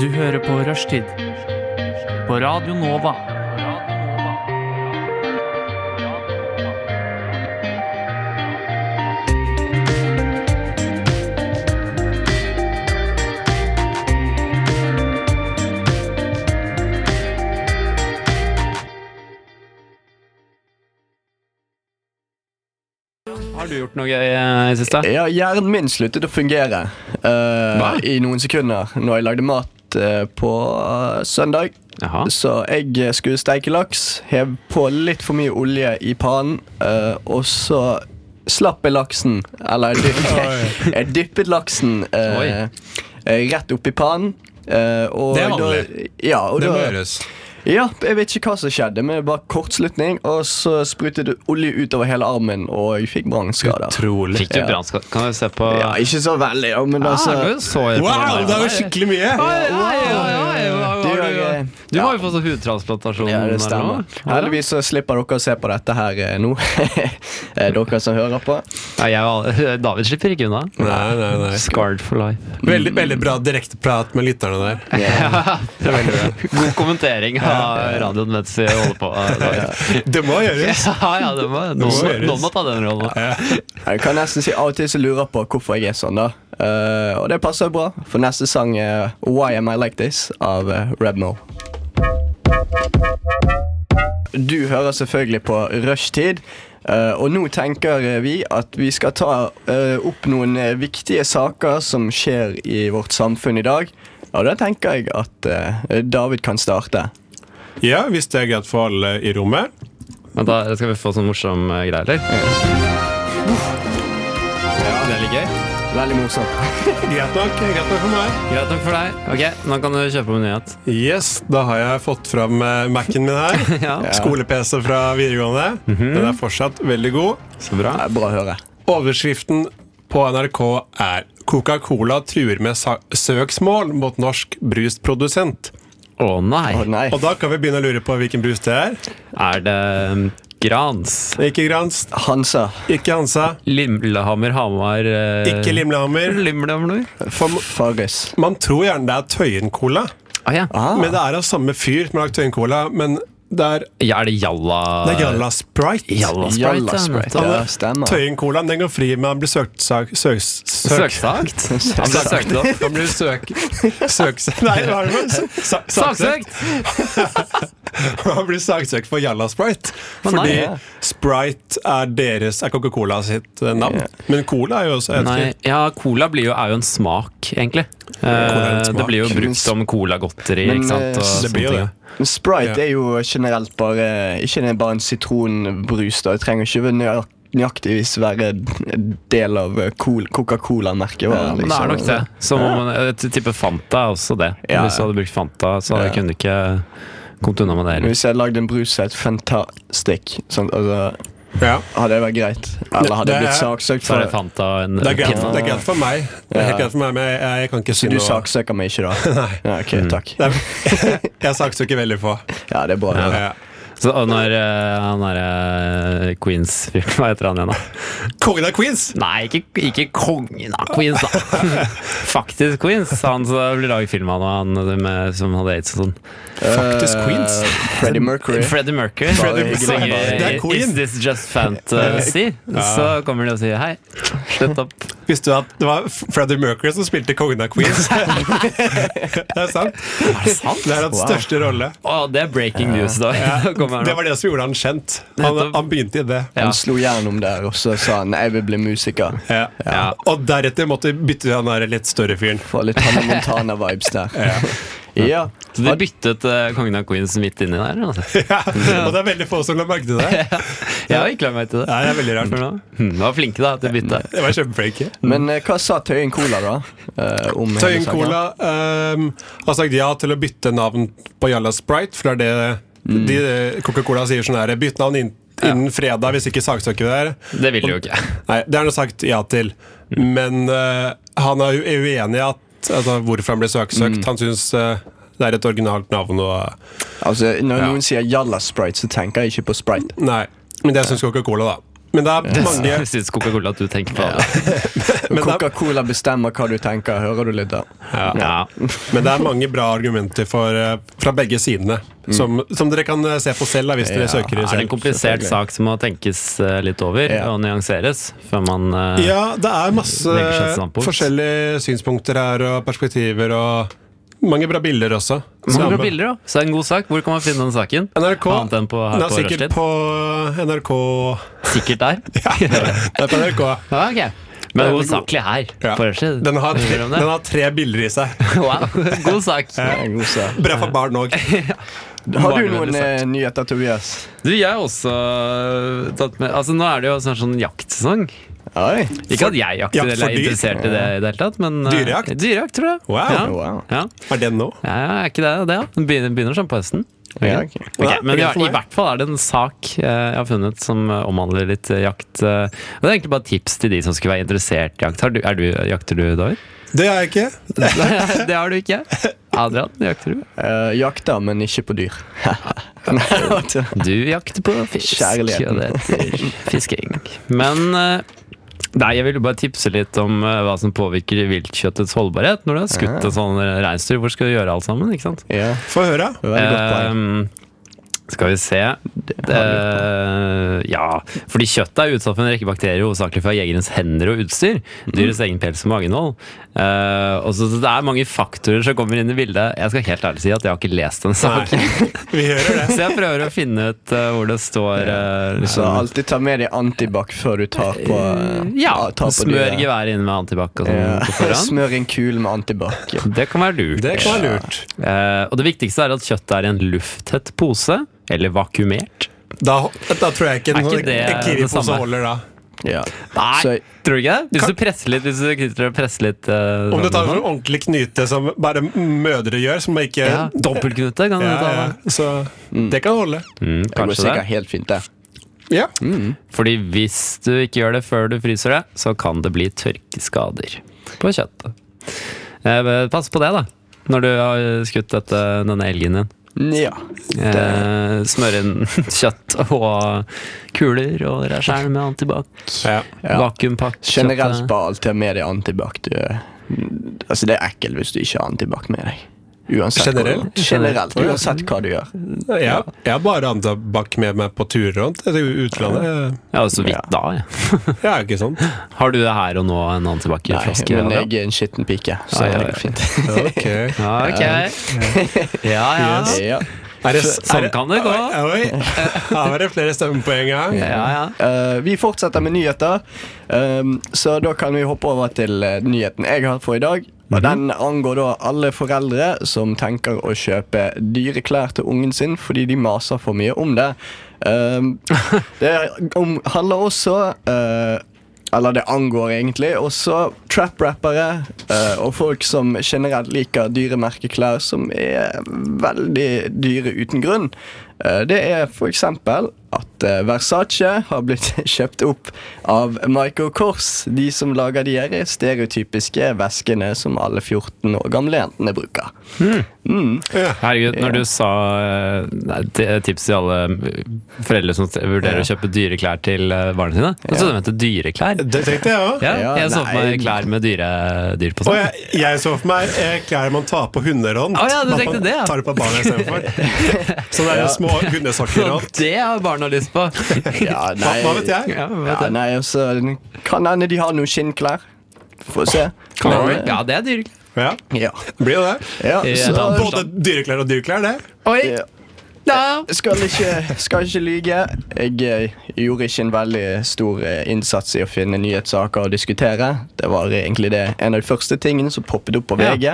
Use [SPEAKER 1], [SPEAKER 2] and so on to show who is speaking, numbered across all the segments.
[SPEAKER 1] Du hører på Rushtid på Radio Nova.
[SPEAKER 2] Har du gjort noe i eh, i siste?
[SPEAKER 3] Ja, hjernen min sluttet å fungere eh,
[SPEAKER 2] Hva?
[SPEAKER 3] i noen sekunder når jeg lagde mat eh, på eh, søndag.
[SPEAKER 2] Jaha.
[SPEAKER 3] Så jeg eh, skulle steike laks, hev på litt for mye olje i pannen, eh, og så slapp jeg laksen. Eller jeg dyppet, jeg dyppet laksen eh, eh, rett opp i pannen. eh, og
[SPEAKER 4] Det er
[SPEAKER 3] da-
[SPEAKER 4] vanlig.
[SPEAKER 3] Ja, og
[SPEAKER 4] Det må
[SPEAKER 3] da,
[SPEAKER 4] gjøres.
[SPEAKER 3] ja, jeg vet ikke hva som skjedde, men bare kortslutning. Og så sprutet det olje utover hele armen, og jeg fikk brannskader.
[SPEAKER 4] Utrolig.
[SPEAKER 2] Fikk du brannskade? Kan jeg se på
[SPEAKER 3] Ja, ikke så veldig, ja, men altså
[SPEAKER 2] Ah, det så jeg på
[SPEAKER 4] Wow,
[SPEAKER 2] den
[SPEAKER 4] det er jo
[SPEAKER 2] der.
[SPEAKER 4] skikkelig mye!
[SPEAKER 2] Oi, oi, oi, oi, oi,
[SPEAKER 3] Det
[SPEAKER 2] har
[SPEAKER 3] gjør
[SPEAKER 2] du-
[SPEAKER 3] jeg.
[SPEAKER 2] Du har
[SPEAKER 3] Ja.
[SPEAKER 2] jo fått sånn hudtransplantasjon.
[SPEAKER 3] Ja,
[SPEAKER 2] eller
[SPEAKER 3] det stemmer.
[SPEAKER 2] noe.
[SPEAKER 3] Heldigvis så slipper dere å se på dette her eh, nå. Eh, dere som hører på.
[SPEAKER 2] Nei, jeg, og- David slipper ikke unna.
[SPEAKER 4] Nei, nei, nei.
[SPEAKER 2] Scarred for life.
[SPEAKER 4] Veldig, veldig bra direkteprat med lytterne der.
[SPEAKER 3] Eh,
[SPEAKER 2] God kommentering av radioen mens vi holder på.
[SPEAKER 4] Det må gjøres!
[SPEAKER 2] Ja, ja, det må, noen, må, noen må ta den rollen.
[SPEAKER 3] Jeg kan nesten si av og til så lurer jeg på hvorfor jeg er sånn, da. Eh, og det passer bra, for neste sang er Why Am I Like This av eh, Rebmo. Du hører selvfølgelig på Rushtid. eh, og nå tenker eh, vi at vi skal ta eh, opp noen eh, viktige saker som skjer i vårt samfunn i dag. Og da tenker jeg at eh, David kan starte.
[SPEAKER 4] Ja, hvis det er greit for alle i rommet.
[SPEAKER 2] Men da skal vi få sånn morsom eh, greie, eller? Ja, det er litt gøy.
[SPEAKER 3] Veldig morsomt.
[SPEAKER 4] Greit nok, greit nok for meg.
[SPEAKER 2] Greit nok for deg. Ok, Nå kan du kjøpe på nyhet.
[SPEAKER 4] Yes, da har jeg fått fram eh, Mac-en min her.
[SPEAKER 2] Ja, Mhm.
[SPEAKER 4] Skole-PC fra videregående. Den er fortsatt veldig god.
[SPEAKER 2] Så bra.
[SPEAKER 3] Det er bra å høre.
[SPEAKER 4] Overskriften på NRK er Coca-Cola truer med sa- søksmål mot norsk brusprodusent.
[SPEAKER 2] Å
[SPEAKER 3] Å
[SPEAKER 2] nei,
[SPEAKER 3] nei.
[SPEAKER 4] Og da kan vi begynne å lure på hvilken brus det er.
[SPEAKER 2] er det mm, Grans?
[SPEAKER 4] Ikke Grans,
[SPEAKER 3] Hansa.
[SPEAKER 4] ikke Hansa,
[SPEAKER 2] Lillehammer, Hamar eh,
[SPEAKER 4] ikke Limlehammer.
[SPEAKER 2] Limlehammer?
[SPEAKER 4] For
[SPEAKER 3] Farris.
[SPEAKER 4] Man tror gjerne det er Tøyen-cola,
[SPEAKER 2] Ah, ja.
[SPEAKER 3] Ah.
[SPEAKER 4] men det er av samme fyr som har lagd Tøyen-cola. Men det er,
[SPEAKER 2] ja, er det Jalla
[SPEAKER 4] det er Jalla Sprite.
[SPEAKER 2] Jalla Sprite.
[SPEAKER 3] Jalla
[SPEAKER 2] ja,
[SPEAKER 3] Sprite.
[SPEAKER 2] nettopp.
[SPEAKER 3] Ja, stemmer.
[SPEAKER 4] Tøyen-colaen den går fri, men han blir søkt sak, søk, søk,
[SPEAKER 2] Søksagt? Han ble søkt opp. Han ble søk...
[SPEAKER 4] søk, Nei, hva er det for sa,
[SPEAKER 2] Saksøkt!
[SPEAKER 4] Han blir saksøkt for Jalla Sprite.
[SPEAKER 2] Å, nei.
[SPEAKER 4] Fordi Sprite er deres Er Coca-Cola sitt eh, navn. Men cola er jo også et
[SPEAKER 2] Nei,
[SPEAKER 4] fint.
[SPEAKER 2] ja, cola blir jo, er jo en smak, egentlig.
[SPEAKER 4] er en
[SPEAKER 2] Eh, det
[SPEAKER 4] smak.
[SPEAKER 2] blir jo brukt som colagodteri,
[SPEAKER 3] Men,
[SPEAKER 2] ikke sant.
[SPEAKER 3] eh,
[SPEAKER 2] Og
[SPEAKER 4] Det blir jo
[SPEAKER 2] sånne
[SPEAKER 4] det.
[SPEAKER 2] ting.
[SPEAKER 3] Men Sprite
[SPEAKER 4] Ja.
[SPEAKER 3] er jo generelt bare Ikke det er bare en sitronbrus. da Jeg trenger ikke være nøyak- nøyaktigvis være en del av eh, Col- Coca-Cola-merket. liksom.
[SPEAKER 2] Ja, men det er nok det. Som om man, jeg tipper Fanta er også det.
[SPEAKER 3] Ja.
[SPEAKER 2] Hvis du hadde brukt Fanta, så hadde
[SPEAKER 3] Ja.
[SPEAKER 2] kunne du ikke kommet unna med det heller.
[SPEAKER 3] Hvis jeg hadde lagd en brus som het Fantastic, sånn, altså,
[SPEAKER 4] Ja.
[SPEAKER 3] hadde det vært greit? Eller hadde jeg blitt
[SPEAKER 4] Det er-
[SPEAKER 3] saksøkt
[SPEAKER 2] Så er det
[SPEAKER 3] for
[SPEAKER 2] Fanta og en
[SPEAKER 4] Det er greit,
[SPEAKER 2] pinne.
[SPEAKER 4] det er greit for meg. Det er helt greit for meg, Men jeg, jeg kan ikke si
[SPEAKER 3] Du
[SPEAKER 4] noe.
[SPEAKER 3] saksøker meg ikke, da?
[SPEAKER 4] Nei.
[SPEAKER 3] Ja, ok, takk.
[SPEAKER 4] Nei, Jeg saksøker veldig få.
[SPEAKER 3] Ja, det er bra. Ja.
[SPEAKER 4] Ja.
[SPEAKER 2] Så, og når eh, han derre Queens-fyren Hva heter han igjen, da?
[SPEAKER 4] Kongen av Queens!
[SPEAKER 2] Nei, ikke, ikke kongen av Queens, da! Faktisk Queens. Han som ble laget film av han med, som hadde aids og sånn.
[SPEAKER 4] Faktisk Queens.
[SPEAKER 3] Eh, Freddie Mercury.
[SPEAKER 2] Freddie Mercury Freddie
[SPEAKER 3] Freddie Mercury.
[SPEAKER 4] Det er
[SPEAKER 2] synger
[SPEAKER 4] Queen.
[SPEAKER 2] Is this just fantasy? Så kommer de og sier hei. Slutt opp.
[SPEAKER 4] Visste du at det var Freddie Mercury som spilte kongen av Queens? det er sant.
[SPEAKER 2] Er det sant?
[SPEAKER 4] Det er hans
[SPEAKER 3] Wow.
[SPEAKER 4] største rolle.
[SPEAKER 2] Å, det er breaking news, da. Nå kommer
[SPEAKER 4] Det
[SPEAKER 2] han.
[SPEAKER 4] var det som gjorde han kjent. Han,
[SPEAKER 2] Nettopp.
[SPEAKER 4] han begynte i det.
[SPEAKER 2] Ja.
[SPEAKER 3] Han slo gjennom der, og så sa han 'jeg vil bli musiker'.
[SPEAKER 4] Ja.
[SPEAKER 2] Ja.
[SPEAKER 4] Og deretter måtte vi bytte til han der litt større fyren.
[SPEAKER 3] Få litt Hanne Montana-vibes der. Ja.
[SPEAKER 2] Så de byttet eh, Kongen av Queens midt inni der? Altså.
[SPEAKER 4] Ja. Og det er veldig få som la merke til det.
[SPEAKER 2] Jeg har ikke lagt meg til
[SPEAKER 4] Nei,
[SPEAKER 2] det.
[SPEAKER 4] det er veldig
[SPEAKER 2] For
[SPEAKER 4] rart.
[SPEAKER 2] nå. Hm, de var flinke, da, til å bytte.
[SPEAKER 4] Det var kjempeflinke.
[SPEAKER 3] Men eh, hva sa Tøyen Cola, da? eh, om hele
[SPEAKER 4] Tøyen
[SPEAKER 3] saken?
[SPEAKER 4] Cola ehm, har sagt ja til å bytte navn på Jalla Sprite, for det er det
[SPEAKER 2] Mm.
[SPEAKER 4] de, Coca-Cola sier sånn her Bytt navn inn, innen fredag, hvis ikke saksøker vi deg.
[SPEAKER 2] Det vil de jo ikke.
[SPEAKER 4] Nei, det har han sagt ja til.
[SPEAKER 2] Mm.
[SPEAKER 4] Men eh, han er jo er uenig i at altså, hvorfor han ble
[SPEAKER 2] Mm.
[SPEAKER 4] saksøkt. Han syns eh, det er et originalt navn. Og,
[SPEAKER 3] Altså, Når
[SPEAKER 4] Ja.
[SPEAKER 3] noen sier Jalla Sprite, så tenker jeg ikke på Sprite.
[SPEAKER 4] nei, men det syns Coca-Cola, da. Men det er mange
[SPEAKER 2] Jeg syns Coca-Cola at du tenker på det.
[SPEAKER 4] men det er-
[SPEAKER 3] Coca-Cola bestemmer hva du tenker. Hører du litt der?
[SPEAKER 2] Ja.
[SPEAKER 4] Men det er mange bra argumenter for, eh, fra begge sidene, som, som dere kan eh, se på selv da, hvis dere
[SPEAKER 3] Ja,
[SPEAKER 4] søker i
[SPEAKER 2] Mm. Er det en
[SPEAKER 4] selv.
[SPEAKER 2] komplisert
[SPEAKER 3] selvfølgelig.
[SPEAKER 2] sak som må tenkes eh, litt over
[SPEAKER 3] Ja.
[SPEAKER 2] og nyanseres før man eh,
[SPEAKER 4] Ja, det er masse
[SPEAKER 2] Legger seg et standpunkt.
[SPEAKER 4] forskjellige synspunkter her, og perspektiver, og mange bra bilder også.
[SPEAKER 2] Så
[SPEAKER 4] Så-
[SPEAKER 2] bra bilder, da. Så det er en god sak. Hvor kan man finne den saken?
[SPEAKER 4] NRK
[SPEAKER 2] Annet enn på, her
[SPEAKER 4] Det er
[SPEAKER 2] på
[SPEAKER 4] sikkert
[SPEAKER 2] Rushtid.
[SPEAKER 4] på NRK
[SPEAKER 2] Sikkert der.
[SPEAKER 4] Ja, det er på NRK.
[SPEAKER 2] Ja, ok. Men
[SPEAKER 4] er
[SPEAKER 2] hovedsakelig her.
[SPEAKER 4] Ja.
[SPEAKER 2] På Rushtid.
[SPEAKER 4] Den, har tre,
[SPEAKER 2] Hører du om det?
[SPEAKER 4] den har tre bilder i seg.
[SPEAKER 2] Wow, god sak.
[SPEAKER 3] Det er en god sak.
[SPEAKER 4] Bra for barn òg.
[SPEAKER 3] Har
[SPEAKER 2] Bare
[SPEAKER 3] du noen
[SPEAKER 2] veldig
[SPEAKER 3] eh, nyheter, Tobias?
[SPEAKER 2] Du, jeg har også tatt med Altså, nå er det jo sånn, sånn jaktsesong.
[SPEAKER 3] Oi.
[SPEAKER 2] Ikke at jeg jakter
[SPEAKER 4] jakt for
[SPEAKER 2] eller er
[SPEAKER 4] dyr.
[SPEAKER 2] interessert i det i det hele tatt, men eh,
[SPEAKER 4] Dyrejakt?
[SPEAKER 2] Dyrejakt, tror jeg.
[SPEAKER 4] Wow.
[SPEAKER 2] Ja.
[SPEAKER 3] Wow.
[SPEAKER 2] Ja.
[SPEAKER 4] Er den nå?
[SPEAKER 2] ja, ja, er ikke det det? da? Den begynner, begynner sånn på høsten.
[SPEAKER 3] Ja, ok.
[SPEAKER 2] Ok,
[SPEAKER 4] Ja,
[SPEAKER 2] men i,
[SPEAKER 4] er det for
[SPEAKER 2] i
[SPEAKER 4] meg?
[SPEAKER 2] hvert fall er det en sak eh, jeg har funnet som eh, omhandler litt eh, jakt. eh, og det er egentlig bare tips til de som skulle være interessert i jakt. Har du, er du, jakter du, David?
[SPEAKER 4] Det er jeg ikke.
[SPEAKER 2] det har du ikke? Adrian, jakter du?
[SPEAKER 3] Eh, jakter, men ikke på dyr.
[SPEAKER 2] Du jakter på fisk,
[SPEAKER 3] Kjærligheten.
[SPEAKER 2] og det heter fisking. Men eh, nei, jeg ville bare tipse litt om eh, hva som påvirker viltkjøttets holdbarhet når du har skutt en sånn reinsdyr. Hvor skal du gjøre alt sammen? ikke sant?
[SPEAKER 3] ja,
[SPEAKER 4] Få høre.
[SPEAKER 3] veldig godt poeng.
[SPEAKER 2] Ehm, skal vi se Eh, Ja, fordi kjøttet er utsatt for en rekke bakterier, hovedsakelig fra jegerens hender og utstyr. Dyrets egen pels og mageinnhold. Eh, og så så det er mange faktorer som kommer inn i bildet. Jeg skal helt ærlig si at jeg har ikke lest den saken.
[SPEAKER 4] Vi hører det.
[SPEAKER 2] Så jeg prøver å finne ut eh, hvor det står eh,
[SPEAKER 3] Så
[SPEAKER 2] liksom,
[SPEAKER 3] alltid ta med deg antibac før du tar på eh,
[SPEAKER 2] Ja,
[SPEAKER 3] tar på
[SPEAKER 2] smør
[SPEAKER 3] dyret.
[SPEAKER 2] geværet inn med antibac og sånn på
[SPEAKER 3] Ja.
[SPEAKER 2] forhånd.
[SPEAKER 3] Smør en kul med antibac.
[SPEAKER 2] Det kan være lurt.
[SPEAKER 4] Det kan være lurt.
[SPEAKER 2] Eh, og det viktigste er at kjøttet er i en lufttett pose, eller vakuumert.
[SPEAKER 4] Da, da tror jeg ikke,
[SPEAKER 2] Er ikke
[SPEAKER 4] noen-
[SPEAKER 2] det
[SPEAKER 4] en kiwipose
[SPEAKER 2] det samme?
[SPEAKER 4] holder da.
[SPEAKER 3] Ja.
[SPEAKER 2] Nei,
[SPEAKER 3] Så-
[SPEAKER 2] tror du ikke det? Hvis du presser litt, hvis du knytter og presser litt eh,
[SPEAKER 4] Om du tar en
[SPEAKER 2] sånn,
[SPEAKER 4] sånn ordentlig knute som bare mødre gjør, som ikke
[SPEAKER 2] ja, Dobbeltknute kan du
[SPEAKER 4] Ja,
[SPEAKER 2] ta.
[SPEAKER 4] ja.
[SPEAKER 2] da.
[SPEAKER 4] Så det kan holde.
[SPEAKER 2] Mm,
[SPEAKER 3] Det går
[SPEAKER 2] kanskje det.
[SPEAKER 3] sikkert helt fint, det.
[SPEAKER 4] Ja.
[SPEAKER 2] Mm. Fordi hvis du ikke gjør det før du fryser det, så kan det bli tørkeskader på kjøttet. Eh, men pass på det, da. Når du har skutt dette, denne elgen din.
[SPEAKER 3] Ja.
[SPEAKER 2] Eh, smør inn kjøtt og kuler og ræskjern med antibac.
[SPEAKER 4] ja.
[SPEAKER 3] Ja.
[SPEAKER 2] Vakuumpakk.
[SPEAKER 3] Generelt
[SPEAKER 2] kjøttet.
[SPEAKER 3] bare alltid ha med deg antibac. Du, altså, det er ekkelt hvis du ikke har antibac med deg. Uansett
[SPEAKER 4] Generelt?
[SPEAKER 3] Hva, generelt. Uansett hva du gjør.
[SPEAKER 4] Jeg, jeg har bare antabakk med meg på turer og sånt, eller utlandet.
[SPEAKER 2] Ja, så vidt
[SPEAKER 3] Ja.
[SPEAKER 2] da, ja.
[SPEAKER 4] Jeg er ikke sånn.
[SPEAKER 2] Har du det her og nå, en
[SPEAKER 3] Nei,
[SPEAKER 2] antibac-flaske?
[SPEAKER 3] men
[SPEAKER 2] Adrian?
[SPEAKER 3] jeg er en skitten pike, så
[SPEAKER 2] Ja, ja,
[SPEAKER 3] det
[SPEAKER 2] ja.
[SPEAKER 3] går fint.
[SPEAKER 4] Ok.
[SPEAKER 2] Ja, ok. Ja, ja.
[SPEAKER 3] Ja.
[SPEAKER 4] Er det,
[SPEAKER 2] Sånn kan det gå.
[SPEAKER 4] Oi, oi. Her var det flere stemmepoeng her.
[SPEAKER 2] ja, ja.
[SPEAKER 3] Eh, vi fortsetter med nyheter, Ehm, så da kan vi hoppe over til eh, nyheten jeg har for i dag.
[SPEAKER 2] Mhm.
[SPEAKER 3] Og Den angår da alle foreldre som tenker å kjøpe dyre klær til ungen sin fordi de maser for mye om det. Ehm, det om, handler også eh, Eller det angår egentlig også trap-rappere eh, og folk som generelt liker dyre merkeklær som er veldig dyre uten grunn. Eh, det er f.eks. at eh, Versace har blitt kjøpt opp av Michael Kors. De som lager de her stereotypiske veskene som alle 14 år gamle jentene bruker.
[SPEAKER 2] Herregud, når du sa eh, nei, t- tips til alle foreldre som vurderer å kjøpe dyre klær til eh, barna sine, så trodde du mente dyreklær.
[SPEAKER 4] Det tenkte jeg òg.
[SPEAKER 2] Ja,
[SPEAKER 3] Ja,
[SPEAKER 2] jeg så for
[SPEAKER 3] nei.
[SPEAKER 2] meg klær med dyre dyr på
[SPEAKER 4] Og
[SPEAKER 2] seg.
[SPEAKER 4] jeg, jeg så for meg eh, klær man tar på hunderhånd.
[SPEAKER 2] Å ja, du
[SPEAKER 4] Man
[SPEAKER 2] tenkte det, ja.
[SPEAKER 4] Tar det på barna istedenfor. Så det er jo små hundesokker og
[SPEAKER 2] Og
[SPEAKER 4] alt.
[SPEAKER 2] det har barna lyst på!
[SPEAKER 3] Ja,
[SPEAKER 4] Hva, hva vet jeg?
[SPEAKER 2] Ja, vet
[SPEAKER 3] Ja,
[SPEAKER 2] jeg.
[SPEAKER 3] nei, altså, kan hende de har noen skinnklær. Får se. Men, eh,
[SPEAKER 2] ja, det er dyre klær.
[SPEAKER 4] Ja,
[SPEAKER 3] ja.
[SPEAKER 4] blir jo det.
[SPEAKER 3] Ja,
[SPEAKER 2] Ja,
[SPEAKER 3] så,
[SPEAKER 2] da-
[SPEAKER 4] Både dyreklær og dyreklær, det.
[SPEAKER 2] Oi!
[SPEAKER 3] ja.
[SPEAKER 2] Ja.
[SPEAKER 3] Skal ikke, skal ikke lyge. Jeg eh, gjorde ikke en veldig stor eh, innsats i å finne nyhetssaker å diskutere. Det var egentlig det en av de første tingene som poppet opp på
[SPEAKER 2] Ja.
[SPEAKER 3] VG.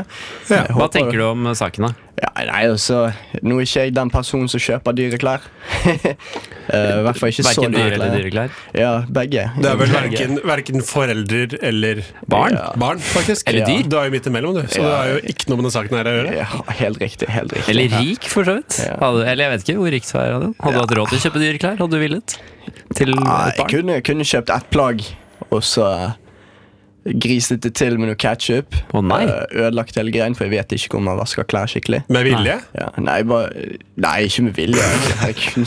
[SPEAKER 4] Ja,
[SPEAKER 2] Hva tenker du om eh, saken, da?
[SPEAKER 3] Ja, nei, altså, Nå er ikke jeg den personen som kjøper dyre klær. Eh, I hvert fall ikke så
[SPEAKER 2] Verken dyr
[SPEAKER 3] dyre
[SPEAKER 2] eller
[SPEAKER 3] klær.
[SPEAKER 2] dyre klær?
[SPEAKER 3] Ja, begge.
[SPEAKER 4] Det er vel verken, verken foreldrer eller
[SPEAKER 2] Barn?
[SPEAKER 3] Ja.
[SPEAKER 4] Barn, faktisk.
[SPEAKER 2] Eller dyr.
[SPEAKER 4] Du er jo midt imellom, du. Så
[SPEAKER 3] Ja.
[SPEAKER 4] det er jo ikke noe med den saken her å gjøre.
[SPEAKER 3] Ja, helt riktig. helt riktig.
[SPEAKER 2] Eller rik, for så vidt.
[SPEAKER 3] Ja.
[SPEAKER 2] Hadde, eller jeg vet ikke hvor rik du er. Adrian. Hadde du hatt råd til å kjøpe dyre klær? Hadde du villet? Til
[SPEAKER 3] Ja,
[SPEAKER 2] et
[SPEAKER 3] jeg
[SPEAKER 2] barn?
[SPEAKER 3] kunne, kunne kjøpt ett plagg, og så Grisete til med noe ketsjup.
[SPEAKER 2] Å, nei.
[SPEAKER 3] Ødelagt hele greien, for jeg vet ikke om man vasker klær skikkelig.
[SPEAKER 4] Med vilje?
[SPEAKER 3] Ja, nei, bare, nei, ikke med vilje. Herregud,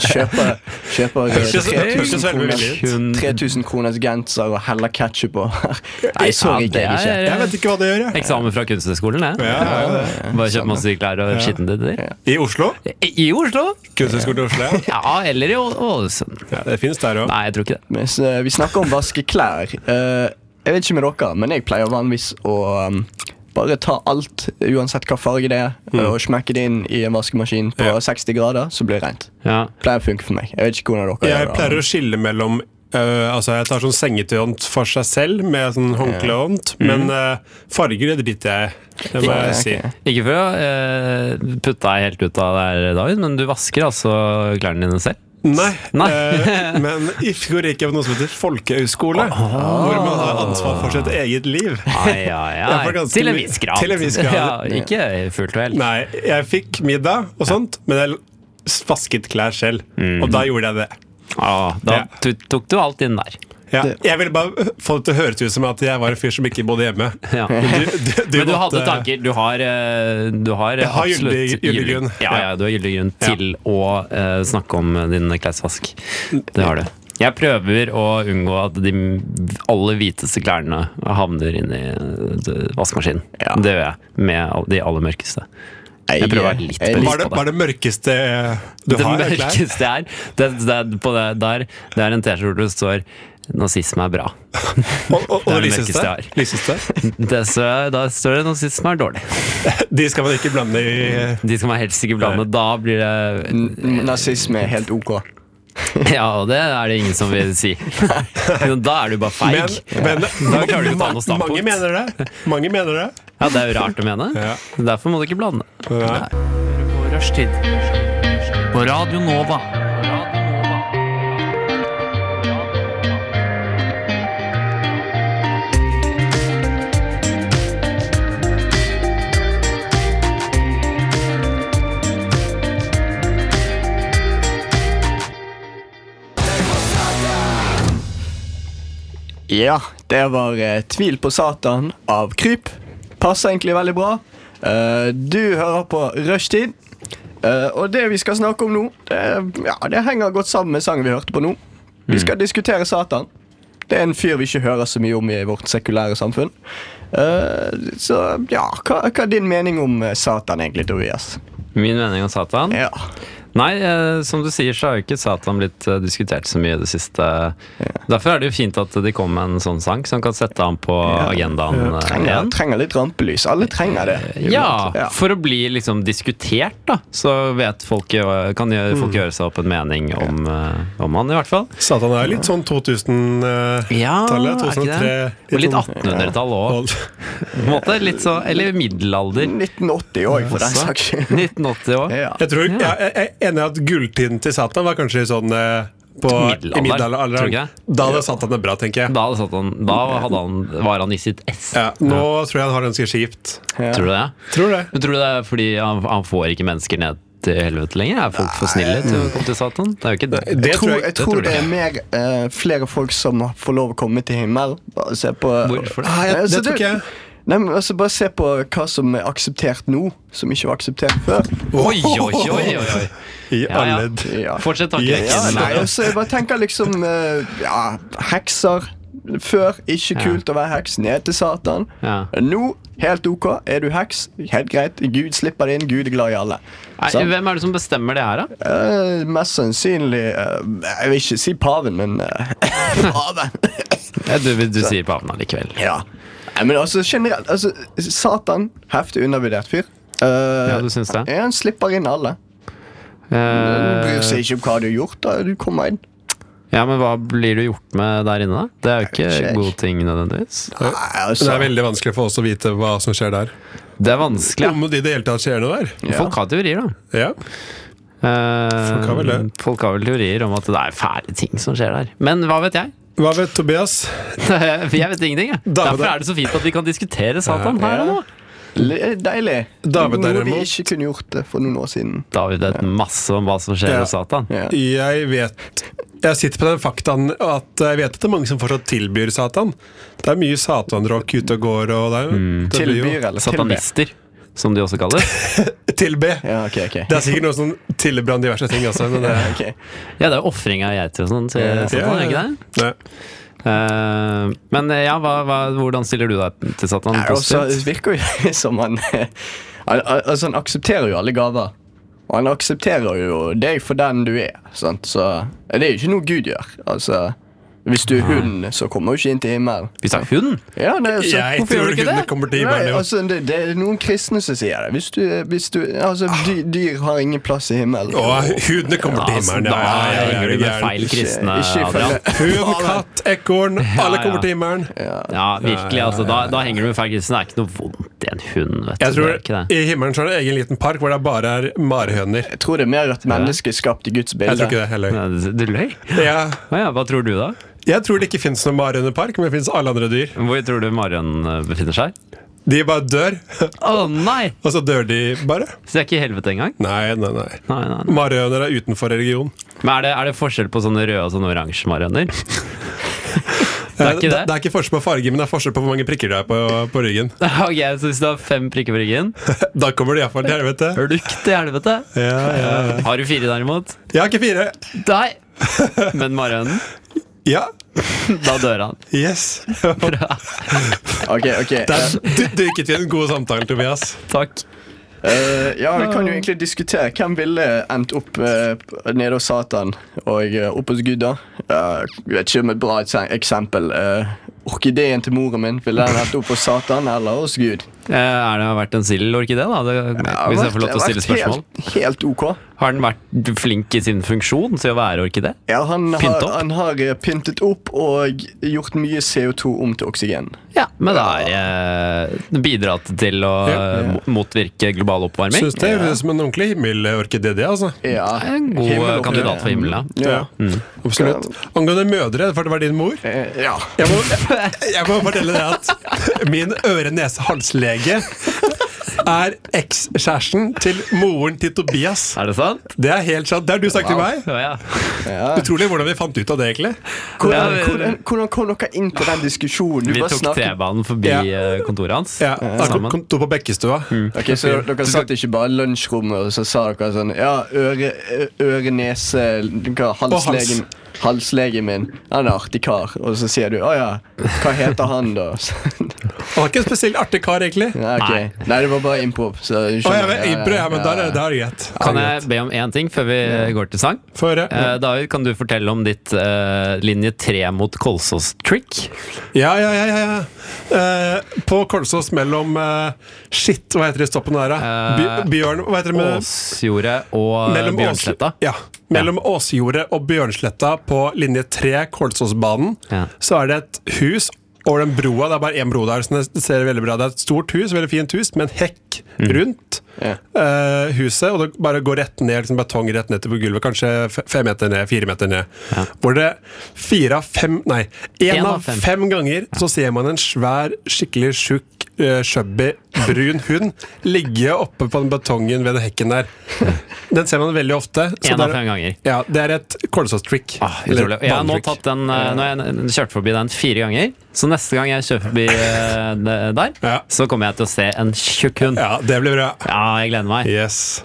[SPEAKER 3] kjøper, kjøper eh,
[SPEAKER 4] Hørtes- hørtes
[SPEAKER 3] 3000
[SPEAKER 4] veldig
[SPEAKER 3] kroners,
[SPEAKER 4] villig
[SPEAKER 2] ut.
[SPEAKER 3] 3000 kroners genser og heller ketsjup over. Nei, så
[SPEAKER 2] Ja,
[SPEAKER 3] rigger jeg det ikke.
[SPEAKER 2] det
[SPEAKER 4] Jeg
[SPEAKER 2] er eh,
[SPEAKER 4] vet ikke hva det gjør, jeg.
[SPEAKER 2] eksamen fra kunstnerskolen, det.
[SPEAKER 4] Ja, ja, ja.
[SPEAKER 2] Bare kjøpe masse klær og skitne til
[SPEAKER 3] Ja.
[SPEAKER 4] I Oslo?
[SPEAKER 2] I Oslo?
[SPEAKER 4] Kunsthøgskolen i Oslo. ja.
[SPEAKER 2] Ja, eller i Å- Ålesund.
[SPEAKER 4] Ja, det fins der òg.
[SPEAKER 2] Nei, jeg tror ikke det.
[SPEAKER 3] Mens eh, vi snakker om vaske klær eh, Jeg vet ikke med dere, men jeg pleier vanligvis å um, bare ta alt, uansett hva farge det er,
[SPEAKER 2] Mm.
[SPEAKER 3] og smekke det inn i en vaskemaskin på
[SPEAKER 4] Ja.
[SPEAKER 3] 60 grader, så blir det rent.
[SPEAKER 2] Ja.
[SPEAKER 3] Pleier å funke for meg. Jeg vet ikke hvordan dere
[SPEAKER 4] Jeg
[SPEAKER 3] gjør
[SPEAKER 4] pleier
[SPEAKER 3] det.
[SPEAKER 4] å skille mellom øh, Altså, jeg tar sånn sengetøyhånd for seg selv med sånn håndklehånd, men øh, farger, det driter jeg i. Det må
[SPEAKER 3] Ja,
[SPEAKER 4] jeg si.
[SPEAKER 3] ok.
[SPEAKER 2] Ikke for å eh, putte deg helt ut av det her, David, men du vasker altså klærne dine selv?
[SPEAKER 4] Nei,
[SPEAKER 2] Nei.
[SPEAKER 4] øh, men i fjor gikk jeg på noe som heter folkehøyskole, hvor man har ansvar for sitt eget liv.
[SPEAKER 2] Ai, ai,
[SPEAKER 4] Det er for
[SPEAKER 2] ai.
[SPEAKER 4] ganske
[SPEAKER 2] Til en
[SPEAKER 4] mye-
[SPEAKER 2] viss grad.
[SPEAKER 4] til en viss grad.
[SPEAKER 2] Ja, ikke fullt og helt.
[SPEAKER 4] Nei, jeg fikk middag og sånt, men jeg l- vasket klær selv. Og da gjorde jeg det.
[SPEAKER 2] Ja, da
[SPEAKER 4] Ja.
[SPEAKER 2] tu- tok du alt inn der.
[SPEAKER 4] Ja, jeg ville bare få det til å høres ut som at jeg var en fyr som ikke bodde hjemme.
[SPEAKER 2] Ja.
[SPEAKER 4] Men du, du, du
[SPEAKER 2] Men du hadde
[SPEAKER 4] måtte-
[SPEAKER 2] tanker. Du har, eh, du har
[SPEAKER 4] Jeg har
[SPEAKER 2] absolutt
[SPEAKER 4] gyldig- gyldig
[SPEAKER 2] gyldig-
[SPEAKER 4] grunn.
[SPEAKER 2] Ja, ja, du har gyldig grunn til å eh, snakke om din klesvask. Det har du. Jeg prøver å unngå at de aller hviteste klærne havner inn i eh, vaskemaskinen.
[SPEAKER 3] Ja.
[SPEAKER 2] Det gjør jeg. Med all- de aller mørkeste. Jeg prøver å være litt
[SPEAKER 3] jeg-
[SPEAKER 2] bevisst.
[SPEAKER 4] Var det, var det mørkeste du
[SPEAKER 2] det
[SPEAKER 4] har? er klær?
[SPEAKER 2] mørkeste er, det, det, er på det, der, det er en T-skjorte hvor det står 'Nazisme er bra'.
[SPEAKER 4] Og, og, og
[SPEAKER 2] Det er det
[SPEAKER 4] det lyseste?
[SPEAKER 2] mørkeste jeg har.
[SPEAKER 4] lyseste?
[SPEAKER 2] Det, så, da står det 'Nazisme er dårlig'.
[SPEAKER 4] De skal man ikke blande i
[SPEAKER 2] De skal man helst ikke blande. Da blir det
[SPEAKER 3] N- Nazisme er helt ok.
[SPEAKER 2] Ja, og det er det ingen som vil si. Da er du bare feig.
[SPEAKER 4] Men, men
[SPEAKER 2] Da klarer du ikke å ta noe standpunkt.
[SPEAKER 4] Mange mener det. Mange mener det.
[SPEAKER 2] Ja, Det er jo rart å mene.
[SPEAKER 4] Ja.
[SPEAKER 2] Derfor må du ikke blande.
[SPEAKER 4] Ja.
[SPEAKER 1] På rushtid. På Radio Nova.
[SPEAKER 3] Ja, det var eh, 'Tvil på Satan' av Kryp. Passer egentlig veldig bra. Eh, du hører på Rushtid. Eh, og det vi skal snakke om nå, det, ja, det henger godt sammen med sangen vi hørte på nå.
[SPEAKER 2] Mm.
[SPEAKER 3] Vi skal diskutere Satan. Det er en fyr vi ikke hører så mye om i vårt sekulære samfunn. Eh, så ja, hva, hva er din mening om eh, Satan egentlig, Tobias?
[SPEAKER 2] Min mening om Satan?
[SPEAKER 3] Ja.
[SPEAKER 2] Nei, eh, som du sier, så har jo ikke Satan blitt eh, diskutert så mye i det siste. Derfor er det jo fint at de kom med en sånn sang som kan sette han på agendaen eh,
[SPEAKER 3] Trenger,
[SPEAKER 2] igjen.
[SPEAKER 3] trenger litt rampelys. Alle trenger det.
[SPEAKER 2] Ja, for å bli liksom diskutert, da. Så vet folk, eh, kan
[SPEAKER 4] Mm.
[SPEAKER 2] gjøre- folk gjøre seg opp en mening om, eh, om han, i hvert fall.
[SPEAKER 4] Satan er litt sånn eh, 2000-tallet.
[SPEAKER 2] Ja, er ikke
[SPEAKER 4] 2003.
[SPEAKER 2] det? Og litt 1800-tall òg. på en måte. Litt så, eller middelalder.
[SPEAKER 3] 1980 òg, for den
[SPEAKER 2] også.
[SPEAKER 3] saks skyld.
[SPEAKER 2] 1980 òg.
[SPEAKER 3] Ja.
[SPEAKER 4] Jeg tror
[SPEAKER 2] Ja.
[SPEAKER 4] jeg, jeg, jeg er enig i at gulltiden til Satan var kanskje sånn eh, på
[SPEAKER 2] Middelalder,
[SPEAKER 4] i middelalderen.
[SPEAKER 2] tror du ikke?
[SPEAKER 4] Da hadde Satan det bra, tenker jeg.
[SPEAKER 2] Da, hadde satt han, da hadde han, var han i sitt ess.
[SPEAKER 4] Ja, nå tror jeg han har det ganske kjipt.
[SPEAKER 3] Ja.
[SPEAKER 2] Tror du det?
[SPEAKER 4] Tror det.
[SPEAKER 2] Men tror du det er fordi han, han får ikke mennesker ned til helvete lenger? Er folk for snille til å komme til Satan? Det er jo ikke det.
[SPEAKER 4] Det
[SPEAKER 3] Jeg tror, jeg,
[SPEAKER 2] det
[SPEAKER 3] tror
[SPEAKER 2] tror
[SPEAKER 3] det er mer eh, flere folk som får lov å komme til himmelen. Bare se på
[SPEAKER 2] Hvorfor det?
[SPEAKER 4] Nei, jeg-
[SPEAKER 3] Nei, altså,
[SPEAKER 4] Ah, det tror ikke jeg.
[SPEAKER 3] Nei, men altså Bare se på hva som er akseptert nå, som ikke var akseptert før.
[SPEAKER 2] Oi, oi, oi, oi, oi.
[SPEAKER 4] I
[SPEAKER 2] Ja, ja.
[SPEAKER 4] alle d-
[SPEAKER 3] Ja.
[SPEAKER 2] Fortsett
[SPEAKER 3] Ja,
[SPEAKER 2] tankerekken.
[SPEAKER 3] nei,
[SPEAKER 2] Laura.
[SPEAKER 3] altså, jeg bare tenker liksom eh, Ja, hekser før ikke
[SPEAKER 2] Ja.
[SPEAKER 3] kult å være heks. Ned til Satan.
[SPEAKER 2] Ja.
[SPEAKER 3] Nå helt ok. Er du heks, helt greit. Gud slipper det inn. Gud er glad i alle.
[SPEAKER 2] Nei,
[SPEAKER 3] Sant?
[SPEAKER 2] hvem er det som bestemmer det her, da?
[SPEAKER 3] Eh, mest sannsynlig eh, Jeg vil ikke si paven, men eh, Paven.
[SPEAKER 2] Ja, Du, du sier paven allikevel.
[SPEAKER 3] Ja. Nei, men altså generelt altså, Satan, heftig undervurdert fyr. Eh,
[SPEAKER 2] Ja, du syns det?
[SPEAKER 3] ja, han slipper inn alle. Han
[SPEAKER 2] Eh,
[SPEAKER 3] bryr seg ikke om hva du har gjort. da Du kommer inn.
[SPEAKER 2] ja, men hva blir du gjort med der inne, da? Det er jo
[SPEAKER 3] Nei,
[SPEAKER 2] ikke
[SPEAKER 3] sjekk.
[SPEAKER 2] gode ting nødvendigvis.
[SPEAKER 3] Nei,
[SPEAKER 4] Det
[SPEAKER 3] altså,
[SPEAKER 4] er veldig vanskelig for oss å vite hva som skjer der.
[SPEAKER 2] Det er vanskelig.
[SPEAKER 4] Om det i det hele tatt skjer noe der.
[SPEAKER 2] Ja. Folk har teorier, da.
[SPEAKER 4] Ja.
[SPEAKER 2] Eh,
[SPEAKER 4] Folk har vel det.
[SPEAKER 2] folk har vel teorier om at det er fæle ting som skjer der. Men hva vet jeg?
[SPEAKER 4] Hva vet Tobias?
[SPEAKER 2] Jeg vet ingenting. Jeg.
[SPEAKER 4] Da-
[SPEAKER 2] Derfor er det så fint at vi kan diskutere Satan her og nå.
[SPEAKER 3] li- eh, Deilig.
[SPEAKER 4] David,
[SPEAKER 3] Noe vi
[SPEAKER 4] derimot.
[SPEAKER 3] ikke kunne gjort eh, for noen år siden.
[SPEAKER 2] Da har vi vet masse om hva som skjer
[SPEAKER 4] Ja.
[SPEAKER 2] hos Satan.
[SPEAKER 3] Ja.
[SPEAKER 4] Jeg vet Jeg sitter på den faktaen at jeg vet at det er mange som fortsatt tilbyr Satan. Det er mye Satan-rock ute og går. Og det, er jo- det blir jo-
[SPEAKER 3] Mm. Tilbyr eller tilbe?
[SPEAKER 2] Satanister, som de også kalles.
[SPEAKER 4] Tilbe.
[SPEAKER 3] Ja, ok, ok.
[SPEAKER 4] Det er sikkert noen som tilbrann diverse ting også. Men det,
[SPEAKER 3] Ok.
[SPEAKER 2] Ja, det er jo ofring av geiter og sånn. til Satan, er det ikke det?
[SPEAKER 4] Nei.
[SPEAKER 2] Eh, men ja, hva, hva, hvordan stiller du deg til Satan?
[SPEAKER 3] Nei, også,
[SPEAKER 4] altså,
[SPEAKER 2] Positivt?
[SPEAKER 3] det virker jo som han, han Altså, han aksepterer jo alle gaver. Og han aksepterer jo deg for den du er. Sant? Så det er jo ikke noe Gud gjør. Altså, hvis du er hund, så kommer du ikke inn til himmelen.
[SPEAKER 2] Hvis det er hund?
[SPEAKER 3] Ja, det, er- så,
[SPEAKER 4] Jeg
[SPEAKER 2] hvorfor gjør
[SPEAKER 4] tror
[SPEAKER 2] du ikke
[SPEAKER 4] hundene
[SPEAKER 2] det?
[SPEAKER 4] kommer til
[SPEAKER 3] nei,
[SPEAKER 4] himmelen. jo.
[SPEAKER 3] altså, det, det er noen kristne som sier det. Hvis du, hvis du, altså,
[SPEAKER 4] Ah.
[SPEAKER 3] dy- dyr har ingen plass i himmelen.
[SPEAKER 4] Og hundene kommer til
[SPEAKER 2] Altså,
[SPEAKER 4] himmelen.
[SPEAKER 2] da henger du med
[SPEAKER 4] gæren.
[SPEAKER 2] feil kristne,
[SPEAKER 3] Ikke- ikke
[SPEAKER 2] Adrian.
[SPEAKER 4] Hund, katt, ekorn. Alle kommer til himmelen.
[SPEAKER 2] Ja, virkelig. altså Da, da henger du med feil kristne. Det er ikke noe vondt i en hund. vet du.
[SPEAKER 4] Jeg
[SPEAKER 2] det er ikke
[SPEAKER 4] tror
[SPEAKER 2] det.
[SPEAKER 4] I himmelen så er det egen liten park hvor det bare er marhøner.
[SPEAKER 3] Jeg tror det er mer at mennesket er skapt i Guds bilde.
[SPEAKER 4] Jeg tror ikke det heller.
[SPEAKER 2] Nei, Du du løy?
[SPEAKER 4] Ja,
[SPEAKER 2] Å ja, hva tror du, da?
[SPEAKER 4] jeg tror det ikke fins noen marhønepark, men det fins alle andre dyr.
[SPEAKER 2] Hvor tror du Marion eh, befinner seg?
[SPEAKER 4] De bare dør,
[SPEAKER 2] Å nei!
[SPEAKER 4] og så dør de bare.
[SPEAKER 2] Så det er ikke i helvete engang?
[SPEAKER 4] Nei, nei, nei.
[SPEAKER 2] Nei, nei, nei.
[SPEAKER 4] Marhøner er utenfor religion.
[SPEAKER 2] Men er det, er det forskjell på sånne røde og sånne oransje marioner? Det er ikke det?
[SPEAKER 4] Eh, Det er ikke forskjell på farge, men det er forskjell på hvor mange prikker det er på, på ryggen.
[SPEAKER 2] Ok, Så hvis du har fem prikker på ryggen,
[SPEAKER 4] Da kommer du iallfall til helvete.
[SPEAKER 2] lukt i helvete.
[SPEAKER 4] Ja, ja.
[SPEAKER 2] Har du fire, derimot?
[SPEAKER 4] Jeg har ikke fire.
[SPEAKER 2] Nei! Men marionen,
[SPEAKER 4] Ja.
[SPEAKER 2] da dør han.
[SPEAKER 4] Yes.
[SPEAKER 3] Ok, ok.
[SPEAKER 4] Der dy- dykket vi en god samtale, Tobias.
[SPEAKER 2] Takk.
[SPEAKER 3] Eh, ja, vi kan jo egentlig diskutere hvem ville endt opp eh, nede hos Satan og eh, opp hos Gud, da. Eh, jeg vet ikke om et bra ekse- eksempel. eh, orkideen til moren min, ville den endt opp hos Satan eller hos Gud?
[SPEAKER 2] Eh, Er det vært en sildorkidé, da? Det, hvis jeg får lov til å stille spørsmål.
[SPEAKER 3] Helt, helt ok.
[SPEAKER 2] Har den vært flink i sin funksjon til å være orkidé?
[SPEAKER 3] Ja, han
[SPEAKER 2] Pynt
[SPEAKER 3] har,
[SPEAKER 2] opp?
[SPEAKER 3] han har eh, pyntet opp og gjort mye CO2 om til oksygen.
[SPEAKER 2] Ja, men det har eh, bidratt til å
[SPEAKER 4] Ja.
[SPEAKER 2] eh, mo- motvirke global oppvarming.
[SPEAKER 4] Syns det høres ut som en ordentlig himmelorkidé, det, altså.
[SPEAKER 3] Ja.
[SPEAKER 2] En god eh,
[SPEAKER 3] Himmel-
[SPEAKER 2] kandidat for himmelen. ja. Mm.
[SPEAKER 3] Ja.
[SPEAKER 4] Absolutt. Angående mødre, for det var din mor.
[SPEAKER 3] Eh, ja.
[SPEAKER 4] Jeg må, jeg må fortelle deg at min øre-nese-hals-lege er ekskjæresten til moren til Tobias.
[SPEAKER 2] Er det sant?
[SPEAKER 4] Det er helt sant. Det har du sagt til meg.
[SPEAKER 2] Ja, ja.
[SPEAKER 4] Utrolig hvordan vi fant ut av det, egentlig.
[SPEAKER 3] Hvordan,
[SPEAKER 2] Ja, men-
[SPEAKER 3] hvordan, hvordan kom dere inn på den diskusjonen? Du
[SPEAKER 2] Vi
[SPEAKER 3] bare
[SPEAKER 2] tok
[SPEAKER 3] snakket-
[SPEAKER 2] T-banen forbi
[SPEAKER 4] Ja.
[SPEAKER 2] eh, kontoret hans.
[SPEAKER 4] Ja,
[SPEAKER 2] Sammen.
[SPEAKER 4] Kom to på Bekkestua.
[SPEAKER 3] Ok, Så dere satt ikke bare i lunsjrommet og så sa dere sånn Ja, øre, ø- øre nese hva, halslegen, Halslegen min. Han er en artig kar. Og så sier du å ja, hva heter han da? Så-
[SPEAKER 4] Han var ikke en spesielt artig kar, egentlig. Å,
[SPEAKER 3] Nei, ok.
[SPEAKER 2] Nei.
[SPEAKER 3] Nei, det var bare improv. Så jeg
[SPEAKER 4] jeg
[SPEAKER 3] skjønner.
[SPEAKER 4] vet, impro, ja, men der er der er det greit.
[SPEAKER 2] Kan jeg be om én ting før vi eh, går til sang?
[SPEAKER 4] Få høre.
[SPEAKER 2] Eh, David, kan du fortelle om ditt eh, linje tre mot Kolsås-trick?
[SPEAKER 4] Ja, ja, ja, ja, ja. Eh, på Kolsås mellom eh, Shit, hva heter det i stoppen der? da?
[SPEAKER 2] Eh,
[SPEAKER 4] By- Bjørn, hva heter det med
[SPEAKER 2] Åsjordet og eh,
[SPEAKER 4] Mellom
[SPEAKER 2] Bjørnsletta?
[SPEAKER 4] Ås- Ja, mellom Åsjordet og Bjørnsletta på linje 3 Kolsåsbanen
[SPEAKER 2] Ja.
[SPEAKER 4] Så er det et hus over den broa. Det er bare én bro der. Så det ser veldig bra Det er et stort hus, veldig fint hus, med en hekk
[SPEAKER 2] Mm.
[SPEAKER 4] rundt
[SPEAKER 3] Ja.
[SPEAKER 4] eh, huset. Og det bare går rett ned, liksom betong rett ned til på gulvet. Kanskje f- fem meter ned, fire meter ned. Hvor det fire av fem Nei, én av fem. ganger så ser man en svær, skikkelig tjukk, eh, chubby, brun hund ligge oppe på den betongen ved den hekken der. Den ser man veldig ofte.
[SPEAKER 2] Én
[SPEAKER 4] så
[SPEAKER 2] av
[SPEAKER 4] der-
[SPEAKER 2] fem ganger.
[SPEAKER 4] Ja, Det er et Kolsås-trick.
[SPEAKER 2] Ah, utrolig. Jeg har nå
[SPEAKER 4] banetrick.
[SPEAKER 2] tatt den eh, Nå har jeg n- kjørt forbi den fire ganger, så neste gang jeg kjører forbi eh, d- der,
[SPEAKER 4] Ja.
[SPEAKER 2] så kommer jeg til å se en tjukk hund.
[SPEAKER 4] Ja, det blir bra.
[SPEAKER 2] Ja, jeg gleder meg.
[SPEAKER 4] Yes.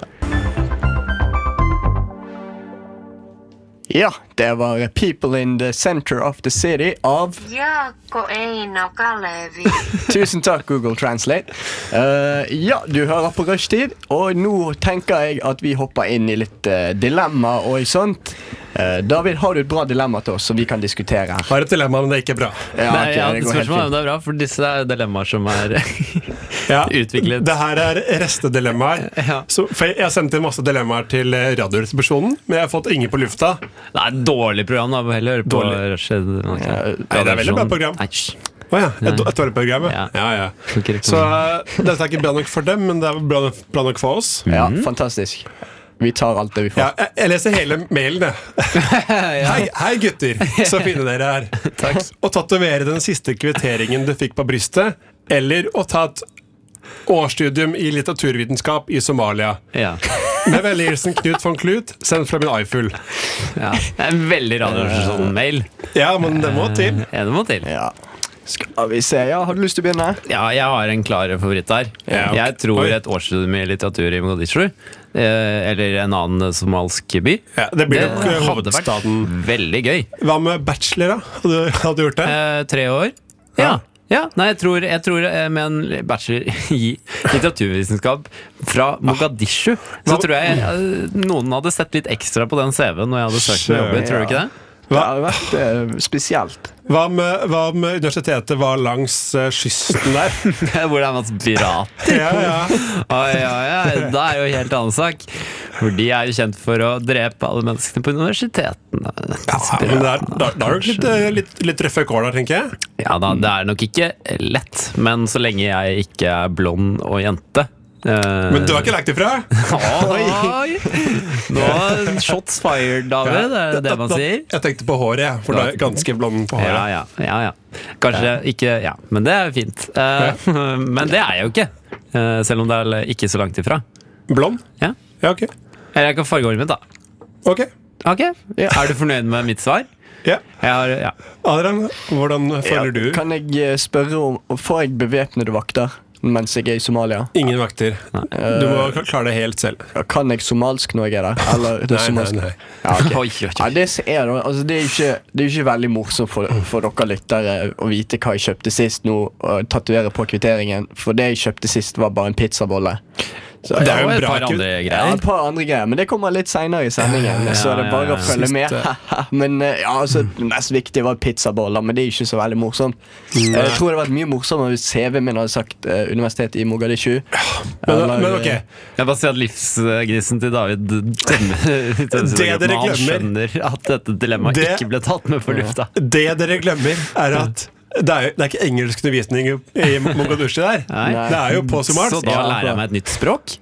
[SPEAKER 3] Ja, det var uh, People in the Center of the City av
[SPEAKER 5] Jaakko Eino Kalevi.
[SPEAKER 3] Tusen takk, Google Translate. Eh, ja, du hører på Rushtid, og nå tenker jeg at vi hopper inn i litt eh, dilemma og sånt. Eh, David, har du et bra dilemma til oss som vi kan diskutere her?
[SPEAKER 4] Har et dilemma, men det er ikke bra.
[SPEAKER 3] Ja,
[SPEAKER 2] Nei,
[SPEAKER 3] ok,
[SPEAKER 2] ja,
[SPEAKER 3] det går helt
[SPEAKER 2] spørsmålet er
[SPEAKER 3] fint.
[SPEAKER 2] om det er bra, for disse er dilemmaer som er
[SPEAKER 4] Ja.
[SPEAKER 2] Utviklet.
[SPEAKER 4] Det her er restedilemmaer.
[SPEAKER 2] Ja.
[SPEAKER 4] Så- for jeg har sendt inn masse dilemmaer til eh, Radioresepsjonen, men jeg har fått ingen på lufta.
[SPEAKER 2] Det er et dårlig program, da. Må heller høre på
[SPEAKER 4] Dårlig.
[SPEAKER 2] Rushed. Okay.
[SPEAKER 4] Nei, det er veldig bra program.
[SPEAKER 2] sånn- Nei, hysj.
[SPEAKER 4] Å ja. Et, et dårlig program, ja.
[SPEAKER 2] Ja.
[SPEAKER 4] ja, ja.
[SPEAKER 2] Skal ikke
[SPEAKER 4] Så
[SPEAKER 2] reklamere.
[SPEAKER 4] eh, dette er ikke bra nok for dem, men det er bra, bra nok for oss.
[SPEAKER 3] Ja, fantastisk. Vi tar alt det vi får.
[SPEAKER 4] Ja, jeg, jeg leser hele mailen, jeg. Hei, hei, gutter! Så fine dere er. Takk. Å tatovere den siste kvitteringen du fikk på brystet, eller å ta et årsstudium i litteraturvitenskap i Somalia.
[SPEAKER 2] ja.
[SPEAKER 4] Med vennlig hilsen Knut von Klut, sendt fra min iFull.
[SPEAKER 2] Ja. Det er en veldig radioresepsjon-mail.
[SPEAKER 4] Ja, men det må til.
[SPEAKER 2] Ja, det må til.
[SPEAKER 3] Ja. Skal vi se, ja. Har du lyst til å begynne?
[SPEAKER 2] Ja, jeg har en klar favoritt der.
[SPEAKER 4] Ja, ok.
[SPEAKER 2] Jeg tror
[SPEAKER 4] Oi.
[SPEAKER 2] et årsstudium i litteratur i Mogadishu, eh, eller en annen somalisk by,
[SPEAKER 4] Ja, det blir nok eh,
[SPEAKER 2] hadde vært
[SPEAKER 4] hovedstaden.
[SPEAKER 2] veldig gøy.
[SPEAKER 4] Hva med bachelor, da? Hadde du, hadde du gjort det?
[SPEAKER 2] Eh, tre år.
[SPEAKER 4] Ja.
[SPEAKER 2] Ja. ja. Nei, jeg tror, jeg tror eh, med en bachelor i litteraturvitenskap
[SPEAKER 4] Ah.
[SPEAKER 2] fra Mogadishu, så
[SPEAKER 4] Hva-
[SPEAKER 2] tror jeg eh, noen hadde sett litt ekstra på den CV-en når jeg hadde søkt meg jobber. Tror du ikke det?
[SPEAKER 3] Det
[SPEAKER 4] Hva?
[SPEAKER 3] har vært eh, spesielt.
[SPEAKER 4] Hva om, eh, hva om universitetet var langs eh, kysten der?
[SPEAKER 2] Hvor det er masse pirater.
[SPEAKER 4] Ja, ja.
[SPEAKER 2] Oi, oi, oi. Det er jo en helt annen sak. For de er jo kjent for å drepe alle menneskene på universitetene.
[SPEAKER 4] Ja, men det er, da, da er det nok litt, eh, litt, litt røffe kår der, tenker jeg.
[SPEAKER 2] Ja da, det er nok ikke lett, men så lenge jeg ikke er blond og jente eh,
[SPEAKER 4] Men du har ikke lagt ifra?
[SPEAKER 2] Oi! oi. Nå shots fired, David. Er det det man
[SPEAKER 4] Da- da-
[SPEAKER 2] sier?
[SPEAKER 4] Jeg tenkte på håret, jeg. For du er ganske blond på
[SPEAKER 2] Ja,
[SPEAKER 4] håret.
[SPEAKER 2] ja, ja, ja. Kanskje ikke Ja, men det er fint. Eh, men det er jeg jo ikke. eh, selv om det er ikke så langt ifra.
[SPEAKER 4] Blond?
[SPEAKER 2] Ja.
[SPEAKER 4] Ja, ok.
[SPEAKER 2] Eller jeg kan farge håret mitt, da.
[SPEAKER 4] Ok.
[SPEAKER 2] Ok, Er du fornøyd med mitt svar?
[SPEAKER 4] Ja.
[SPEAKER 2] Jeg har, ja.
[SPEAKER 4] Adrian, hvordan føler du?
[SPEAKER 3] Kan jeg eh, spørre om Får jeg bevæpnede vakter mens jeg er i Somalia?
[SPEAKER 4] Ingen vakter. Du må kla- klare det helt selv.
[SPEAKER 3] Ja, Kan jeg somalsk når jeg er der? Eller det
[SPEAKER 4] Nei, nei,
[SPEAKER 3] somalsk?
[SPEAKER 4] nei.
[SPEAKER 3] Ja, ok.
[SPEAKER 2] Oi, oi,
[SPEAKER 3] Ja,
[SPEAKER 2] oi.
[SPEAKER 3] det, som er, da- altså, det, er jo ikke, det er jo ikke veldig morsomt for, for dere lyttere å vite hva jeg kjøpte sist nå, og tatovere på kvitteringen, for det jeg kjøpte sist, var bare en pizzabolle. Så,
[SPEAKER 4] Det er jo
[SPEAKER 2] Og
[SPEAKER 4] en
[SPEAKER 2] et
[SPEAKER 4] bra
[SPEAKER 2] par
[SPEAKER 4] kutt.
[SPEAKER 2] andre
[SPEAKER 3] ja,
[SPEAKER 2] greier.
[SPEAKER 3] et par andre greier, men det kommer litt seinere i sendingen. så er det
[SPEAKER 2] ja,
[SPEAKER 3] bare
[SPEAKER 2] ja,
[SPEAKER 3] å følge med.
[SPEAKER 4] Siste.
[SPEAKER 3] men eh, ja, altså, Det mest viktige var pizzaboller, men det er jo ikke så veldig morsomt.
[SPEAKER 4] Mm.
[SPEAKER 3] Eh, Jeg tror det hadde vært mye morsommere hvis CV-en min hadde sagt eh, Universitetet i Mogadishu.
[SPEAKER 4] Men,
[SPEAKER 3] Eller,
[SPEAKER 4] men ok,
[SPEAKER 3] eh,
[SPEAKER 2] Jeg bare sier at livsgrisen til David tømmer tømmer seg
[SPEAKER 4] dere
[SPEAKER 2] godt, men Han
[SPEAKER 4] glemmer-
[SPEAKER 2] skjønner at dette dilemmaet
[SPEAKER 4] Det-
[SPEAKER 2] ikke ble tatt med for lufta.
[SPEAKER 4] det dere glemmer, er at det er, jo- det er ikke engelskundervisning i- i Mogadishu der.
[SPEAKER 2] Nei.
[SPEAKER 4] Det er jo på
[SPEAKER 2] Så
[SPEAKER 4] somalsk.
[SPEAKER 2] da lærer jeg meg et nytt språk.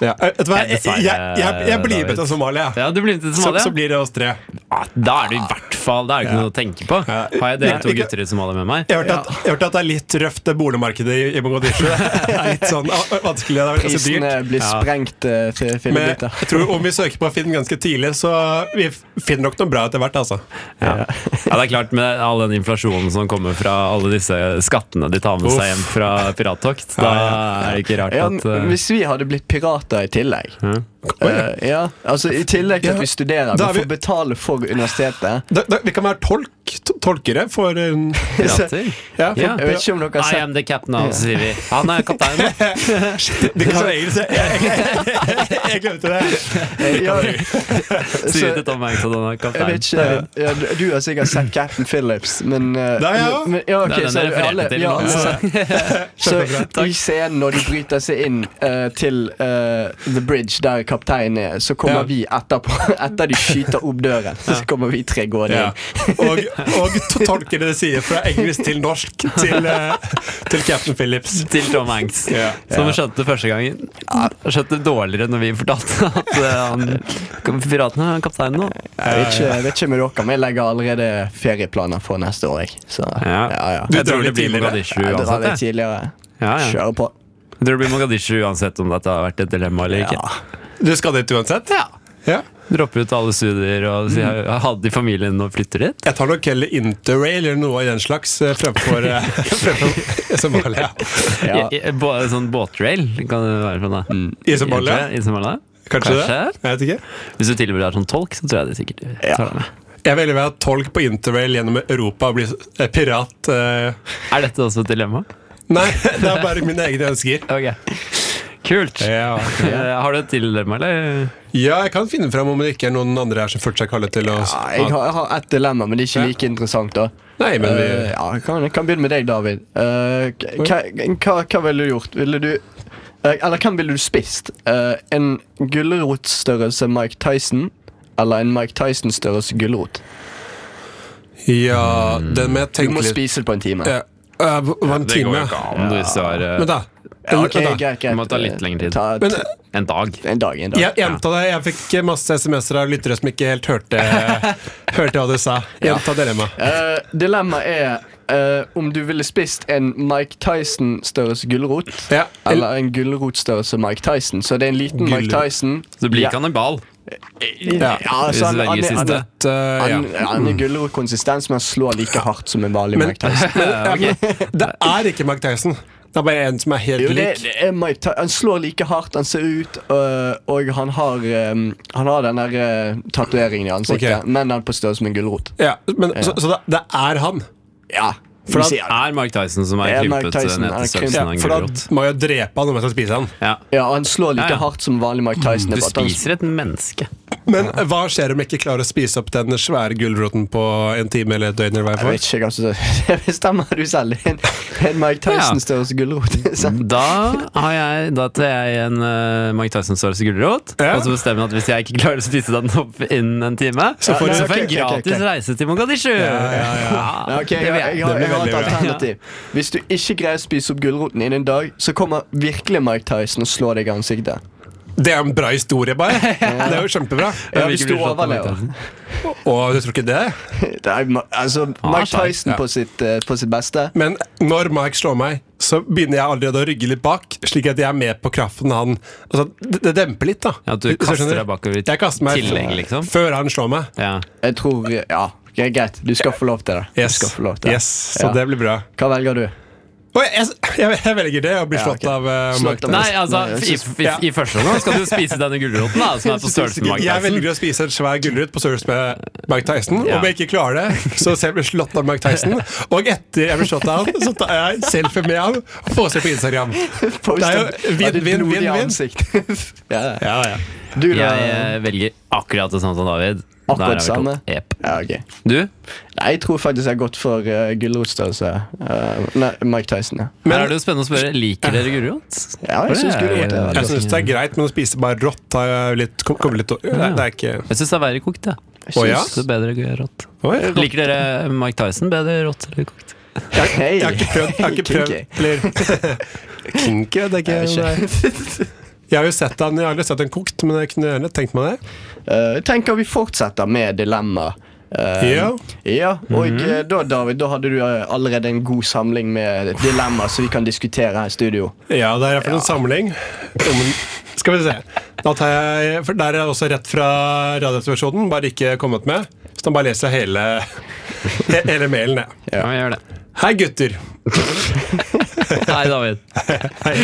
[SPEAKER 4] Ja. Eh, Vet du hva, jeg,
[SPEAKER 2] Dessverre,
[SPEAKER 4] jeg, jeg, jeg blir
[SPEAKER 2] David.
[SPEAKER 4] med til Somalia.
[SPEAKER 2] Ja, du blir med til
[SPEAKER 4] Så,
[SPEAKER 2] Somalia.
[SPEAKER 4] så blir det oss tre.
[SPEAKER 2] Ah, Da er det i hvert fall Det er jo ikke noe å tenke på.
[SPEAKER 4] Ja.
[SPEAKER 2] Har jeg dere
[SPEAKER 4] Nei,
[SPEAKER 2] to
[SPEAKER 4] ikke-
[SPEAKER 2] gutter i Somalia med meg?
[SPEAKER 4] Jeg har hørt, at, jeg har hørt at det er litt røft det boligmarkedet i, i Mogadishu. Det er litt sånn ah, vanskelig. Det er ganske dyrt.
[SPEAKER 3] Prisene blir sprengt eh, til
[SPEAKER 4] Men
[SPEAKER 3] filmbiter.
[SPEAKER 4] jeg tror om vi søker på Finn ganske tidlig, så vi f- finner nok noe bra etter hvert. altså
[SPEAKER 2] Ja. ja, det er klart Med all den inflasjonen som kommer fra alle disse skattene de tar med
[SPEAKER 4] Uff.
[SPEAKER 2] seg hjem fra pirattokt, da er det ikke rart
[SPEAKER 3] Ja,
[SPEAKER 2] at eh,
[SPEAKER 3] hvis vi hadde blitt pirater i tillegg
[SPEAKER 4] Oi, ja.
[SPEAKER 3] Eh, Ja, altså I tillegg til
[SPEAKER 4] Ja,
[SPEAKER 3] at vi studerer,
[SPEAKER 4] da er
[SPEAKER 3] vi får
[SPEAKER 4] vi-
[SPEAKER 3] betale for universitetet.
[SPEAKER 4] da, da, vi kan være tolk, to- tolkere for um,
[SPEAKER 2] pirater
[SPEAKER 4] ja, for,
[SPEAKER 2] Ja.
[SPEAKER 3] Jeg vet ikke om dere har
[SPEAKER 2] I
[SPEAKER 3] sett
[SPEAKER 2] am the captain now, sier vi. Han er kaptein. nå.
[SPEAKER 4] De kan engelsk. Jeg, jeg, jeg, jeg glemte det.
[SPEAKER 3] ja,
[SPEAKER 2] Sier vi til
[SPEAKER 3] så,
[SPEAKER 2] Tom Hanks at han er
[SPEAKER 3] Jeg
[SPEAKER 2] kaptein.
[SPEAKER 3] vet ikke, ja, du- Du har sikkert sett Captain Phillips, men eh,
[SPEAKER 4] Det har jeg også.
[SPEAKER 3] men- ja, ok,
[SPEAKER 2] Det er den
[SPEAKER 3] så
[SPEAKER 2] jeg refererte
[SPEAKER 3] alle-
[SPEAKER 2] til
[SPEAKER 3] ja,
[SPEAKER 2] nå,
[SPEAKER 3] alle
[SPEAKER 2] så-
[SPEAKER 3] sett- Så i scenen når de bryter seg inn eh, til eh, The Bridge, der kapteinen er, så kommer
[SPEAKER 4] Ja.
[SPEAKER 3] vi etterpå. Etter de skyter opp døren, så kommer vi tre gående
[SPEAKER 4] Ja.
[SPEAKER 3] inn.
[SPEAKER 4] Og, og to- tolkere det sier fra engelsk til norsk til, eh, til Captain Phillips.
[SPEAKER 2] Til Tom Hanks,
[SPEAKER 4] Ja.
[SPEAKER 2] som skjønte første gangen. Han Skjønte dårligere når vi fortalte at eh, han piratene er kapteinen nå.
[SPEAKER 3] Jeg vet ikke, jeg vet ikke med dere, men jeg legger allerede ferieplaner for neste år. Jeg. Så,
[SPEAKER 2] Ja.
[SPEAKER 3] ja, ja.
[SPEAKER 4] Du
[SPEAKER 2] Jeg
[SPEAKER 4] drar
[SPEAKER 2] tror det
[SPEAKER 4] litt
[SPEAKER 2] blir
[SPEAKER 4] tidligere.
[SPEAKER 2] Mogadishu
[SPEAKER 3] Jeg drar litt
[SPEAKER 2] uansett. jeg.
[SPEAKER 3] tidligere.
[SPEAKER 2] Ja, ja.
[SPEAKER 3] Kjører på.
[SPEAKER 2] Jeg tror det blir Mogadishu uansett om dette har vært et dilemma eller
[SPEAKER 3] Ja.
[SPEAKER 2] ikke.
[SPEAKER 4] Du skal dit uansett?
[SPEAKER 2] Ja.
[SPEAKER 4] Ja.
[SPEAKER 2] Dropper ut alle studier og sier jeg hadde i familien og flytter dit.
[SPEAKER 4] Jeg tar nok heller interrail eller noe i den slags eh, fremfor, eh, fremfor Somalia.
[SPEAKER 3] Ja.
[SPEAKER 2] I, i, bå- sånn båtrail kan det være sånn da.
[SPEAKER 4] I Somalia?
[SPEAKER 2] Kanskje, I Somalia?
[SPEAKER 4] Kanskje, det? Jeg vet ikke.
[SPEAKER 2] Hvis du tilbyr deg som sånn tolk, så tror jeg det sikkert
[SPEAKER 3] Ja.
[SPEAKER 2] tar deg med.
[SPEAKER 4] Jeg velger å være tolk på interrail gjennom Europa og bli eh, pirat. eh.
[SPEAKER 2] Er dette også et dilemma?
[SPEAKER 4] Nei, det er bare mine egne ønsker.
[SPEAKER 2] Ok. Kult.
[SPEAKER 4] Ja.
[SPEAKER 2] Eh, har du et til dilemma, eller?
[SPEAKER 4] ja, jeg kan finne fram om det ikke er noen andre her som føler seg kallet til å
[SPEAKER 3] Ja, jeg, har, jeg har ett dilemma, men det er ikke
[SPEAKER 4] Ja.
[SPEAKER 3] like interessant. da
[SPEAKER 4] Nei, men vi
[SPEAKER 3] Eh, ja, jeg, kan, jeg kan begynne med deg, David. Eh, k- hva, hva, hva ville du gjort? Ville du eh, Eller hvem ville du spist? Eh, en gulrotstørrelse Mike Tyson eller en Mike Tyson-størrelse gulrot?
[SPEAKER 4] Ja, den må
[SPEAKER 3] Du må
[SPEAKER 4] jeg tenke litt
[SPEAKER 3] spise det på en time.
[SPEAKER 4] Ja. Eh, hva- hva en time?
[SPEAKER 2] an hvis du har eh,
[SPEAKER 4] Men da
[SPEAKER 3] Ja, ok,
[SPEAKER 4] Men da.
[SPEAKER 3] greit, greit.
[SPEAKER 2] Det må ta litt lengre tid.
[SPEAKER 3] Ta,
[SPEAKER 4] Men
[SPEAKER 3] ta,
[SPEAKER 2] en dag.
[SPEAKER 3] en dag, en dag.
[SPEAKER 4] jeg gjenta det. Jeg fikk masse SMS-er av lyttere som ikke helt hørte, hørte hva du sa. Gjenta dilemmaet.
[SPEAKER 3] Eh, dilemma er eh, om du ville spist en Mike Tyson-størrelse gulrot
[SPEAKER 4] Ja.
[SPEAKER 3] eller en gulrotstørrelse Mike Tyson. Så det er en liten Mike
[SPEAKER 4] Gulrot.
[SPEAKER 3] Tyson.
[SPEAKER 2] Så blir
[SPEAKER 3] Ja.
[SPEAKER 2] ikke han en ball.
[SPEAKER 3] Ja,
[SPEAKER 2] Hvis
[SPEAKER 3] altså, han,
[SPEAKER 2] det
[SPEAKER 3] han,
[SPEAKER 2] legger
[SPEAKER 3] er- han,
[SPEAKER 2] siste.
[SPEAKER 3] er-
[SPEAKER 4] Et, eh, ja.
[SPEAKER 3] han, han er gulrotkonsistens, men han slår like hardt som en vanlig
[SPEAKER 4] Men-
[SPEAKER 3] Mike Tyson.
[SPEAKER 4] Det er ikke Mark Tyson. Det er bare en som er
[SPEAKER 3] Jo,
[SPEAKER 4] helt
[SPEAKER 3] det,
[SPEAKER 4] lik.
[SPEAKER 3] det er Mike Ty Han slår like hardt, han ser ut, øh, og han har, øhm, han har den der øh, tatoveringen i ansiktet.
[SPEAKER 4] Ok.
[SPEAKER 3] Men han er på størrelse med en gulrot.
[SPEAKER 4] Ja, men, Så, så det, det er han.
[SPEAKER 3] Ja,
[SPEAKER 4] For
[SPEAKER 3] vi
[SPEAKER 4] at-
[SPEAKER 3] sier det.
[SPEAKER 2] Er Mark Tyson som
[SPEAKER 3] Det
[SPEAKER 2] er
[SPEAKER 3] er Mike
[SPEAKER 2] krympet eh,
[SPEAKER 3] Tyson,
[SPEAKER 2] ned
[SPEAKER 3] han er
[SPEAKER 2] til
[SPEAKER 4] Ja,
[SPEAKER 2] størrelsen av en
[SPEAKER 4] for da
[SPEAKER 2] gulrot?
[SPEAKER 4] må jeg jo drepe han om jeg skal spise han.
[SPEAKER 2] Ja.
[SPEAKER 3] Ja, han slår like
[SPEAKER 2] Ja, ja.
[SPEAKER 3] hardt som vanlig Mike Tyson. det
[SPEAKER 2] Du
[SPEAKER 3] er bare at han-
[SPEAKER 2] spiser et menneske.
[SPEAKER 4] Men hva skjer om jeg ikke klarer å spise opp den svære gulroten på en time eller et døgn? eller hva jeg
[SPEAKER 3] Jeg
[SPEAKER 4] får?
[SPEAKER 3] vet ikke hva som Det bestemmer du selv. En, en Mike Tyson-størrelse gulrot.
[SPEAKER 4] Mm.
[SPEAKER 3] sant?
[SPEAKER 2] Da har jeg Da tar jeg en eh, Mike Tyson-størrelse gulrot.
[SPEAKER 4] Ja.
[SPEAKER 2] Og så bestemmer jeg at hvis jeg ikke klarer å spise den opp innen en time, så
[SPEAKER 3] får
[SPEAKER 2] får,
[SPEAKER 3] du-
[SPEAKER 2] jeg
[SPEAKER 3] ok, ok, ok,
[SPEAKER 2] gratis
[SPEAKER 3] ok.
[SPEAKER 2] reise til Mogadishu!
[SPEAKER 3] Ja, ok, jeg,
[SPEAKER 2] det vil
[SPEAKER 3] jeg,
[SPEAKER 2] jeg.
[SPEAKER 3] jeg, har-
[SPEAKER 4] Det
[SPEAKER 3] jeg har
[SPEAKER 4] blir
[SPEAKER 3] et
[SPEAKER 4] veldig bra.
[SPEAKER 3] alternativ. Hvis du ikke greier å spise opp gulroten innen en dag, så kommer virkelig Mike Tyson og slår deg i ansiktet.
[SPEAKER 4] Det er en bra historie, bare. Det er jo kjempebra.
[SPEAKER 3] Ja,
[SPEAKER 2] vil
[SPEAKER 3] hvis
[SPEAKER 2] ikke bli
[SPEAKER 3] du
[SPEAKER 2] slått av Mike
[SPEAKER 3] overlever.
[SPEAKER 2] Tyson.
[SPEAKER 4] Og du tror ikke det?
[SPEAKER 3] Det er, Ma- altså,
[SPEAKER 2] er
[SPEAKER 3] Mike
[SPEAKER 2] sterk,
[SPEAKER 3] Tyson
[SPEAKER 4] ja.
[SPEAKER 3] på, sitt, eh, på sitt beste.
[SPEAKER 4] Men når Mike slår meg, så begynner jeg allerede å rygge litt bak, slik at jeg er med på kraften han Altså, det, det demper litt, da.
[SPEAKER 2] Ja, at du
[SPEAKER 4] Hvis jeg
[SPEAKER 2] kaster
[SPEAKER 4] skjønner.
[SPEAKER 2] deg bakover i
[SPEAKER 4] Jeg kaster meg
[SPEAKER 2] tillegg, liksom.
[SPEAKER 4] før han slår meg.
[SPEAKER 2] Ja.
[SPEAKER 3] Jeg tror Ja, ok, greit. Du skal få lov til det. Du
[SPEAKER 4] Yes.
[SPEAKER 3] skal få lov til det.
[SPEAKER 4] yes så
[SPEAKER 3] Ja.
[SPEAKER 4] det blir bra.
[SPEAKER 3] Hva velger du?
[SPEAKER 4] Oi, jeg, jeg, jeg velger det, å bli
[SPEAKER 3] Ja,
[SPEAKER 4] slått
[SPEAKER 3] ok.
[SPEAKER 4] av eh,
[SPEAKER 3] Slått
[SPEAKER 4] Mike
[SPEAKER 3] av-
[SPEAKER 4] Tyson.
[SPEAKER 2] Nei, altså,
[SPEAKER 3] Nei, jeg
[SPEAKER 2] i,
[SPEAKER 3] synes-
[SPEAKER 2] i,
[SPEAKER 4] Ja.
[SPEAKER 2] i første omgang skal du spise denne gulroten, da, som er på størrelse med
[SPEAKER 4] Jeg
[SPEAKER 2] Mike
[SPEAKER 4] velger
[SPEAKER 2] Tyson.
[SPEAKER 4] å spise en svær gulrot på størrelse med Mike Tyson.
[SPEAKER 2] Ja.
[SPEAKER 4] Om jeg ikke klarer det, så ser jeg blir slått av Mike Tyson. Og etter jeg blir slått av han, så tar jeg selfie med han og poster på Instagram.
[SPEAKER 3] Post
[SPEAKER 4] Det er
[SPEAKER 3] om-
[SPEAKER 4] jo vinn,
[SPEAKER 3] av ditt
[SPEAKER 4] vinn,
[SPEAKER 3] blodige
[SPEAKER 4] vinn, vinn.
[SPEAKER 3] ansikt. ja, ja.
[SPEAKER 4] Ja, ja.
[SPEAKER 3] Du, da?
[SPEAKER 2] Jeg eh, velger akkurat det samme som David.
[SPEAKER 3] Akkurat
[SPEAKER 2] Der er vi
[SPEAKER 3] samme.
[SPEAKER 2] kommet. Jep.
[SPEAKER 3] Ja, ok.
[SPEAKER 2] Du?
[SPEAKER 3] Nei, jeg tror faktisk jeg har gått for uh, gulrotstørrelse. Eh, nei, Mike Tyson, ja.
[SPEAKER 2] Her er det jo spennende å spørre Liker dere gulrot.
[SPEAKER 3] Ja, jeg
[SPEAKER 2] For det
[SPEAKER 3] synes
[SPEAKER 2] er-
[SPEAKER 3] gulrot er
[SPEAKER 4] Jeg syns det er greit, men å spise bare rått er jo litt, kom- kommer litt Det er- det er ikke
[SPEAKER 2] Jeg syns det er verre kokt, jeg.
[SPEAKER 4] Å ja?
[SPEAKER 2] Så bedre gulrot.
[SPEAKER 4] Oi, jeg
[SPEAKER 2] Liker dere Mike Tyson bedre rått eller kokt?
[SPEAKER 3] Hei.
[SPEAKER 4] har ikke prøvd. Jeg har ikke prøvd.
[SPEAKER 3] Kinky.
[SPEAKER 4] Eller Kinky, det er ikke
[SPEAKER 3] Jeg vet ikke.
[SPEAKER 4] Jeg har jo sett den, jeg har aldri sett den kokt, men jeg kunne gjerne tenkt meg det.
[SPEAKER 3] Eh, Jeg tenker vi fortsetter med dilemma. Eh,
[SPEAKER 4] Ja.
[SPEAKER 3] ja, og eh, da, David, da hadde du eh, allerede en god samling med dilemma som vi kan diskutere her i studio.
[SPEAKER 4] Ja, det er iallfall en samling. Jo, men Skal vi se. Da tar jeg, for Der er jeg også rett fra Radioaktivitetsversjonen, bare ikke kommet med. Så da bare leser jeg hele, he- hele mailen, jeg.
[SPEAKER 2] Ja, vi gjør det.
[SPEAKER 4] Hei, gutter.
[SPEAKER 2] Nei, David.
[SPEAKER 4] Hei.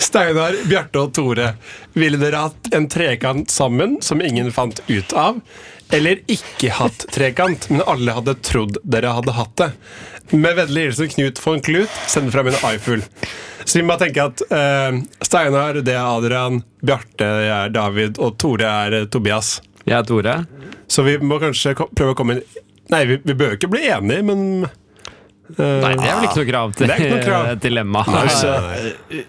[SPEAKER 4] Steinar, Bjarte og Tore. Ville dere hatt en trekant sammen som ingen fant ut av? Eller ikke hatt trekant, men alle hadde trodd dere hadde hatt det? Med vennlig hilsen Knut von Klut, sender fra min iFool. Så vi må tenke at eh, Steinar, det er Adrian, Bjarte det er David, og Tore er eh, Tobias.
[SPEAKER 2] Jeg er Tore.
[SPEAKER 4] Så vi må kanskje ko prøve å komme inn Nei, vi, vi bør jo ikke bli enige, men eh,
[SPEAKER 2] Nei, det er vel ikke noe krav til
[SPEAKER 4] Det er ikke noe krav.
[SPEAKER 2] et dilemma.
[SPEAKER 3] Altså, ja,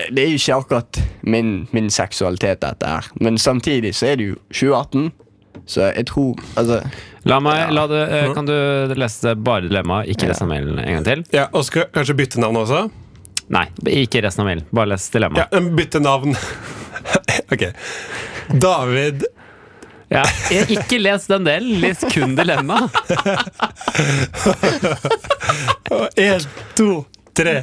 [SPEAKER 3] Eh, det er jo ikke akkurat min, min seksualitet, dette her. Men samtidig så er det jo 2018, så jeg tror Altså,
[SPEAKER 2] La meg, la det, eh, kan du lese det bare dilemmaet, ikke resten av mailen en gang til?
[SPEAKER 4] Ja, Og skal kanskje bytte navn også?
[SPEAKER 2] Nei, ikke resten av mailen. Bare les
[SPEAKER 4] Ja,
[SPEAKER 2] dilemmaet.
[SPEAKER 4] men bytte navn. ok. David
[SPEAKER 2] Ja. Ikke les den delen, les kun dilemmaet.
[SPEAKER 4] Én, to, tre.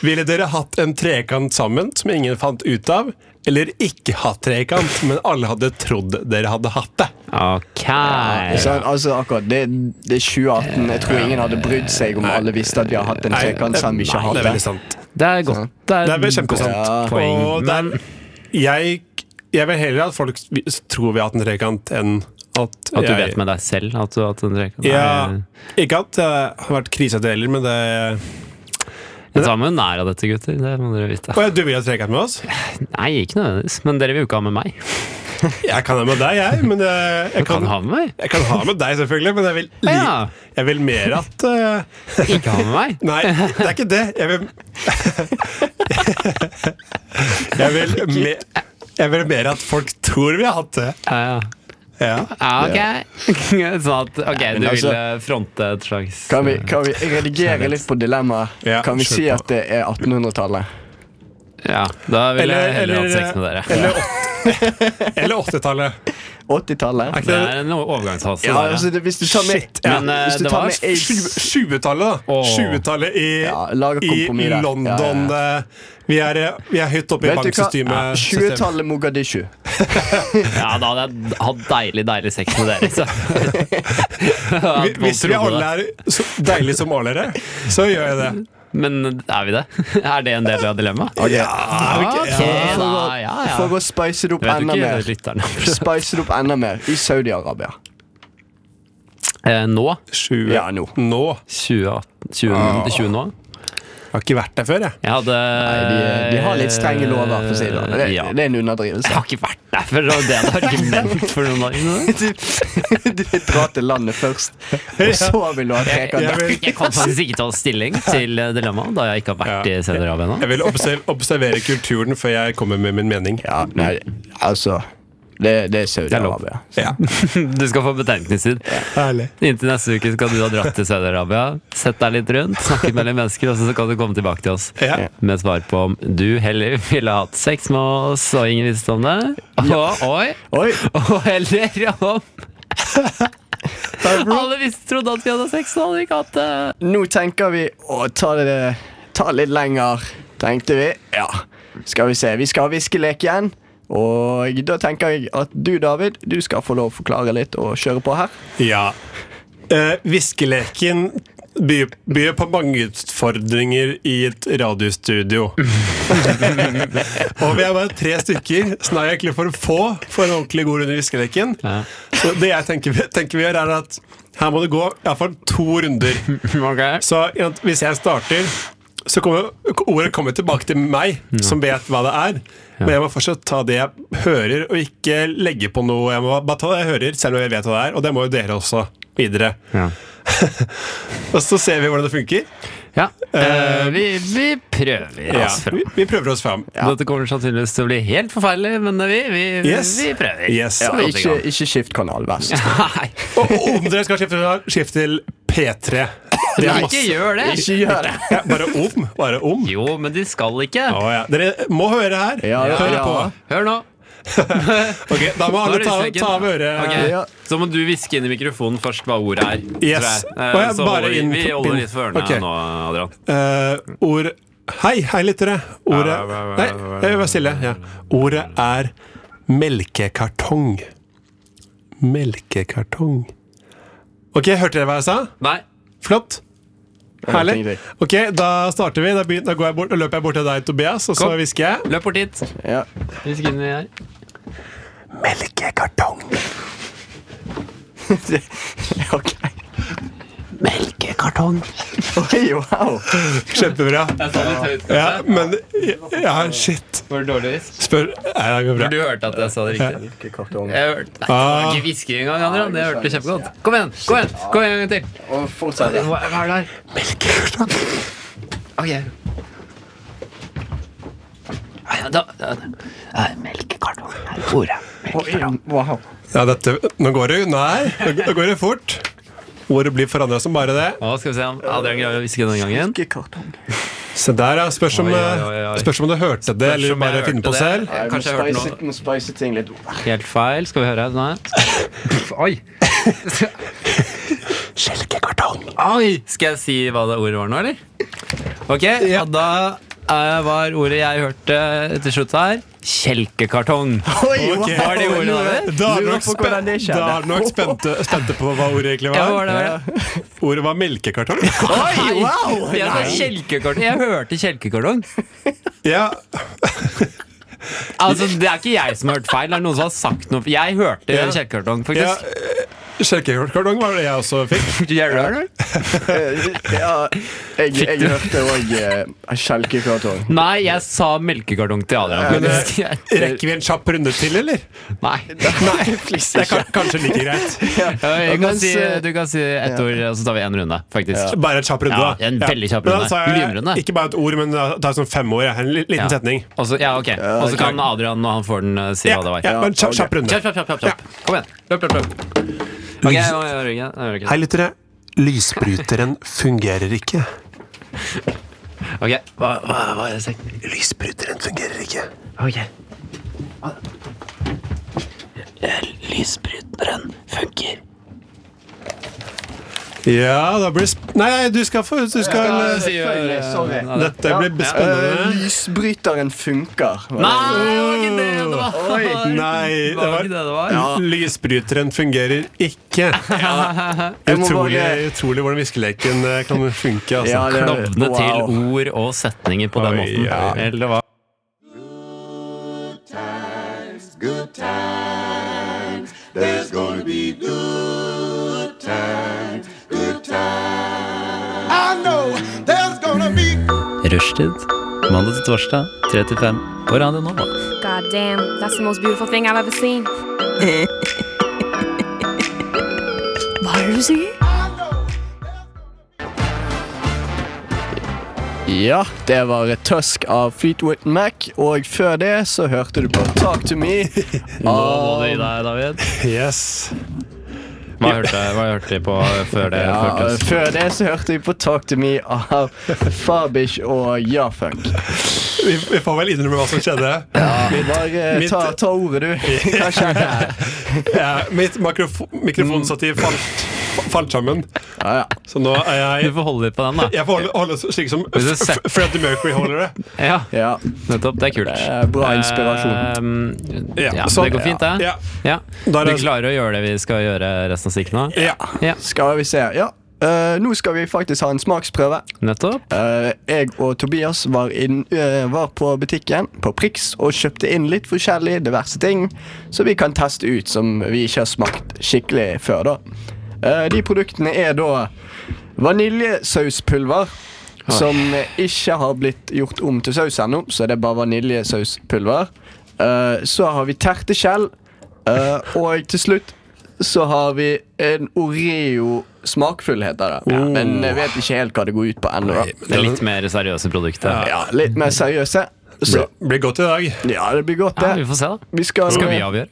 [SPEAKER 4] Ville dere hatt en trekant sammen som ingen fant ut av? Eller ikke hatt trekant, men alle hadde trodd dere hadde hatt det?
[SPEAKER 2] Ok.
[SPEAKER 3] så, altså akkurat det, det er 2018. Jeg tror ingen hadde brydd seg om alle visste at vi har hatt en trekant sammen vi ikke
[SPEAKER 4] Eh, Nei,
[SPEAKER 3] har
[SPEAKER 4] det er veldig
[SPEAKER 3] hatt.
[SPEAKER 4] sant.
[SPEAKER 2] Det er godt. Det
[SPEAKER 4] Det er vel
[SPEAKER 2] et godt
[SPEAKER 4] kjempesant.
[SPEAKER 3] Ja.
[SPEAKER 2] poeng.
[SPEAKER 4] Og det
[SPEAKER 2] Men
[SPEAKER 4] er, jeg, jeg vil heller at folk s- vi- tror vi har hatt en trekant, enn at
[SPEAKER 2] at du
[SPEAKER 4] jeg-
[SPEAKER 2] vet med deg selv at du har hatt en trekant?
[SPEAKER 4] Ja, ikke at det har vært krise til heller, men det
[SPEAKER 2] Jeg tar meg jo nær av dette, gutter. Det må dere vite.
[SPEAKER 4] Å ja, du vil ha trekant med oss?
[SPEAKER 2] Nei, ikke nødvendigvis. Men dere vil jo ikke ha med meg.
[SPEAKER 4] Jeg kan ha med deg, jeg. Men jeg, jeg,
[SPEAKER 2] Du kan
[SPEAKER 4] kan,
[SPEAKER 2] ha med meg.
[SPEAKER 4] jeg kan ha med deg, selvfølgelig. Men jeg vil, li
[SPEAKER 2] Ja.
[SPEAKER 4] jeg vil mer at eh,
[SPEAKER 2] Ikke ha med meg.
[SPEAKER 4] Nei, det er ikke det. Jeg vil Jeg vil, me jeg vil mer at folk tror vi har hatt det.
[SPEAKER 2] Ja, ja.
[SPEAKER 4] Ja.
[SPEAKER 2] Ja, ok. sånn at ok,
[SPEAKER 3] men
[SPEAKER 2] du
[SPEAKER 3] altså-
[SPEAKER 2] ville fronte et slags
[SPEAKER 3] Kan vi, kan vi redigere litt på dilemmaet?
[SPEAKER 4] Ja,
[SPEAKER 3] Kan vi
[SPEAKER 4] kjør
[SPEAKER 3] si
[SPEAKER 4] på.
[SPEAKER 3] at det er 1800-tallet?
[SPEAKER 2] Ja, da ville
[SPEAKER 4] Eller-
[SPEAKER 2] jeg heller
[SPEAKER 4] eller-
[SPEAKER 2] hatt sex med dere.
[SPEAKER 4] Eller åt- Eller 80-tallet.
[SPEAKER 3] 80-tallet.
[SPEAKER 2] Det er en overgangsfase.
[SPEAKER 3] Ja,
[SPEAKER 2] der, ja.
[SPEAKER 3] altså, det, hvis du tar med,
[SPEAKER 4] Shit, ja.
[SPEAKER 2] Men, eh,
[SPEAKER 3] hvis du
[SPEAKER 2] det
[SPEAKER 3] tar
[SPEAKER 2] var
[SPEAKER 3] med aids
[SPEAKER 4] 20-tallet, da.
[SPEAKER 2] Åh.
[SPEAKER 4] 20-tallet i,
[SPEAKER 3] Ja, lager
[SPEAKER 4] i
[SPEAKER 3] kompromiss der.
[SPEAKER 4] London.
[SPEAKER 3] Ja, ja,
[SPEAKER 4] eh, Vi, er, eh, vi er høyt oppe i
[SPEAKER 3] Vet du hva?
[SPEAKER 4] banksystemet. systemet.
[SPEAKER 3] 20-tallet Mogadishu.
[SPEAKER 2] Ja, da hadde jeg hatt deilig, deilig sex med dere. Så.
[SPEAKER 4] Vi- Hvis vi alle er så deilige som malere, så gjør jeg det.
[SPEAKER 2] Men er vi det? Er det en del av dilemmaet?
[SPEAKER 4] Ja,
[SPEAKER 2] Ok, da, ja, ja.
[SPEAKER 3] Eh, For å spice det opp
[SPEAKER 2] Vet du
[SPEAKER 3] enda
[SPEAKER 2] ikke eh,
[SPEAKER 3] mer.
[SPEAKER 2] lytterne?
[SPEAKER 3] Spice det opp enda mer i Saudi-Arabia.
[SPEAKER 2] Eh, nå?
[SPEAKER 4] 20.
[SPEAKER 3] Ja, nå.
[SPEAKER 4] Nå.
[SPEAKER 2] 2018? 20, 20 nå?
[SPEAKER 4] Jeg har ikke vært der før, jeg.
[SPEAKER 2] Jeg hadde
[SPEAKER 3] Ah. Nei, de, eh, de har litt strenge lover, for å si det sånn. Det,
[SPEAKER 2] Eh, Ja.
[SPEAKER 3] det er en
[SPEAKER 2] Jeg
[SPEAKER 3] underdrivelse.
[SPEAKER 2] har ikke vært der før, og det er et argument for noen dager.
[SPEAKER 3] Du vil dra til landet først, og så vil du ha
[SPEAKER 4] Jeg
[SPEAKER 3] trekant.
[SPEAKER 4] vil,
[SPEAKER 2] Jeg kan faktisk ikke ta stilling til eh, dilemmaet, da jeg ikke har vært
[SPEAKER 4] Ja.
[SPEAKER 2] i Saudi-Arabia ennå.
[SPEAKER 4] jeg vil obser- observere kulturen før jeg kommer med min mening.
[SPEAKER 3] Ja, nei, altså Det, det er
[SPEAKER 2] lov.
[SPEAKER 3] Saudi-Arabia.
[SPEAKER 4] Ja.
[SPEAKER 2] Du skal få betenkningstid.
[SPEAKER 4] Herlig.
[SPEAKER 2] Inntil neste uke skal du ha dratt til Saudi-Arabia, sett deg litt rundt, snakket med litt mennesker, og så skal du komme tilbake til oss
[SPEAKER 4] Ja.
[SPEAKER 2] med svar på om du heller ville hatt sex med oss, og ingen visste om det, og, oi,
[SPEAKER 3] Oi!
[SPEAKER 2] og heller om Alle visste, trodde at vi hadde sex, og hadde vi ikke hatt det.
[SPEAKER 3] Nå tenker vi å ta det ta litt lenger, tenkte vi. Ja, skal vi se. Vi skal ha viskelek igjen. Og da tenker jeg at du, David, du skal få lov å forklare litt og kjøre på her.
[SPEAKER 4] Ja. Eh, viskeleken byr, byr på mange utfordringer i et radiostudio. og vi er bare tre stykker, så nå er jeg egentlig for få for en ordentlig god runde i viskeleken.
[SPEAKER 2] Ja.
[SPEAKER 4] Så det jeg tenker, vi- tenker vi gjør, er at her må det gå iallfall to runder. Så ikke sant, hvis jeg starter, så kommer ordet kommer tilbake til meg, som vet hva det er. Men jeg må fortsatt ta det jeg hører, og ikke legge på noe. Jeg må bare ta det jeg hører, selv om jeg vet hva det er, og det må jo dere også videre.
[SPEAKER 2] Ja.
[SPEAKER 4] Og så ser vi hvordan det funker.
[SPEAKER 2] Ja, eh, vi, vi prøver
[SPEAKER 4] Ja,
[SPEAKER 2] oss fram.
[SPEAKER 4] vi, vi prøver oss fram.
[SPEAKER 2] Dette kommer sannsynligvis til å bli helt forferdelig, men vi, vi,
[SPEAKER 4] Yes.
[SPEAKER 2] vi prøver.
[SPEAKER 4] Yes.
[SPEAKER 2] Ja,
[SPEAKER 3] Og ikke, ikke skift kanal, vær så snill.
[SPEAKER 2] Nei,
[SPEAKER 4] Og og om dere skal skifte, skift til P3. Det er
[SPEAKER 2] ikke
[SPEAKER 4] masse.
[SPEAKER 2] gjør det!
[SPEAKER 3] Ikke gjør det.
[SPEAKER 4] Ja, bare om. Bare om.
[SPEAKER 2] Jo, men de skal ikke.
[SPEAKER 4] Å, ja. Dere må høre her.
[SPEAKER 3] Ja, ja,
[SPEAKER 4] Hør
[SPEAKER 3] ja.
[SPEAKER 4] på.
[SPEAKER 2] Hør nå.
[SPEAKER 4] Ok, da
[SPEAKER 2] Nå
[SPEAKER 4] må
[SPEAKER 2] er
[SPEAKER 4] alle
[SPEAKER 2] det
[SPEAKER 4] ta,
[SPEAKER 2] utleggen.
[SPEAKER 4] ta av øret.
[SPEAKER 2] Ok,
[SPEAKER 3] Ja.
[SPEAKER 2] Så må du hviske inn i mikrofonen først hva ordet er. tror
[SPEAKER 4] Yes.
[SPEAKER 2] jeg.
[SPEAKER 4] Å,
[SPEAKER 2] Eh,
[SPEAKER 4] ja,
[SPEAKER 2] Så
[SPEAKER 4] bare
[SPEAKER 2] holder vi,
[SPEAKER 4] inn-
[SPEAKER 2] vi holder litt for ørene
[SPEAKER 4] Ok.
[SPEAKER 2] nå, Adrian.
[SPEAKER 4] Eh, ord Hei, hei, lyttere.
[SPEAKER 2] Ja, ja,
[SPEAKER 4] Ordet
[SPEAKER 2] ja,
[SPEAKER 4] Nei,
[SPEAKER 2] ja, ja.
[SPEAKER 4] jeg var stille. Ja. Ordet er melkekartong. Melkekartong. Ok, hørte dere hva jeg sa?
[SPEAKER 2] Nei.
[SPEAKER 4] Flott. Herlig.
[SPEAKER 3] ingenting.
[SPEAKER 4] Ok, Da starter vi. Da, begyn- da går jeg bort, da løper jeg bort til deg, Tobias, og så
[SPEAKER 2] Kom.
[SPEAKER 4] hvisker jeg.
[SPEAKER 2] Løp bort hit.
[SPEAKER 3] Ja.
[SPEAKER 2] Hvisk inn i her.
[SPEAKER 4] Melkekartong.
[SPEAKER 3] Ok.
[SPEAKER 2] Melkekartong.
[SPEAKER 3] Oi, wow.
[SPEAKER 4] Kjempebra.
[SPEAKER 2] Jeg sa litt høyt.
[SPEAKER 4] Ja, men Ja, shit.
[SPEAKER 2] Var det dårlig hvisk?
[SPEAKER 4] Spør Nei, det går
[SPEAKER 2] Du
[SPEAKER 4] bra.
[SPEAKER 2] hørte at jeg sa det riktig.
[SPEAKER 3] Melkekartong.
[SPEAKER 2] Jeg hørte Nei, det var
[SPEAKER 4] Ah.
[SPEAKER 2] ikke hvisker engang, Adrian. Jeg hørte det kjempegodt. Kom igjen, kom igjen, kom igjen en gang til.
[SPEAKER 3] Og fortsett.
[SPEAKER 2] Hva hva er det her? Melkekartong. Ok. Nei, da, da, da. Melkekartong er ordet.
[SPEAKER 3] Wow.
[SPEAKER 4] Ja, dette, nå går det unna her. Nå går det fort. Ordet blir forandra som bare det.
[SPEAKER 2] Nå skal vi se om Adrian greier å hviske denne gangen.
[SPEAKER 3] Melkekartong.
[SPEAKER 4] Se der, ja. Spørs om, eh,
[SPEAKER 2] Oi, oi, oi, oi.
[SPEAKER 4] spørs om du hørte det, eller
[SPEAKER 2] om jeg
[SPEAKER 4] bare finner
[SPEAKER 2] hørte
[SPEAKER 4] på
[SPEAKER 2] det.
[SPEAKER 4] selv.
[SPEAKER 2] Ja, Kanskje jeg hørte noe
[SPEAKER 3] Må spice ting litt opp.
[SPEAKER 2] helt feil. Skal vi høre? Nei. Oi.
[SPEAKER 4] Skjelkekartong.
[SPEAKER 2] Oi! Skal jeg si hva det ordet var nå, eller? Ok, ja. da eh, var ordet jeg hørte til slutt her, kjelkekartong.
[SPEAKER 3] Oi,
[SPEAKER 4] Ok.
[SPEAKER 2] Var det ordet
[SPEAKER 3] wow.
[SPEAKER 2] der?
[SPEAKER 4] Da er du
[SPEAKER 3] Lurer
[SPEAKER 4] nok,
[SPEAKER 3] på
[SPEAKER 4] spen
[SPEAKER 3] hvordan det skjedde.
[SPEAKER 4] da er du nok spente, spente på hva ordet egentlig
[SPEAKER 2] Ja, var
[SPEAKER 4] var.
[SPEAKER 2] det, var det.
[SPEAKER 4] Ordet var melkekartong.
[SPEAKER 2] Oi,
[SPEAKER 3] wow!
[SPEAKER 2] Jeg, sa kjelkekartong. jeg hørte kjelkekartong.
[SPEAKER 4] Ja,
[SPEAKER 2] Altså, Det er ikke jeg som har hørt feil. Det er noen som har sagt noe. Jeg hørte
[SPEAKER 4] Ja.
[SPEAKER 2] kjelkekartong,
[SPEAKER 4] ja
[SPEAKER 2] faktisk.
[SPEAKER 4] Skjelkekartong var det jeg også fikk.
[SPEAKER 2] Gjør du det, eller?
[SPEAKER 3] Ja, jeg, jeg hørte òg eh, skjelkekartong.
[SPEAKER 2] Nei, jeg sa melkekartong til Adrian.
[SPEAKER 4] Men, eh,
[SPEAKER 2] faktisk.
[SPEAKER 4] Rekker vi en kjapp runde til, eller?
[SPEAKER 2] Nei.
[SPEAKER 4] Nei, det er kan- kanskje like greit.
[SPEAKER 2] Jeg
[SPEAKER 3] Men
[SPEAKER 2] kan si,
[SPEAKER 3] så-
[SPEAKER 2] du kan si ett ord, og så tar vi én runde, faktisk.
[SPEAKER 4] eh, Bare en kjapp runde,
[SPEAKER 2] Ja,
[SPEAKER 4] da.
[SPEAKER 2] en veldig kjapp
[SPEAKER 4] Men da
[SPEAKER 2] runde.
[SPEAKER 4] sa jeg
[SPEAKER 2] Lynrunde.
[SPEAKER 4] Ikke bare et ord, men da tar jeg sånn fem ord. jeg. En li- liten
[SPEAKER 2] Ja.
[SPEAKER 4] setning.
[SPEAKER 2] Og så ja, ok. Og så kan Adrian, når han får den, eh, si
[SPEAKER 4] Ja,
[SPEAKER 2] hva det var.
[SPEAKER 4] ja, men kjapp, kjapp runde.
[SPEAKER 2] Kjapp, kjapp, kjapp, kjapp, kjapp. Kom igjen. Løp, løp, løp. Ok, jeg må gjøre ryggen. Jeg gjør ryggen.
[SPEAKER 4] Hei, lyttere. Lysbryteren fungerer ikke.
[SPEAKER 2] Ok, hva, hva, hva er det jeg sier?
[SPEAKER 4] Lysbryteren fungerer ikke.
[SPEAKER 2] Ok. lysbryteren funker.
[SPEAKER 4] Ja, da blir det sp Nei, du skal få Du skal eh,
[SPEAKER 2] det sier-
[SPEAKER 3] Selvfølgelig. Sorry.
[SPEAKER 2] Ja, det-
[SPEAKER 4] Dette blir
[SPEAKER 3] Eh,
[SPEAKER 4] spennende.
[SPEAKER 3] lysbryteren funker.
[SPEAKER 2] Nei, det var ikke det det var!
[SPEAKER 3] Oi.
[SPEAKER 4] Nei, det
[SPEAKER 1] Det var
[SPEAKER 4] var
[SPEAKER 1] ikke det det var.
[SPEAKER 4] Lysbryteren fungerer ikke.
[SPEAKER 3] Jeg må
[SPEAKER 4] Utrolig,
[SPEAKER 3] bare-
[SPEAKER 4] utrolig hvordan viskeleken eh, kan funke. Altså.
[SPEAKER 3] Ja, det-
[SPEAKER 2] Klovne
[SPEAKER 3] wow.
[SPEAKER 2] til ord og setninger på den
[SPEAKER 4] Oi,
[SPEAKER 2] måten.
[SPEAKER 4] oi.
[SPEAKER 2] Eller hva? Rushtid. Mandag til torsdag, 3 til 5 på Radio Nova.
[SPEAKER 6] God damn, that's the most beautiful thing I've ever seen. Hva er det du sier?
[SPEAKER 3] Ja, det var Tusk av Fleetwood Mac, og før det så hørte du på Talk to me.
[SPEAKER 2] Nå må du gi deg, David.
[SPEAKER 4] Yes.
[SPEAKER 2] Hva hørte, hva hørte de på før det?
[SPEAKER 3] Ja,
[SPEAKER 2] føltes?
[SPEAKER 3] før det så hørte vi på Talk to me av Fabish og Jafunk.
[SPEAKER 4] Vi, vi får vel innrømme hva som skjedde.
[SPEAKER 3] Bare eh,
[SPEAKER 4] mitt-
[SPEAKER 3] ta, ta ordet, du. Hva skjedde her?
[SPEAKER 4] Eh, mitt mikrofo mikrofonstativ falt, fa- falt sammen,
[SPEAKER 3] Ja, ja.
[SPEAKER 4] så nå er
[SPEAKER 2] Du
[SPEAKER 4] jeg
[SPEAKER 2] får holde litt på den, da.
[SPEAKER 4] jeg får holde, holde slik som
[SPEAKER 2] Hvis du setter-
[SPEAKER 4] F- Freddie Mercury holder det.
[SPEAKER 2] Ja,
[SPEAKER 3] ja.
[SPEAKER 2] nettopp. Det er kult.
[SPEAKER 3] Det er bra inspirasjon.
[SPEAKER 2] Ehm,
[SPEAKER 4] Ja,
[SPEAKER 2] ja,
[SPEAKER 4] sånn.
[SPEAKER 2] det går fint, det.
[SPEAKER 4] Ja.
[SPEAKER 2] Ja.
[SPEAKER 4] Da er
[SPEAKER 2] Vi
[SPEAKER 4] det-
[SPEAKER 2] klarer å gjøre det vi skal gjøre resten av stikken nå?
[SPEAKER 4] Ja.
[SPEAKER 2] Ja,
[SPEAKER 3] Skal vi se. Ja. Eh, nå skal vi faktisk ha en smaksprøve.
[SPEAKER 2] nettopp.
[SPEAKER 3] Eh, jeg og Tobias var, inn, eh, var på butikken på Prix og kjøpte inn litt forskjellige diverse ting som vi kan teste ut, som vi ikke har smakt skikkelig før. da. Eh, de produktene er da vaniljesauspulver, som ikke har blitt gjort om til saus ennå, så det er bare vaniljesauspulver. Eh, så har vi terteskjell, eh, og til slutt så har vi en Oreo smakfull, heter det. Men jeg vet ikke helt hva det går ut på ennå. da.
[SPEAKER 2] Det er litt mer seriøse produkter.
[SPEAKER 3] Ja, litt mer seriøse. Så
[SPEAKER 4] Blir, blir godt i dag.
[SPEAKER 3] ja, det blir godt,
[SPEAKER 2] Ja, vi
[SPEAKER 3] det.
[SPEAKER 2] får se, da.
[SPEAKER 3] Vi skal,
[SPEAKER 2] Skal vi avgjøre?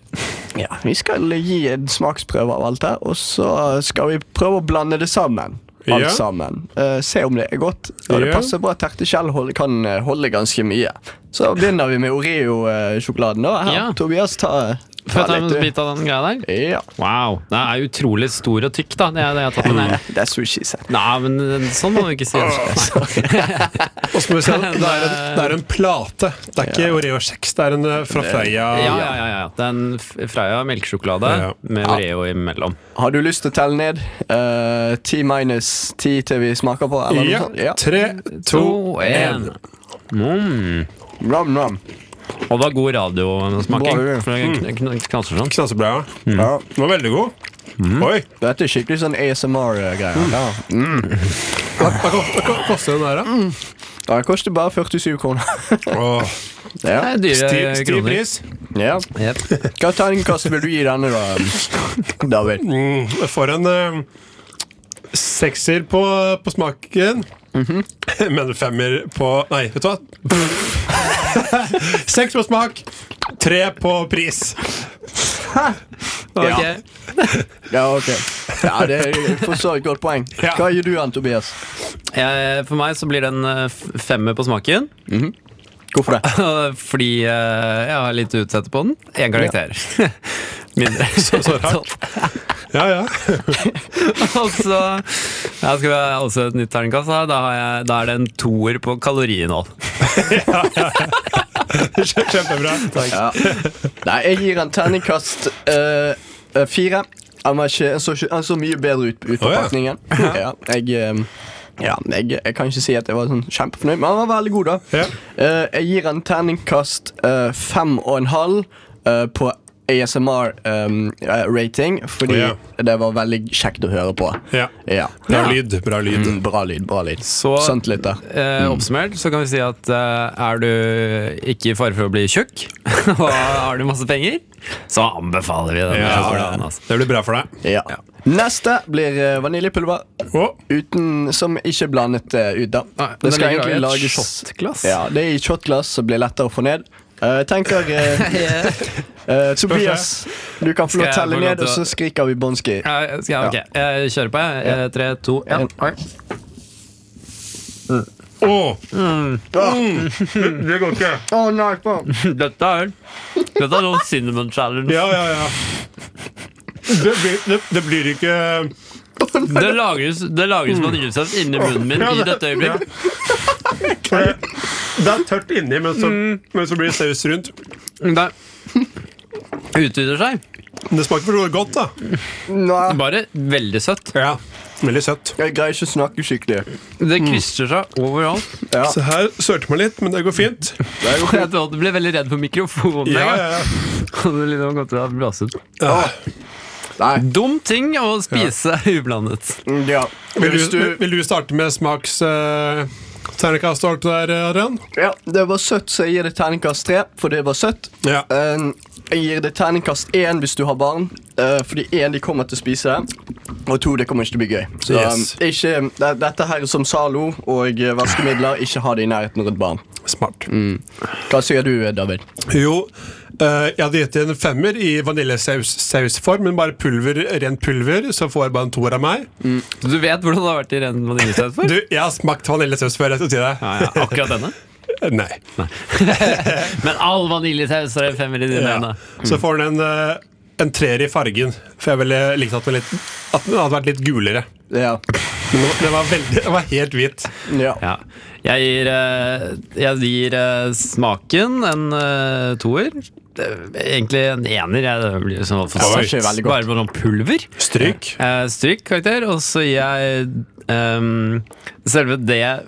[SPEAKER 3] ja, vi skal gi en smaksprøve av alt det, og så skal vi prøve å blande det sammen. Alt
[SPEAKER 4] Ja.
[SPEAKER 3] sammen. Eh, se om det er godt. Og det
[SPEAKER 4] Ja.
[SPEAKER 3] passer bra. Terteskjell hold- kan eh, holde ganske mye. Så begynner vi med Oreo-sjokoladen. da. Her,
[SPEAKER 2] Ja.
[SPEAKER 3] Tobias, ta,
[SPEAKER 2] Får jeg
[SPEAKER 3] ta
[SPEAKER 2] ta en
[SPEAKER 3] litt.
[SPEAKER 2] bit av den greia der?
[SPEAKER 3] du. Ja.
[SPEAKER 2] Wow, den er utrolig stor og tykk da Det er det jeg har tatt den her
[SPEAKER 3] That's what she said.
[SPEAKER 2] Nei, men sånn må du ikke si
[SPEAKER 4] Og så må vi se, det, er en, det er en plate. Det er ikke Oreo-kjeks, det er en eh, fra Freia.
[SPEAKER 2] Ja, ja, ja, ja. Det er en f- Freia melkesjokolade
[SPEAKER 4] Ja, ja.
[SPEAKER 2] Med Oreo imellom
[SPEAKER 3] Har du lyst til å telle ned? Eh, Ti minus ti til vi smaker på? Eller noe
[SPEAKER 4] Ja.
[SPEAKER 3] sånt? Ja.
[SPEAKER 4] Tre, to, én.
[SPEAKER 2] mm.
[SPEAKER 3] Ram, ram.
[SPEAKER 2] Og det var god radiosmaking
[SPEAKER 3] Bra, det.
[SPEAKER 2] For
[SPEAKER 4] Mm.
[SPEAKER 2] det kn- kn- knaser sånn
[SPEAKER 4] Knasebleia.
[SPEAKER 3] Ja.
[SPEAKER 4] Den var veldig god. Oi!
[SPEAKER 3] Dette er skikkelig sånn ASMR-greier. Ja.
[SPEAKER 4] Hva, hva, hva- hva koster den der, da?
[SPEAKER 3] Ja, Det koster bare 47 kroner.
[SPEAKER 4] Åh,
[SPEAKER 2] Det
[SPEAKER 3] ja.
[SPEAKER 2] er dyre
[SPEAKER 4] Stiv stiv
[SPEAKER 2] kroner
[SPEAKER 4] pris.
[SPEAKER 3] ja.
[SPEAKER 2] Jep.
[SPEAKER 3] Hva terningkast vil du gi denne, da? um, David?
[SPEAKER 4] Mm, jeg får en eh, sekser på, på smaken. Mhm. Men femmer på Nei, vet du hva? Seks på smak, tre på pris.
[SPEAKER 2] Ok.
[SPEAKER 3] Ja, ok. Ja, Det er for så vidt godt poeng.
[SPEAKER 4] Ja.
[SPEAKER 3] Hva gir du den, Tobias?
[SPEAKER 2] jeg, For meg så blir det en eh, f- femmer på smaken
[SPEAKER 3] Hvorfor det?
[SPEAKER 2] Fordi eh, jeg har litt utsette på den En karakter Mindre Så,
[SPEAKER 4] så rart. Ja, ja.
[SPEAKER 2] Og så ja, skal vi ha også et nytt terningkast her. Da, har jeg, da er det en toer på kaloriinnhold.
[SPEAKER 4] Kjempe- Kjempebra. Takk.
[SPEAKER 3] Ja. Nei, jeg gir den terningkast eh, eh, fire. Han var ikke, han så, ikke- han så mye bedre ut, ut på
[SPEAKER 4] Å, ja.
[SPEAKER 3] pakningen. Ja, jeg, eh, ja, jeg, jeg kan ikke si at jeg var sånn kjempefornøyd, men han var veldig god, da.
[SPEAKER 4] Ja.
[SPEAKER 3] Eh, jeg gir han terningkast eh, fem og en halv eh, på ASMR-rating, eh, fordi
[SPEAKER 4] Å,
[SPEAKER 3] det var veldig kjekt å høre på.
[SPEAKER 4] Ja.
[SPEAKER 3] Ja.
[SPEAKER 4] Bra lyd. Bra lyd.
[SPEAKER 3] Mm, bra lyd, bra lyd.
[SPEAKER 2] Så
[SPEAKER 3] Sant litt der.
[SPEAKER 2] eh, oppsummert så kan vi si at eh, er du ikke i fare for å bli tjukk, og har du masse penger, så anbefaler vi den.
[SPEAKER 4] Ja,
[SPEAKER 2] sjokoladen, altså.
[SPEAKER 4] Det blir bra for deg.
[SPEAKER 3] Ja. Neste blir eh, vaniljepulver.
[SPEAKER 4] Å,
[SPEAKER 3] Uten, som ikke er blandet eh, ut, da.
[SPEAKER 2] Nei, men det ligger da i et shotglass.
[SPEAKER 3] Ja, det er i shotglass som blir lettere å få ned. Eh, Jeg tenker eh, eh, Tobias, du kan få
[SPEAKER 2] Skal
[SPEAKER 3] lov
[SPEAKER 2] jeg
[SPEAKER 3] å
[SPEAKER 2] få
[SPEAKER 3] telle
[SPEAKER 2] lov
[SPEAKER 3] ned,
[SPEAKER 2] til
[SPEAKER 3] og
[SPEAKER 2] å-
[SPEAKER 3] så skriker vi bånski.
[SPEAKER 2] Ja, skal jeg, ok, jeg kjører på, jeg. Eh, Tre, to, én.
[SPEAKER 4] å. Mm. Det går ikke.
[SPEAKER 3] Å nei, faen.
[SPEAKER 2] Dette er Dette er noen cinnamon challenge.
[SPEAKER 4] Ja, ja, ja. Det blir, det, det blir ikke
[SPEAKER 2] Det lages, det lages vaniljesaus inni munnen min i dette øyeblikk.
[SPEAKER 4] Det er tørt inni, men så, men så blir det saus rundt.
[SPEAKER 2] Det utvider seg.
[SPEAKER 4] Det smaker for så vidt godt, da.
[SPEAKER 3] Nei,
[SPEAKER 2] Bare veldig søtt.
[SPEAKER 4] Ja, Veldig søtt.
[SPEAKER 3] jeg greier ikke å snakke skikkelig.
[SPEAKER 2] Det krysser seg overalt.
[SPEAKER 3] Ja,
[SPEAKER 4] Så her sølte man litt, men det går fint.
[SPEAKER 3] det er jo
[SPEAKER 2] Jeg tror at du ble veldig redd for mikrofonen.
[SPEAKER 4] Ja, ja,
[SPEAKER 2] jeg.
[SPEAKER 4] ja.
[SPEAKER 2] Hadde liksom gått til å blåse ut.
[SPEAKER 3] Nei, mm,
[SPEAKER 2] Dum ting å spise ublandet.
[SPEAKER 3] ja.
[SPEAKER 4] Vil,
[SPEAKER 3] Hvis
[SPEAKER 4] du,
[SPEAKER 3] du
[SPEAKER 4] vil du starte med smaks... Uh, Ternekast og alt det der, Adrian?
[SPEAKER 3] Ja, det var søtt, så jeg gir det terningkast tre, for det var søtt.
[SPEAKER 4] Ja.
[SPEAKER 3] Eh, jeg gir det terningkast én hvis du har barn, eh, fordi én, de kommer til å spise, og to, det kommer ikke til å bli gøy. Så
[SPEAKER 4] Yes.
[SPEAKER 3] eh, ikke, det, dette her er som Zalo og eh, vaskemidler, ikke ha det i nærheten av et barn.
[SPEAKER 4] Smart.
[SPEAKER 3] Hva sier du, eh, David?
[SPEAKER 4] Jo, eh, jeg hadde gitt det en femmer i vaniljesausform, men bare pulver, ren pulver, så får jeg bare en toer av meg.
[SPEAKER 2] Så Du vet hvordan det har vært i ren vaniljesaus før?
[SPEAKER 4] Du, jeg har smakt vaniljesaus før, jeg skal si deg.
[SPEAKER 2] Ja, ja, akkurat denne.
[SPEAKER 4] Nei.
[SPEAKER 2] Men all vaniljesaus er en femmer i dine
[SPEAKER 4] Ja.
[SPEAKER 2] øyne.
[SPEAKER 4] Så får den en, eh, en treer i fargen, for jeg ville likt at den, litt, at den hadde vært litt gulere.
[SPEAKER 3] Ja.
[SPEAKER 4] Men den var- den var, veldig, den var helt hvit.
[SPEAKER 3] ja.
[SPEAKER 2] Ja. Jeg gir, eh, jeg gir eh, smaken en eh, toer. Det er Egentlig en ener. Jeg det blir liksom altfor
[SPEAKER 4] Ja, det
[SPEAKER 2] søtt.
[SPEAKER 3] skjer veldig godt.
[SPEAKER 2] Bare på sånn pulver.
[SPEAKER 4] Stryk.
[SPEAKER 2] Eh, Stryk karakter. Og så gir jeg ehm, selve det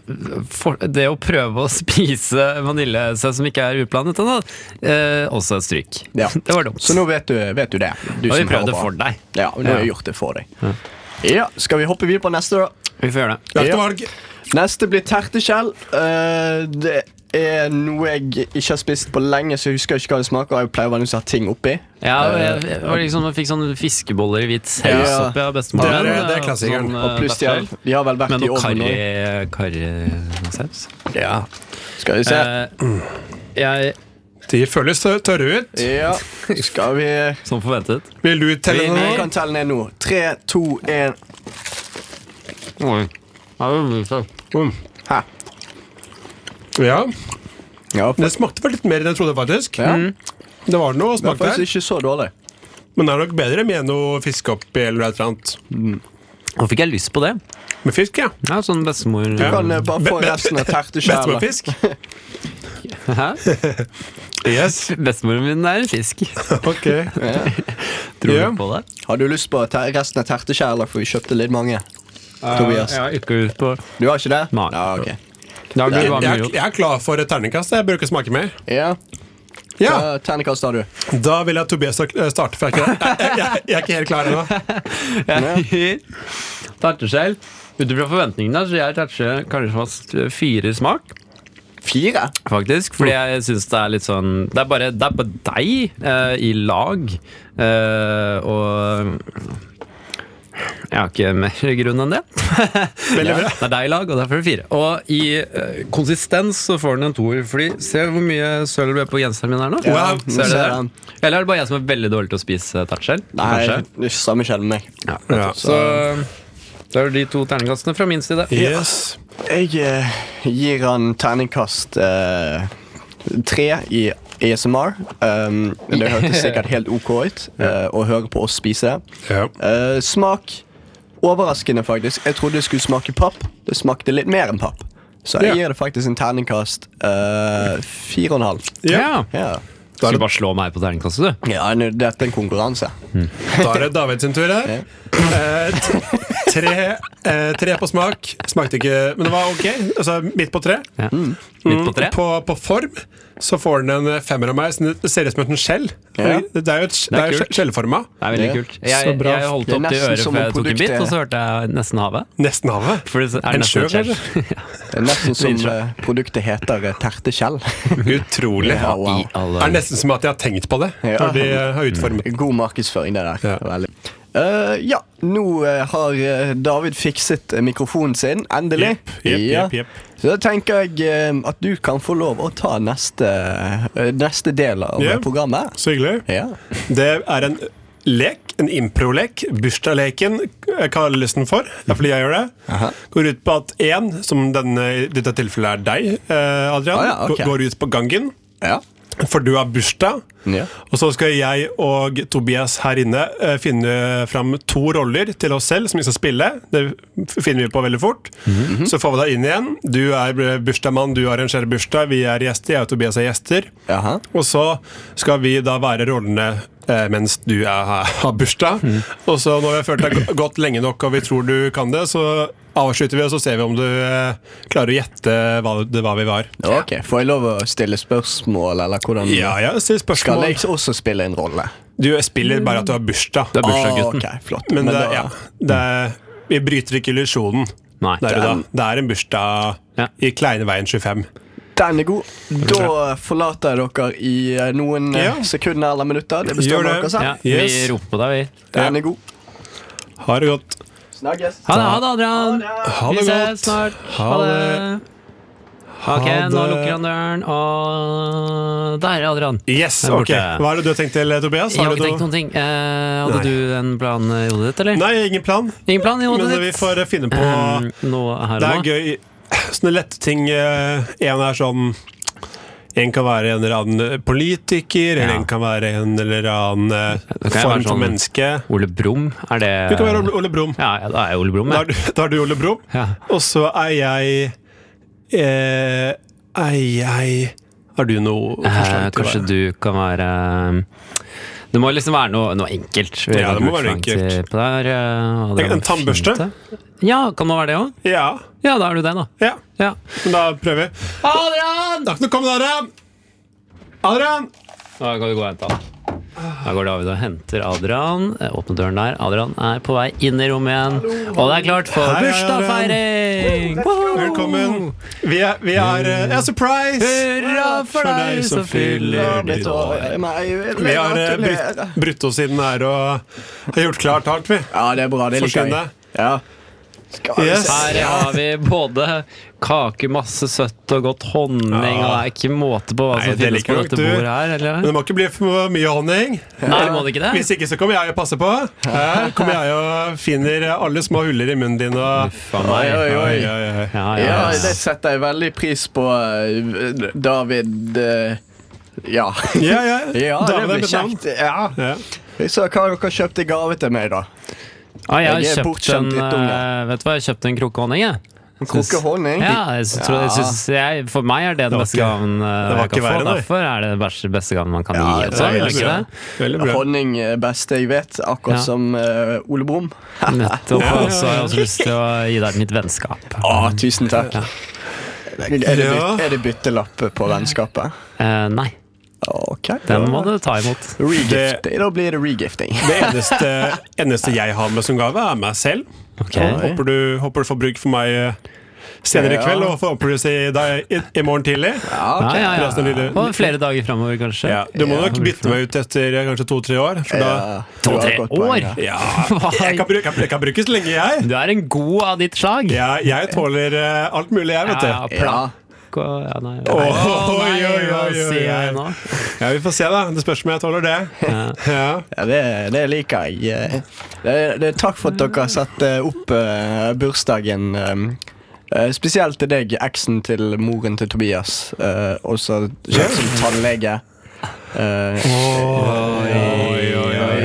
[SPEAKER 2] for, Det å prøve å spise vaniljesaus som ikke er utblandet ennå, eh, også et stryk.
[SPEAKER 3] Ja.
[SPEAKER 2] Det var dumt.
[SPEAKER 3] Så nå vet du, vet du det. Du
[SPEAKER 2] har vi
[SPEAKER 3] som hører
[SPEAKER 2] prøvd det
[SPEAKER 3] på.
[SPEAKER 2] for deg.
[SPEAKER 3] Ja, nå har jeg gjort det for deg. Ja, Skal vi hoppe videre på neste, da?
[SPEAKER 2] Vi får gjøre det.
[SPEAKER 4] Jeg har
[SPEAKER 3] Ja.
[SPEAKER 4] ikke noe valg.
[SPEAKER 3] Neste blir terteskjell. Eh, det er noe jeg ikke har spist på lenge, så jeg husker ikke hva det smaker. og Jeg pleier vanligvis å ha ting oppi.
[SPEAKER 2] Ja, og jeg, jeg, var liksom, jeg fikk sånne fiskeboller i hvit saus
[SPEAKER 3] Ja.
[SPEAKER 2] oppi av bestemoren.
[SPEAKER 4] Det er- det er
[SPEAKER 2] og
[SPEAKER 4] klassikeren.
[SPEAKER 2] sånn,
[SPEAKER 3] Og
[SPEAKER 2] eh,
[SPEAKER 3] pluss de har,
[SPEAKER 2] beffel.
[SPEAKER 3] de har vel vært
[SPEAKER 2] Med
[SPEAKER 3] i
[SPEAKER 2] noe
[SPEAKER 3] ovnen nå.
[SPEAKER 2] karri- karrisaus.
[SPEAKER 3] Ja. Skal vi se.
[SPEAKER 2] Eh, jeg
[SPEAKER 4] De føles tør- tørre ut.
[SPEAKER 3] ja. Skal vi
[SPEAKER 2] Som forventet.
[SPEAKER 4] Vil du telle
[SPEAKER 2] Eh. Vi-
[SPEAKER 4] nå?
[SPEAKER 3] Vi kan telle ned nå. Tre, to, én
[SPEAKER 4] Mm.
[SPEAKER 3] Hæ?
[SPEAKER 4] Ja.
[SPEAKER 3] Ja,
[SPEAKER 4] Det smakte vel litt mer enn jeg trodde, faktisk.
[SPEAKER 3] Ja.
[SPEAKER 2] Mm.
[SPEAKER 4] Det var noe
[SPEAKER 3] det er
[SPEAKER 4] smak der.
[SPEAKER 3] faktisk ikke så dårlig.
[SPEAKER 4] Men det er nok bedre med noe fisk oppi eller et eller annet.
[SPEAKER 2] Nå fikk jeg lyst på det.
[SPEAKER 4] Med fisk, ja.
[SPEAKER 2] Ja, sånn bestemor
[SPEAKER 3] Du kan eh, bare
[SPEAKER 4] Be-
[SPEAKER 3] få
[SPEAKER 4] be-
[SPEAKER 3] resten av terteskjellet.
[SPEAKER 4] Bestemorfisk.
[SPEAKER 2] Hæ?
[SPEAKER 4] Yes.
[SPEAKER 2] Bestemoren min er en fisk.
[SPEAKER 4] Ok.
[SPEAKER 2] Tror
[SPEAKER 4] Ja.
[SPEAKER 2] du på det?
[SPEAKER 3] Har du lyst på ter resten av terteskjellet, for vi kjøpte litt mange? Tobias.
[SPEAKER 2] Jeg har ikke lyst på det.
[SPEAKER 3] Du har ikke det?
[SPEAKER 2] Eh, Nei.
[SPEAKER 3] Ja, ok.
[SPEAKER 2] Da blir det
[SPEAKER 4] Jeg,
[SPEAKER 2] bare
[SPEAKER 4] jeg,
[SPEAKER 2] mye
[SPEAKER 4] jeg er klar for et terningkast. Jeg bør ikke smake mer.
[SPEAKER 3] Ja.
[SPEAKER 4] Ja,
[SPEAKER 3] Hva terningkast har du?
[SPEAKER 4] Da vil jeg at Tobias tar- eh, starter, for jeg er ikke, jeg, jeg, jeg er ikke helt klar ennå.
[SPEAKER 2] Terteskjell. Ut ifra forventningene så jeg terteskjell kanskje fast eh, fire smak,
[SPEAKER 3] Fire?
[SPEAKER 2] faktisk. Fordi
[SPEAKER 4] Oh.
[SPEAKER 2] jeg syns det er litt sånn Det er bare, det er bare deg eh, i lag. eh, og jeg har ikke mer grunn enn det.
[SPEAKER 4] Veldig bra.
[SPEAKER 2] Det er deg i lag, og derfor er det fire. Og i eh, konsistens så får den en toer. Fordi se hvor mye sølv det er på genseren min her nå.
[SPEAKER 4] Wow.
[SPEAKER 3] nå
[SPEAKER 2] Ser
[SPEAKER 3] ser
[SPEAKER 2] dere
[SPEAKER 3] jeg den.
[SPEAKER 2] det? Eller er det bare jeg som er veldig dårlig til å spise tertskjell?
[SPEAKER 3] Nei, det
[SPEAKER 2] Kanskje?
[SPEAKER 3] er ikke samme skjell med meg.
[SPEAKER 4] Ja.
[SPEAKER 2] Så da er det de to terningkastene fra min side.
[SPEAKER 4] Yes.
[SPEAKER 3] Jeg eh, gir han terningkast eh, tre i ASMR. Um, det hørtes sikkert helt OK ut eh, å høre på oss spise.
[SPEAKER 4] Ja.
[SPEAKER 3] Eh, smak overraskende, faktisk. Jeg trodde det skulle smake papp. Det smakte litt mer enn papp. Så jeg
[SPEAKER 4] Ja.
[SPEAKER 3] gir det faktisk en terningkast eh, fire og en halv.
[SPEAKER 4] Ja.
[SPEAKER 3] Ja.
[SPEAKER 2] Skal du bare slå meg på terningkastet, du?
[SPEAKER 3] ja, nå, dette er en konkurranse.
[SPEAKER 4] Da er det David sin tur her. Eh, t- tre, eh, tre på smak. Smakte ikke Men det var ok. Altså midt på tre.
[SPEAKER 2] Ja. Mm.
[SPEAKER 3] Mm.
[SPEAKER 2] Midt på tre?
[SPEAKER 4] På, på form så får den en femmer av meg. Så det ser ut som et skjell.
[SPEAKER 3] Ja.
[SPEAKER 4] Det er jo et, det er jo
[SPEAKER 2] kult.
[SPEAKER 4] skjellforma.
[SPEAKER 2] Det er veldig
[SPEAKER 3] Ja.
[SPEAKER 2] kult. Jeg,
[SPEAKER 4] Så bra.
[SPEAKER 2] jeg holdt
[SPEAKER 3] Det er
[SPEAKER 2] opp til
[SPEAKER 3] nesten
[SPEAKER 2] øret
[SPEAKER 3] som
[SPEAKER 2] før jeg
[SPEAKER 3] om
[SPEAKER 2] tok en bit,
[SPEAKER 3] produktet-
[SPEAKER 2] og så hørte jeg nesten havet.
[SPEAKER 4] Nesten havet.
[SPEAKER 2] For det er
[SPEAKER 4] En
[SPEAKER 2] nesten
[SPEAKER 4] sjø,
[SPEAKER 2] et skjell.
[SPEAKER 3] Det er nesten som eh, produktet heter eh, terteskjell.
[SPEAKER 4] Utrolig.
[SPEAKER 3] Ja, wow.
[SPEAKER 2] I alle
[SPEAKER 4] Det er nesten som at jeg har tenkt på det
[SPEAKER 3] Ja.
[SPEAKER 4] når de eh, har utformet det.
[SPEAKER 3] God markedsføring, det der.
[SPEAKER 4] Ja.
[SPEAKER 3] Veldig. Eh, ja, nå eh, har eh, David fikset eh, mikrofonen sin, endelig.
[SPEAKER 4] Jepp, jepp,
[SPEAKER 3] Ja.
[SPEAKER 4] jepp, jepp.
[SPEAKER 3] Så da tenker jeg eh, at du kan få lov å ta neste, eh, neste del av
[SPEAKER 4] Ja.
[SPEAKER 3] programmet.
[SPEAKER 4] Så hyggelig.
[SPEAKER 3] Ja.
[SPEAKER 4] Det er en lek, en improlek. Bursdagsleken eh, kalles den for. Det er fordi jeg gjør det.
[SPEAKER 3] Aha.
[SPEAKER 4] Går ut på at én, som denne, i dette tilfellet er deg, eh, Adrian,
[SPEAKER 3] Ah, ja, ok.
[SPEAKER 4] gå- går ut på gangen.
[SPEAKER 3] ja.
[SPEAKER 4] For du har bursdag,
[SPEAKER 3] Ja.
[SPEAKER 4] og så skal jeg og Tobias her inne eh, finne fram to roller til oss selv som vi skal spille. Det f- finner vi på veldig fort.
[SPEAKER 3] Mhm.
[SPEAKER 4] Så får vi deg inn igjen. Du er bursdagsmann, du arrangerer bursdag, vi er gjester. Jeg og Tobias er gjester.
[SPEAKER 3] Jaha.
[SPEAKER 4] Og så skal vi da være rollene eh, mens du er, har bursdag.
[SPEAKER 3] Mhm.
[SPEAKER 4] Og så når vi har følt deg go- godt lenge nok og vi tror du kan det, så avslutter vi og så ser vi om du eh, klarer å gjette hva det var vi var.
[SPEAKER 3] Ok, Får jeg lov å stille spørsmål, eller hvordan
[SPEAKER 4] Ja, ja, still
[SPEAKER 3] Skal
[SPEAKER 4] spørsmål.
[SPEAKER 3] jeg også spille en rolle?
[SPEAKER 4] Du spiller bare at du har bursdag. Ah,
[SPEAKER 2] Du er bursdagsgutten.
[SPEAKER 3] ok, flott.
[SPEAKER 4] Men, det,
[SPEAKER 3] da-
[SPEAKER 4] ja, det er, vi bryter ikke illusjonen.
[SPEAKER 2] Nei.
[SPEAKER 4] Det, er det, da. det er en bursdag
[SPEAKER 2] Ja.
[SPEAKER 4] i Kleine veien 25.
[SPEAKER 3] Den er god. Da forlater jeg dere i eh, noen eh,
[SPEAKER 4] Ja.
[SPEAKER 3] sekunder eller minutter. Det
[SPEAKER 4] Gjør
[SPEAKER 3] består av
[SPEAKER 4] det.
[SPEAKER 3] dere selv.
[SPEAKER 2] Ja, vi
[SPEAKER 4] Yes.
[SPEAKER 2] roper på deg, vi.
[SPEAKER 3] Den er god.
[SPEAKER 4] Ha det godt.
[SPEAKER 3] Snakkes.
[SPEAKER 2] Ha det, ha det Adrian!
[SPEAKER 4] Ha
[SPEAKER 2] Vi
[SPEAKER 4] det
[SPEAKER 2] ses snart.
[SPEAKER 4] godt.
[SPEAKER 2] Ha
[SPEAKER 4] Ha
[SPEAKER 2] det.
[SPEAKER 4] det.
[SPEAKER 2] Ok,
[SPEAKER 4] Ha
[SPEAKER 2] nå
[SPEAKER 4] det.
[SPEAKER 2] lukker han døren, og der er Adrian.
[SPEAKER 4] Yes,
[SPEAKER 2] Der
[SPEAKER 4] ok.
[SPEAKER 2] borte.
[SPEAKER 4] Hva er det du har tenkt til, Tobias?
[SPEAKER 2] Jeg
[SPEAKER 4] Har
[SPEAKER 2] har
[SPEAKER 4] du
[SPEAKER 2] ikke tenkt
[SPEAKER 4] noe?
[SPEAKER 2] noen ting. Eh, hadde
[SPEAKER 4] Nei.
[SPEAKER 2] du en plan i hodet ditt, eller?
[SPEAKER 4] Nei, ingen plan.
[SPEAKER 2] Ingen plan i hodet
[SPEAKER 4] Men
[SPEAKER 2] ditt?
[SPEAKER 4] vi får finne på
[SPEAKER 2] Eh, nå her
[SPEAKER 4] Det er
[SPEAKER 2] og nå.
[SPEAKER 4] gøy. Sånne lette ting. eh, En er sånn en kan være en eller annen eh, politiker, eller
[SPEAKER 2] Ja.
[SPEAKER 4] en kan være en eller annen eh,
[SPEAKER 2] Det kan jo
[SPEAKER 4] form
[SPEAKER 2] være
[SPEAKER 4] for
[SPEAKER 2] sånn-
[SPEAKER 4] menneske.
[SPEAKER 2] Ole Brumm, er det
[SPEAKER 4] Du kan være Ole- Ole Brumm.
[SPEAKER 2] Ja, ja, da er jeg Ole Brumm,
[SPEAKER 4] Da er
[SPEAKER 2] jeg.
[SPEAKER 4] du, da er du Ole Brumm.
[SPEAKER 2] Ja.
[SPEAKER 4] Og så er jeg eh, Er jeg Har du noe
[SPEAKER 2] Eh,
[SPEAKER 4] forslag til
[SPEAKER 2] kanskje
[SPEAKER 4] hva-
[SPEAKER 2] du kan være ehm, Det må liksom være noe, noe enkelt. Vi
[SPEAKER 4] Ja, det må
[SPEAKER 2] lager forslag
[SPEAKER 4] være enkelt.
[SPEAKER 2] til- på der, eh, Adrian,
[SPEAKER 4] En tannbørste?
[SPEAKER 2] fint, det. Ja, kan det være det òg?
[SPEAKER 4] Ja.
[SPEAKER 2] Ja, da er du det, da.
[SPEAKER 4] ja.
[SPEAKER 2] Ja.
[SPEAKER 4] Men da prøver vi. Adrian! Det er ikke noe kom, Adrian! Adrian!
[SPEAKER 2] Da kan vi gå og hente han. Da går David og henter Adrian. Eh, Åpne døren der. Adrian er på vei inn i rommet igjen. Og det er klart for
[SPEAKER 4] Hei,
[SPEAKER 2] bursdagsfeiring! Woohoo!
[SPEAKER 4] Velkommen. Vi er, vi er eh, ja, surprise!
[SPEAKER 2] Oh. Hurra for deg som fyller
[SPEAKER 3] Blitt
[SPEAKER 2] ditt
[SPEAKER 3] å-
[SPEAKER 2] år.
[SPEAKER 3] Nei, jeg vil
[SPEAKER 4] Vi har eh, brutt,
[SPEAKER 3] gratulere.
[SPEAKER 4] brutt oss inn her og har gjort klart hardt, vi.
[SPEAKER 3] Ja, det er bra. Det liker jeg.
[SPEAKER 4] Forsvinn deg.
[SPEAKER 3] Ja. Skal vi
[SPEAKER 4] Yes.
[SPEAKER 3] se.
[SPEAKER 2] Her har vi både kake, masse søtt og godt honning, og det er ikke måte på hva
[SPEAKER 4] Nei,
[SPEAKER 2] som
[SPEAKER 4] det
[SPEAKER 2] Altså, finnes
[SPEAKER 4] liker
[SPEAKER 2] på
[SPEAKER 4] nok
[SPEAKER 2] dette
[SPEAKER 4] du.
[SPEAKER 2] bordet her.
[SPEAKER 4] Men
[SPEAKER 2] Eller?
[SPEAKER 4] det må ikke bli for mye honning.
[SPEAKER 2] Nei, det må det ikke det?
[SPEAKER 4] Hvis ikke så kommer jeg og passer på. Her kommer jeg og finner alle små huller i munnen din. Og
[SPEAKER 2] Faen meg.
[SPEAKER 3] Oi, oi, oi.
[SPEAKER 4] oi.
[SPEAKER 2] Ja, ja, Ah,
[SPEAKER 3] Ja,
[SPEAKER 2] ja.
[SPEAKER 3] det setter jeg veldig pris på, eh, David eh, Ja.
[SPEAKER 4] Ja, ja.
[SPEAKER 3] Ja, det
[SPEAKER 4] David er
[SPEAKER 3] blir
[SPEAKER 4] mitt navn.
[SPEAKER 3] kjekt. Ja.
[SPEAKER 4] Ja.
[SPEAKER 3] Så hva har dere kjøpt i gave til meg, da?
[SPEAKER 2] Ah, jeg har
[SPEAKER 3] Jeg er
[SPEAKER 2] kjøpt en,
[SPEAKER 3] bortskjemt drittunge.
[SPEAKER 2] eh, vet du hva, jeg har kjøpt en krukke honning, jeg.
[SPEAKER 3] En krukke honning?
[SPEAKER 2] Ja, jeg sy- tror, jeg synes, jeg, for meg er det den
[SPEAKER 4] var
[SPEAKER 2] beste
[SPEAKER 4] ikke-
[SPEAKER 2] gaven eh,
[SPEAKER 4] det var
[SPEAKER 2] jeg kan
[SPEAKER 4] ikke
[SPEAKER 2] få.
[SPEAKER 4] verre, nei.
[SPEAKER 2] Derfor er det den beste- beste gaven man kan
[SPEAKER 3] Ja,
[SPEAKER 2] gi.
[SPEAKER 3] det
[SPEAKER 2] Altså,
[SPEAKER 3] er
[SPEAKER 2] er det
[SPEAKER 3] veldig
[SPEAKER 2] ikke
[SPEAKER 4] bra.
[SPEAKER 2] det?
[SPEAKER 4] Veldig bra.
[SPEAKER 3] Honning er beste jeg vet, akkurat
[SPEAKER 2] Ja.
[SPEAKER 3] som eh, Ole Brumm.
[SPEAKER 2] Nettopp.
[SPEAKER 4] Ja, ja, ja.
[SPEAKER 2] Og så har jeg også lyst til å gi deg mitt vennskap.
[SPEAKER 3] Å, tusen takk. Er det,
[SPEAKER 4] Ja.
[SPEAKER 3] byt, er det byttelapp på vennskapet?
[SPEAKER 2] Eh, nei,
[SPEAKER 3] Ok.
[SPEAKER 2] den må du ta imot.
[SPEAKER 3] Regift. Da blir det regifting.
[SPEAKER 4] Det eneste, eneste jeg har med som gave, er meg selv.
[SPEAKER 2] Ok.
[SPEAKER 4] Håper du, håper du får bruk for meg eh, senere i
[SPEAKER 3] Ja.
[SPEAKER 4] kveld, og håper du ser deg i, i morgen tidlig.
[SPEAKER 3] Ja, ok.
[SPEAKER 2] Ja, ja, ja.
[SPEAKER 4] Resten av livet.
[SPEAKER 2] Og flere dager framover, kanskje.
[SPEAKER 4] Ja, du må
[SPEAKER 2] Ja.
[SPEAKER 4] nok bytte meg ut etter eh, kanskje to-tre år. For da,
[SPEAKER 3] Ja, du har
[SPEAKER 2] To-tre
[SPEAKER 3] godt poeng,
[SPEAKER 2] år?
[SPEAKER 3] ja.
[SPEAKER 4] ja, jeg, kan bruke, jeg kan brukes lenge, jeg.
[SPEAKER 2] Du er en god av ditt slag.
[SPEAKER 4] Ja, jeg tåler eh, alt mulig, jeg, vet du.
[SPEAKER 2] Ja,
[SPEAKER 3] Ja.
[SPEAKER 2] K- ja, nei, nei.
[SPEAKER 4] Oi,
[SPEAKER 2] Å, nei,
[SPEAKER 4] oi, oi,
[SPEAKER 2] hva
[SPEAKER 4] oi,
[SPEAKER 2] sier jeg
[SPEAKER 4] oi.
[SPEAKER 2] nå?
[SPEAKER 4] Ja, Vi får se, da. Det spørs om jeg tåler det. Ja.
[SPEAKER 3] Ja, det, det liker jeg. Eh, Det, det, takk for at dere satte opp eh, bursdagen. eh, eh, spesielt til deg, eksen til moren til Tobias. eh, også kjent som tannlege. Eh,
[SPEAKER 4] Oi, oi,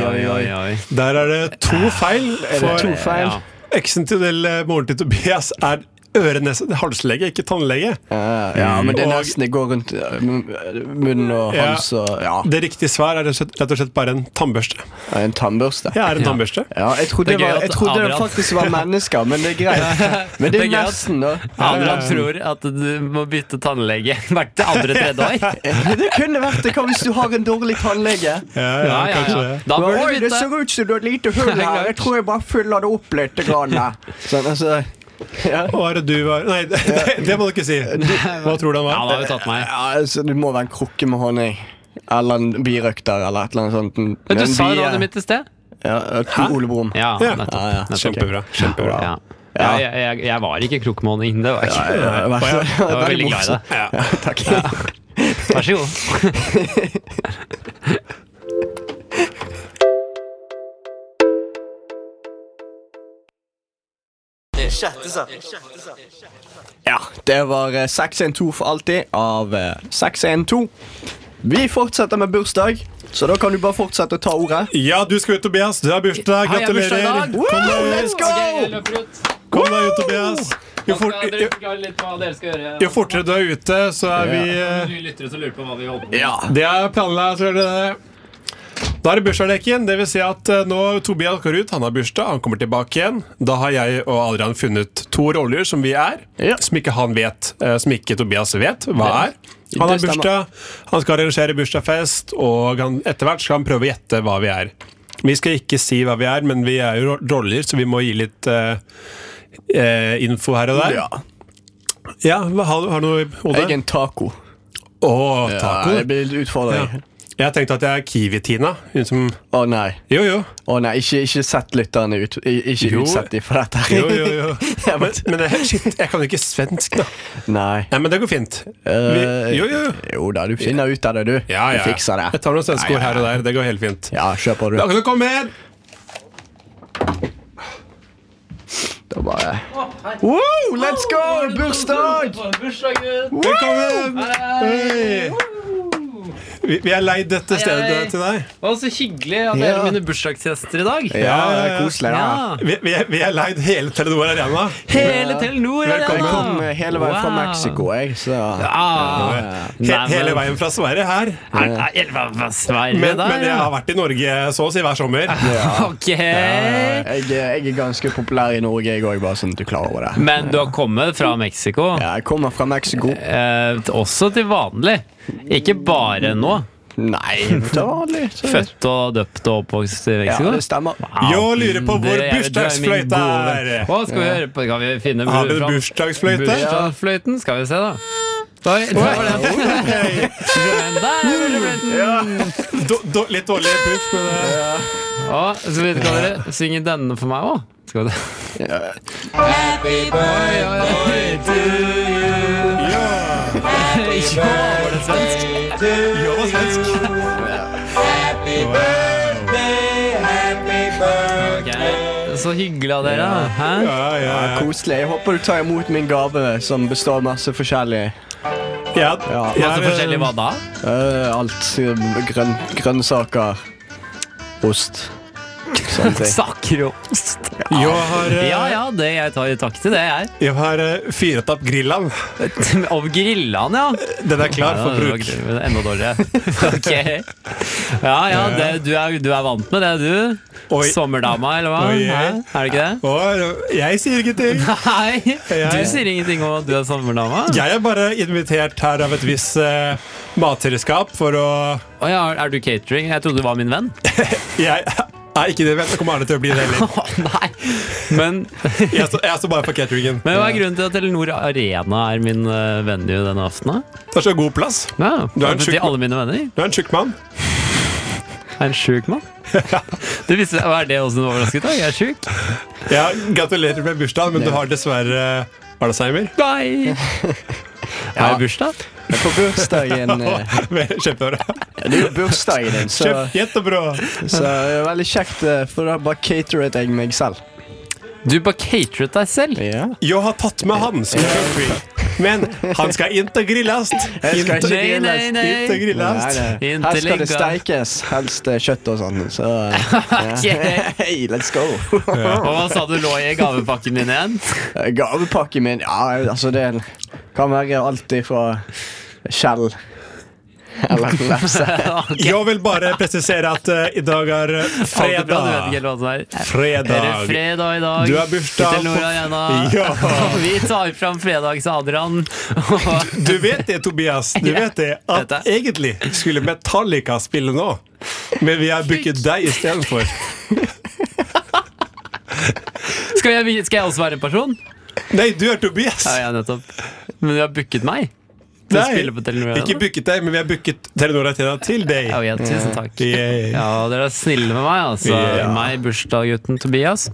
[SPEAKER 4] oi, oi. Der er det to feil. For
[SPEAKER 3] to feil?
[SPEAKER 2] Ja.
[SPEAKER 4] eksen til eh, moren til Tobias er ørenese- halslege, ikke tannlege.
[SPEAKER 3] eh, ja, men det er
[SPEAKER 4] Og-
[SPEAKER 3] nesten det går rundt eh, mun- munnen og
[SPEAKER 4] Ja.
[SPEAKER 3] hals og ja,
[SPEAKER 4] Det riktige svar er rett og slett- rett og slett bare en tannbørste.
[SPEAKER 3] en tannbørste.
[SPEAKER 4] Jeg er en tannbørste.
[SPEAKER 3] Ja, jeg trodde
[SPEAKER 2] Det er
[SPEAKER 3] det,
[SPEAKER 2] gøy
[SPEAKER 3] var, jeg
[SPEAKER 2] at
[SPEAKER 3] trodde det
[SPEAKER 2] Adrian-
[SPEAKER 3] faktisk var mennesker, men det er greit. Men
[SPEAKER 2] Det
[SPEAKER 3] det er
[SPEAKER 2] er gøy at-
[SPEAKER 3] nesten, da.
[SPEAKER 2] Adrian tror at du må bytte tannlege hvert andre tredje år.
[SPEAKER 3] Eh, Det kunne vært det. Hva hvis du har en dårlig tannlege?
[SPEAKER 4] Ja, ja,
[SPEAKER 2] Ja, ja,
[SPEAKER 4] kanskje
[SPEAKER 2] ja.
[SPEAKER 4] det.
[SPEAKER 2] Da bør
[SPEAKER 3] Oi,
[SPEAKER 2] du
[SPEAKER 3] det
[SPEAKER 2] bytte.
[SPEAKER 3] ser ut som du har et lite hull her. Jeg tror jeg bare fyller det opp litt. Grann. her. Sånn, altså, ja.
[SPEAKER 4] Hva er det du var Nei, det, det må du ikke si. Hva tror du
[SPEAKER 2] Ja,
[SPEAKER 4] han var?
[SPEAKER 2] han har jo tatt meg.
[SPEAKER 3] ja, altså, det må være en krukke med honning. Eller en birøkter eller et eller annet sånt. En-
[SPEAKER 2] Men du
[SPEAKER 3] en
[SPEAKER 2] sa jo
[SPEAKER 3] bie.
[SPEAKER 2] navnet mitt i sted.
[SPEAKER 3] Ja, et Ole Brumm.
[SPEAKER 2] Ja,
[SPEAKER 4] Ja.
[SPEAKER 2] nettopp.
[SPEAKER 3] Ja, ja.
[SPEAKER 2] nettopp.
[SPEAKER 4] Kjempebra. kjempebra
[SPEAKER 2] Ja. Ja, jeg, jeg, jeg var ikke krokmåning. Det var jeg
[SPEAKER 3] Ja,
[SPEAKER 2] ikke.
[SPEAKER 3] ja, vær så-
[SPEAKER 2] Jeg var veldig glad i
[SPEAKER 3] morsomt.
[SPEAKER 2] deg.
[SPEAKER 4] Ja.
[SPEAKER 3] Takk.
[SPEAKER 2] Vær så god.
[SPEAKER 3] Ja, det var eh, 612 for alltid av eh, 612. Vi fortsetter med bursdag, så da kan du bare fortsette å ta ordet.
[SPEAKER 4] Ja, du skal ut, Tobias. Du har bursdag.
[SPEAKER 2] Hei, jeg har bursdag i dag.
[SPEAKER 4] Gratulerer. Kom
[SPEAKER 3] Wow,
[SPEAKER 4] deg
[SPEAKER 3] let's
[SPEAKER 4] ut.
[SPEAKER 3] go!
[SPEAKER 4] Kom deg ut, Tobias. Jo, fort, jo, jo fortere du er ute, så er vi eh,
[SPEAKER 3] Ja.
[SPEAKER 4] Det er planlagt, så er det det. Da er det bursdagsleken. Det vil si at eh, nå Tobias går ut, han har bursdag, han kommer tilbake igjen. Da har jeg og Adrian funnet to roller som vi er,
[SPEAKER 3] Ja.
[SPEAKER 4] som ikke han vet, eh, som ikke Tobias vet hva er. Han har
[SPEAKER 3] Det stemmer.
[SPEAKER 4] bursdag, han skal arrangere bursdagsfest, og han, etter hvert skal han prøve å gjette hva vi er. Vi skal ikke si hva vi er, men vi er jo ro- roller, så vi må gi litt eh, eh, info her og der.
[SPEAKER 3] ja.
[SPEAKER 4] Ja, hva har, har du noe i hodet?
[SPEAKER 3] Jeg er en taco.
[SPEAKER 4] Å,
[SPEAKER 3] Ja,
[SPEAKER 4] taco.
[SPEAKER 3] det blir litt utfordring.
[SPEAKER 4] Ja. Jeg tenkte at jeg er Kiwi-Tina. Hun som
[SPEAKER 3] Å nei.
[SPEAKER 4] Jo, jo.
[SPEAKER 3] Å nei, Ikke, ikke sett lytterne ut. i- Ikke
[SPEAKER 4] Jo.
[SPEAKER 3] utsett dem for dette. her.
[SPEAKER 4] jo, jo, jo.
[SPEAKER 3] Jeg
[SPEAKER 4] Men,
[SPEAKER 3] vet.
[SPEAKER 4] men det- shit, jeg kan jo ikke svensk, da.
[SPEAKER 3] Nei.
[SPEAKER 4] Nei, men det går fint.
[SPEAKER 3] Eh,
[SPEAKER 4] Vi, jo, jo, jo.
[SPEAKER 3] Jo da, du finner ut av det, du.
[SPEAKER 4] Ja, ja.
[SPEAKER 3] Du fikser det.
[SPEAKER 4] Jeg tar noen svenske
[SPEAKER 3] Ja,
[SPEAKER 4] ord
[SPEAKER 3] ja,
[SPEAKER 4] her og der. Det går helt fint.
[SPEAKER 3] Ja, kjør på, du.
[SPEAKER 4] Da kan du komme inn!
[SPEAKER 3] Da bare Wow, let's go! Bursdag!
[SPEAKER 4] Velkommen! Hei! Vi, vi er leid dette stedet
[SPEAKER 2] Hei.
[SPEAKER 4] til deg.
[SPEAKER 2] Og så hyggelig at dere
[SPEAKER 3] Ja.
[SPEAKER 2] er mine bursdagsgjester i dag.
[SPEAKER 3] Ja, det er koselig, da.
[SPEAKER 2] Ja.
[SPEAKER 4] Vi, vi, er, vi er leid hele Telenor Arena.
[SPEAKER 2] Hele Telenor er
[SPEAKER 3] Jeg
[SPEAKER 4] Velkommen.
[SPEAKER 3] kom eh, hele veien fra
[SPEAKER 2] Wow.
[SPEAKER 3] Mexico, jeg, så
[SPEAKER 2] Ah.
[SPEAKER 4] He,
[SPEAKER 2] Nei, men-
[SPEAKER 4] hele veien fra Sverige her.
[SPEAKER 2] Er, er, er, hva, hva Sverige
[SPEAKER 4] Men,
[SPEAKER 2] der,
[SPEAKER 4] men jeg har vært i Norge så å si hver sommer.
[SPEAKER 2] ja. Ok.
[SPEAKER 3] jeg, jeg er ganske populær i Norge, jeg òg, bare sånn at du er klar over det.
[SPEAKER 2] Men du har kommet fra Mexico,
[SPEAKER 3] Ja, Jeg kommer fra Mexico.
[SPEAKER 2] eh, også til vanlig. Ikke bare nå.
[SPEAKER 3] Nei, det var litt eh,
[SPEAKER 2] Født og døpt og oppvokst i
[SPEAKER 3] Ja,
[SPEAKER 2] Mexico.
[SPEAKER 3] det stemmer.
[SPEAKER 4] Jeg lurer på hvor
[SPEAKER 2] Dere er-
[SPEAKER 4] bursdagsfløyta
[SPEAKER 2] du er min gode
[SPEAKER 4] er.
[SPEAKER 2] venn. Å, skal vi høre på? Kan vi finne
[SPEAKER 4] Har vi en
[SPEAKER 2] fram-
[SPEAKER 4] bursdagsfløyte?
[SPEAKER 2] Bursdagsfløyten? Skal vi se, da. Oi, der var den.
[SPEAKER 4] Hei.
[SPEAKER 2] Der er bursdagsfløyten.
[SPEAKER 4] Do, do, litt dårlig puff, men det Mm.
[SPEAKER 2] Å, så vet dere hva dere synger denne for meg òg. Skal vi se.
[SPEAKER 4] Ja,
[SPEAKER 2] Ja, var det svensk?
[SPEAKER 4] ja det var svensk.
[SPEAKER 2] Ok, Så hyggelig av dere. da. Hæ?
[SPEAKER 4] Ja, ja, ja.
[SPEAKER 3] Koselig. Jeg håper du tar imot min gave, som består av masse forskjellig.
[SPEAKER 4] ja.
[SPEAKER 3] Ja.
[SPEAKER 4] jeg
[SPEAKER 2] Masse
[SPEAKER 4] er-
[SPEAKER 2] forskjellig hva da?
[SPEAKER 3] Eh, alt eh, grønn, grønnsaker. Ost. Sånne ting.
[SPEAKER 2] Sakrost.
[SPEAKER 4] Jeg har, eh,
[SPEAKER 2] Ja ja, det jeg tar i takt til det, jeg.
[SPEAKER 4] jeg har eh, fyret opp grillen.
[SPEAKER 2] Om grillene, ja.
[SPEAKER 4] Den er klar for
[SPEAKER 2] det var
[SPEAKER 4] bruk.
[SPEAKER 2] gøy, men Enda dårligere. Ok. Ja ja, det, du, er, du er vant med det, du.
[SPEAKER 4] Oi.
[SPEAKER 2] Sommerdama, eller hva?
[SPEAKER 4] Oi, ja.
[SPEAKER 2] Hæ? Er det ikke det?
[SPEAKER 4] Og jeg sier ingenting.
[SPEAKER 2] Nei, du
[SPEAKER 4] Jeg-
[SPEAKER 2] sier ingenting om at du er sommerdama.
[SPEAKER 4] Jeg er bare invitert her av et visst eh, matselskap for å
[SPEAKER 2] Å ja, er du catering? Jeg trodde du var min venn.
[SPEAKER 4] Jeg er ikke det, men det kommer aldri til å bli det heller.
[SPEAKER 2] Å nei, men,
[SPEAKER 4] Jeg står, jeg står bare for cateringen.
[SPEAKER 2] men hva er grunnen til at Telenor Arena er min eh, venue denne aftenen? da?
[SPEAKER 4] Det er så god plass.
[SPEAKER 2] Ja,
[SPEAKER 4] Du er en
[SPEAKER 2] til
[SPEAKER 4] sjuk
[SPEAKER 2] alle mine venner.
[SPEAKER 4] Du er en tjukk mann.
[SPEAKER 2] Jeg er en sjuk mann. Det visste, er det også en overraskelse? Jeg er sjuk.
[SPEAKER 4] Ja, gratulerer med bursdagen, men du har dessverre Alzheimer.
[SPEAKER 2] Nei! Har jeg bursdag?
[SPEAKER 3] Men På bursdagen eh,
[SPEAKER 4] Kjempebra.
[SPEAKER 3] Det er jo bursdagen din, så,
[SPEAKER 4] Kjempe- Kjempebra.
[SPEAKER 3] så det er veldig kjekt, eh, for da bare cateret jeg meg selv.
[SPEAKER 2] Du bare cateret deg selv.
[SPEAKER 3] Ja.
[SPEAKER 4] Jeg har tatt med han som kjøpfri. Men han skal ikke grilles.
[SPEAKER 3] Jeg skal ikke
[SPEAKER 2] Nei, nei, nei.
[SPEAKER 4] Ikke
[SPEAKER 3] Nei,
[SPEAKER 4] grilles.
[SPEAKER 3] nei.
[SPEAKER 2] Inte
[SPEAKER 3] Her skal det
[SPEAKER 2] ligga.
[SPEAKER 3] steikes, helst eh, kjøtt og sånn. Så eh,
[SPEAKER 2] Ok.
[SPEAKER 3] Hei, let's go! Eh,
[SPEAKER 2] Og hva sa du lå i gavepakken din igjen?
[SPEAKER 3] Gavepakken min Ja, altså, det kan være alt ifra skjell eller lefse.
[SPEAKER 4] Jeg vil bare presisere at eh, i dag er eh,
[SPEAKER 2] Alt er bra, du vet ikke
[SPEAKER 4] fredag.
[SPEAKER 2] helt hva som er. Er det
[SPEAKER 4] Fredag.
[SPEAKER 2] fredag i dag?
[SPEAKER 4] Du har bursdag
[SPEAKER 2] Til Nora
[SPEAKER 4] på-
[SPEAKER 2] Arena.
[SPEAKER 4] Ja.
[SPEAKER 2] Og vi tar fram fredags-Adrian. Og
[SPEAKER 4] Du vet det, Tobias. Du vet det
[SPEAKER 2] Dette.
[SPEAKER 4] at egentlig skulle Metallica spille nå, men vi har booket deg istedenfor.
[SPEAKER 2] skal, jeg, skal jeg også være en person?
[SPEAKER 4] Nei, du er Tobias.
[SPEAKER 2] Ja, ja, nettopp. Men du har booket meg? Til å spille på Telenor Arena?
[SPEAKER 4] ikke booket deg, men vi har booket Telenor Arena til deg.
[SPEAKER 2] Ja, ja, tusen takk.
[SPEAKER 4] Yeah.
[SPEAKER 2] Ja, dere er snille med meg, altså.
[SPEAKER 4] Ja.
[SPEAKER 2] Meg, bursdagsgutten Tobias.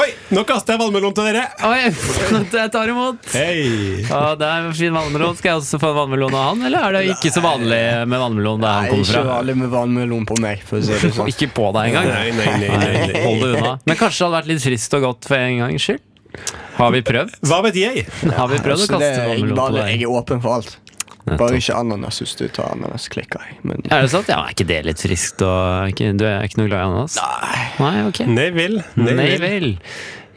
[SPEAKER 4] Oi, nå kaster jeg vannmelon til dere!
[SPEAKER 2] Oi, jeg tar imot!
[SPEAKER 4] Hei!
[SPEAKER 2] Ja, det er en fin vannmelon. Skal jeg også få en vannmelon av han, eller er det ikke så vanlig med vannmelon der han
[SPEAKER 3] Nei,
[SPEAKER 2] kommer
[SPEAKER 3] ikke
[SPEAKER 2] fra?
[SPEAKER 3] vanlig med vannmelon på meg, for å si det sånn.
[SPEAKER 2] Ikke på deg engang.
[SPEAKER 4] Nei, nei, nei, nei, nei.
[SPEAKER 2] Hold det unna. Men kanskje det hadde vært litt frist og godt for en gangs skyld? Har vi prøvd?
[SPEAKER 4] Hva vet jeg?
[SPEAKER 2] Har vi prøvd å
[SPEAKER 3] Så
[SPEAKER 2] kaste
[SPEAKER 4] altså,
[SPEAKER 3] det, jeg,
[SPEAKER 2] vannmelon på
[SPEAKER 3] bare, jeg
[SPEAKER 2] deg?
[SPEAKER 3] er åpen for alt. Bare ikke ananas hvis du tar ananas, klikker jeg. Men
[SPEAKER 2] Er det sant? Ja, er ikke det litt friskt? Og er ikke, du er ikke noe glad i ananas? Nei, ok.
[SPEAKER 4] Nei vel.
[SPEAKER 2] Nei vel.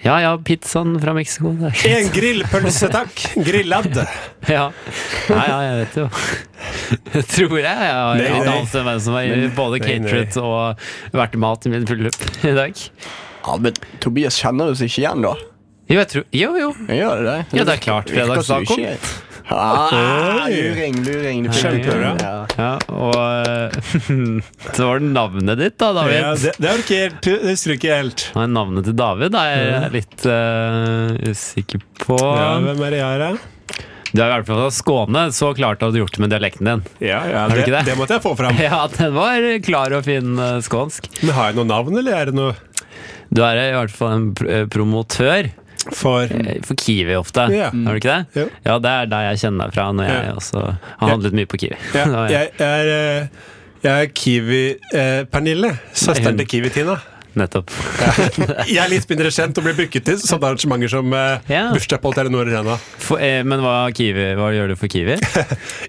[SPEAKER 2] Ja ja, pizzaen fra Mexico. det er greit.
[SPEAKER 4] En grillpølse, takk. Grillad.
[SPEAKER 2] Ja. ja, ja, jeg vet jo. Jeg tror jeg jeg har
[SPEAKER 4] Nei,
[SPEAKER 2] en
[SPEAKER 4] nei.
[SPEAKER 2] anelse om hvem som har både
[SPEAKER 4] Nei, nei.
[SPEAKER 2] cateret og vært mat i min bryllup i dag.
[SPEAKER 3] Ja, men Tobias kjenner oss ikke igjen, da.
[SPEAKER 2] Jo, jeg tror, jo, jo.
[SPEAKER 3] Jeg gjør det.
[SPEAKER 2] Ja, det er klart,
[SPEAKER 3] Virker som
[SPEAKER 2] fredagstaco.
[SPEAKER 3] ikke- Ah, luring, luring. du fikk det.
[SPEAKER 4] Kjempebra.
[SPEAKER 3] Ja.
[SPEAKER 2] Ja, og eh, så var det navnet ditt, da, David.
[SPEAKER 4] Ja, det, det har du ikke helt Det husker du ikke helt.
[SPEAKER 2] Nei, Navnet til David er jeg litt eh, usikker på.
[SPEAKER 4] Ja, hvem er det jeg er, da?
[SPEAKER 2] Du er i hvert fall fra Skåne, så klart har du gjort det med dialekten din.
[SPEAKER 4] Ja, ja,
[SPEAKER 2] du
[SPEAKER 4] det,
[SPEAKER 2] ikke det?
[SPEAKER 4] det måtte jeg få fram.
[SPEAKER 2] Ja, den var klar og fin eh, skånsk.
[SPEAKER 4] Men har jeg noe navn, eller er det noe
[SPEAKER 2] Du er i hvert fall en pr eh, promotør
[SPEAKER 4] for
[SPEAKER 2] eh, for Kiwi ofte,
[SPEAKER 4] Ja.
[SPEAKER 2] har du ikke det?
[SPEAKER 4] Jo.
[SPEAKER 2] Ja, det er der jeg kjenner deg fra når jeg
[SPEAKER 4] Ja.
[SPEAKER 2] også har handlet mye på Kiwi.
[SPEAKER 4] Ja,
[SPEAKER 2] Da var jeg-
[SPEAKER 4] jeg, jeg er eh, jeg er Kiwi-Pernille.
[SPEAKER 2] Nei,
[SPEAKER 4] søsteren
[SPEAKER 2] hun-
[SPEAKER 4] til Kiwi-Tina.
[SPEAKER 2] Nettopp.
[SPEAKER 4] Jeg er litt mindre kjent og blir bruket til sånne arrangementer som eh,
[SPEAKER 2] Ja.
[SPEAKER 4] bursdag på Telenor Arena.
[SPEAKER 2] For, eh, men hva, kiwi, hva gjør du for Kiwi?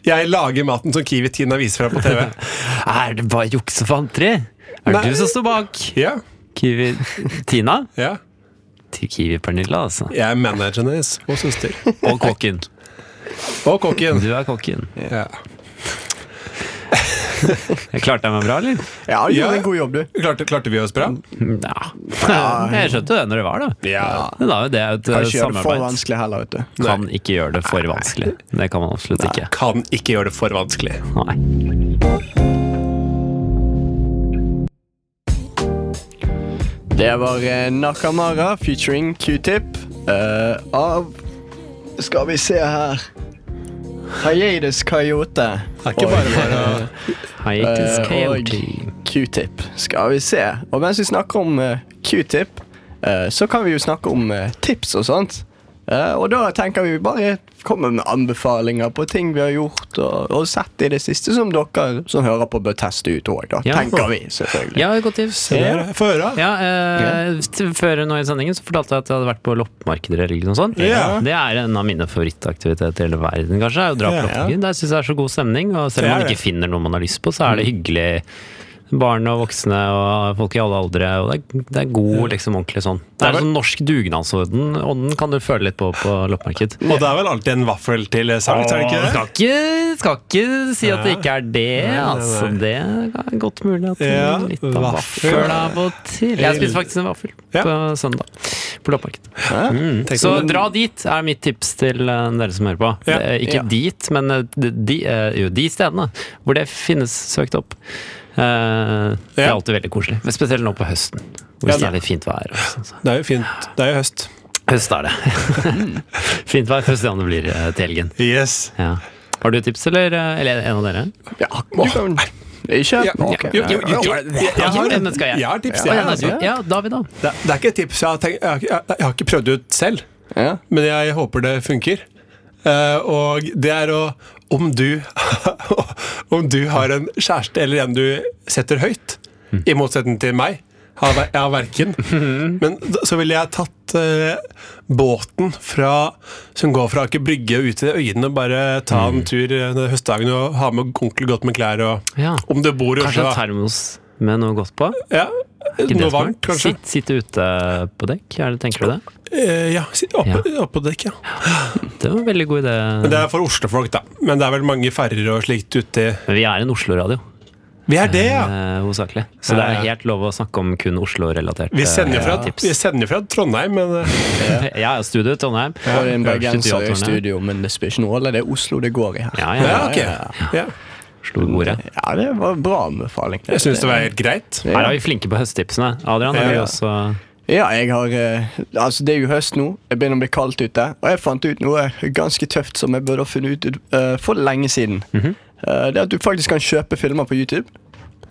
[SPEAKER 4] Jeg lager maten som Kiwi-Tina viser fra på TV.
[SPEAKER 2] er det bare jukse for antri? Er det
[SPEAKER 4] Nei.
[SPEAKER 2] du som står bak?
[SPEAKER 4] Ja,
[SPEAKER 2] Kiwi Tina?
[SPEAKER 4] ja.
[SPEAKER 2] Kiwi Pernilla, altså.
[SPEAKER 4] Jeg er manageren hennes og søster.
[SPEAKER 2] Og kokken.
[SPEAKER 4] Og kokken.
[SPEAKER 2] Du er kokken.
[SPEAKER 4] Ja.
[SPEAKER 2] Jeg klarte jeg meg bra, eller?
[SPEAKER 3] ja, du
[SPEAKER 4] Ja.
[SPEAKER 3] gjorde en god jobb, du.
[SPEAKER 4] Klarte, klarte vi oss bra?
[SPEAKER 2] Ja. Jeg skjønte det når det var, da.
[SPEAKER 4] Ja.
[SPEAKER 2] Men da er jo det et eh,
[SPEAKER 3] Kan ikke gjøre det for
[SPEAKER 2] samarbeid.
[SPEAKER 3] vanskelig heller, vet du.
[SPEAKER 2] Kan ikke gjøre det for vanskelig. Det kan man absolutt ikke.
[SPEAKER 4] Kan ikke gjøre det for vanskelig.
[SPEAKER 2] Nei.
[SPEAKER 3] Det var eh, Nakamara featuring Q-tip eh, av Skal vi se her Hayades Coyote.
[SPEAKER 4] Det er ikke bare bare å
[SPEAKER 2] Hiatus
[SPEAKER 3] Eh, og
[SPEAKER 2] Coyote.
[SPEAKER 3] Q-tip. Skal vi se. Og mens vi snakker om eh, Q-tip, eh, så kan vi jo snakke om eh, tips og sånt. Eh, og da tenker vi bare komme med anbefalinger på ting vi har gjort og, og sett i det siste, som dere som hører på, bør teste ut òg. Da
[SPEAKER 2] Ja.
[SPEAKER 3] tenker vi, selvfølgelig.
[SPEAKER 2] Ja, godt tips.
[SPEAKER 4] Se der, Få høre.
[SPEAKER 2] Ja, eh, t- Før nå i sendingen så fortalte jeg at jeg hadde vært på loppemarkeder. eller noe sånt
[SPEAKER 4] Ja.
[SPEAKER 2] Det er en av mine favorittaktiviteter i hele verden. kanskje er å dra på
[SPEAKER 4] Ja.
[SPEAKER 2] loppemarked. Der syns jeg er så god stemning. Og selv
[SPEAKER 4] Det
[SPEAKER 2] om
[SPEAKER 4] er
[SPEAKER 2] man
[SPEAKER 4] det. Mm.
[SPEAKER 2] ikke finner noe man har lyst på, så er det hyggelig. Barn og voksne og folk i alle aldre. Og det er, det er god, liksom ordentlig sånn. Det
[SPEAKER 4] Det
[SPEAKER 2] er
[SPEAKER 4] er
[SPEAKER 2] sånn norsk dugnadsorden. Ånden kan du føle litt på på loppemarked.
[SPEAKER 4] Og det er vel alltid en vaffel til salgs, er det ikke det?
[SPEAKER 2] Skal ikke, skal ikke si at det ikke er det,
[SPEAKER 4] Nei, nei, nei.
[SPEAKER 2] altså. Det er godt mulig at det
[SPEAKER 4] Ja,
[SPEAKER 2] er litt av
[SPEAKER 4] vaffel.
[SPEAKER 2] vaffel av og til. Jeg spiste faktisk en vaffel
[SPEAKER 4] Ja.
[SPEAKER 2] på søndag på loppemarked. Mm.
[SPEAKER 4] Tenk
[SPEAKER 2] Så
[SPEAKER 4] om-
[SPEAKER 2] dra dit, er mitt tips til eh, dere som hører på.
[SPEAKER 4] Ja.
[SPEAKER 2] Eh, Ikke
[SPEAKER 3] Ja.
[SPEAKER 2] dit, men eh, de, de, eh, jo, de stedene hvor det finnes søkt opp. Eh, Det er
[SPEAKER 4] Ja.
[SPEAKER 2] alltid veldig koselig. Men Spesielt nå på høsten,
[SPEAKER 4] Ja,
[SPEAKER 2] hvis det
[SPEAKER 4] det-
[SPEAKER 2] er litt fint vær. og sånn, så.
[SPEAKER 4] Det er jo fint. Det er jo høst.
[SPEAKER 2] Høst er det. fint vær første gang det blir eh, til helgen.
[SPEAKER 4] Yes.
[SPEAKER 2] Ja. Har du tips, eller, eller en av dere?
[SPEAKER 3] Ja, du kan Ikke? Ok.
[SPEAKER 4] Jo, jo, jo, jo. Jeg jeg har
[SPEAKER 2] Men skal jeg?
[SPEAKER 4] jeg har tips.
[SPEAKER 2] Å,
[SPEAKER 4] Jeg,
[SPEAKER 2] ja,
[SPEAKER 4] altså.
[SPEAKER 2] du, ja, David, da.
[SPEAKER 4] det, det er ikke et tips jeg har, tenkt, jeg, har, ikke- jeg, jeg har ikke prøvd det ut selv,
[SPEAKER 3] Ja.
[SPEAKER 4] men jeg håper det funker. Eh, og det er å om du, om du har en kjæreste eller en du setter høyt, i motsetning til meg har ver- Jeg har verken. Men d- så ville jeg tatt eh, båten fra, som går fra Aker Brygge og ut til øyene, og bare ta
[SPEAKER 2] Mm.
[SPEAKER 4] en tur eh, høstdagen og ha med ordentlig godt med klær. Og,
[SPEAKER 2] Ja.
[SPEAKER 4] Om du bor i
[SPEAKER 2] Kanskje
[SPEAKER 4] Oslo.
[SPEAKER 2] en termos med noe godt på?
[SPEAKER 4] Ja,
[SPEAKER 2] Ikke det som er?
[SPEAKER 4] noe varmt, kanskje.
[SPEAKER 2] Sitt, sitte ute på dekk, er det, tenker du det?
[SPEAKER 4] Eh, ja, si- oppe, oppe på dekk, ja.
[SPEAKER 2] Det var en veldig god idé.
[SPEAKER 4] Men det er for oslofolk, da. Men det er vel mange ferger og slikt ute
[SPEAKER 2] Men Vi er en Oslo-radio,
[SPEAKER 4] Vi er det, ja!
[SPEAKER 2] eh, hovedsakelig. Så det er
[SPEAKER 4] Ja, ja.
[SPEAKER 2] helt lov å snakke om kun Oslo-relaterte
[SPEAKER 4] Vi sender jo fra,
[SPEAKER 2] eh,
[SPEAKER 4] vi
[SPEAKER 2] tips.
[SPEAKER 4] sender jo fra Trondheim, men eh,
[SPEAKER 2] Jeg er studio i Trondheim.
[SPEAKER 3] Og det er en
[SPEAKER 2] Øverste
[SPEAKER 3] bergenser i
[SPEAKER 2] teaterne.
[SPEAKER 3] studio, men det spiller ikke noe rolle. Det er Oslo det går i her.
[SPEAKER 2] Ja, ja,
[SPEAKER 4] Ja,
[SPEAKER 2] ja.
[SPEAKER 4] ok. Ja.
[SPEAKER 2] Oslo-bordet.
[SPEAKER 3] Ja, det var en bra anbefaling.
[SPEAKER 4] Jeg syns det var helt greit.
[SPEAKER 2] Her er vi flinke på høsttipsene. Adrian, har
[SPEAKER 4] Ja,
[SPEAKER 2] du
[SPEAKER 4] ja.
[SPEAKER 2] også
[SPEAKER 3] Ja, jeg har eh, Altså, det er jo høst nå. Det begynner å bli kaldt ute. Og jeg fant ut noe ganske tøft som jeg burde ha funnet ut eh, for lenge siden.
[SPEAKER 2] Mhm.
[SPEAKER 3] Eh, det er at du faktisk kan kjøpe filmer på YouTube.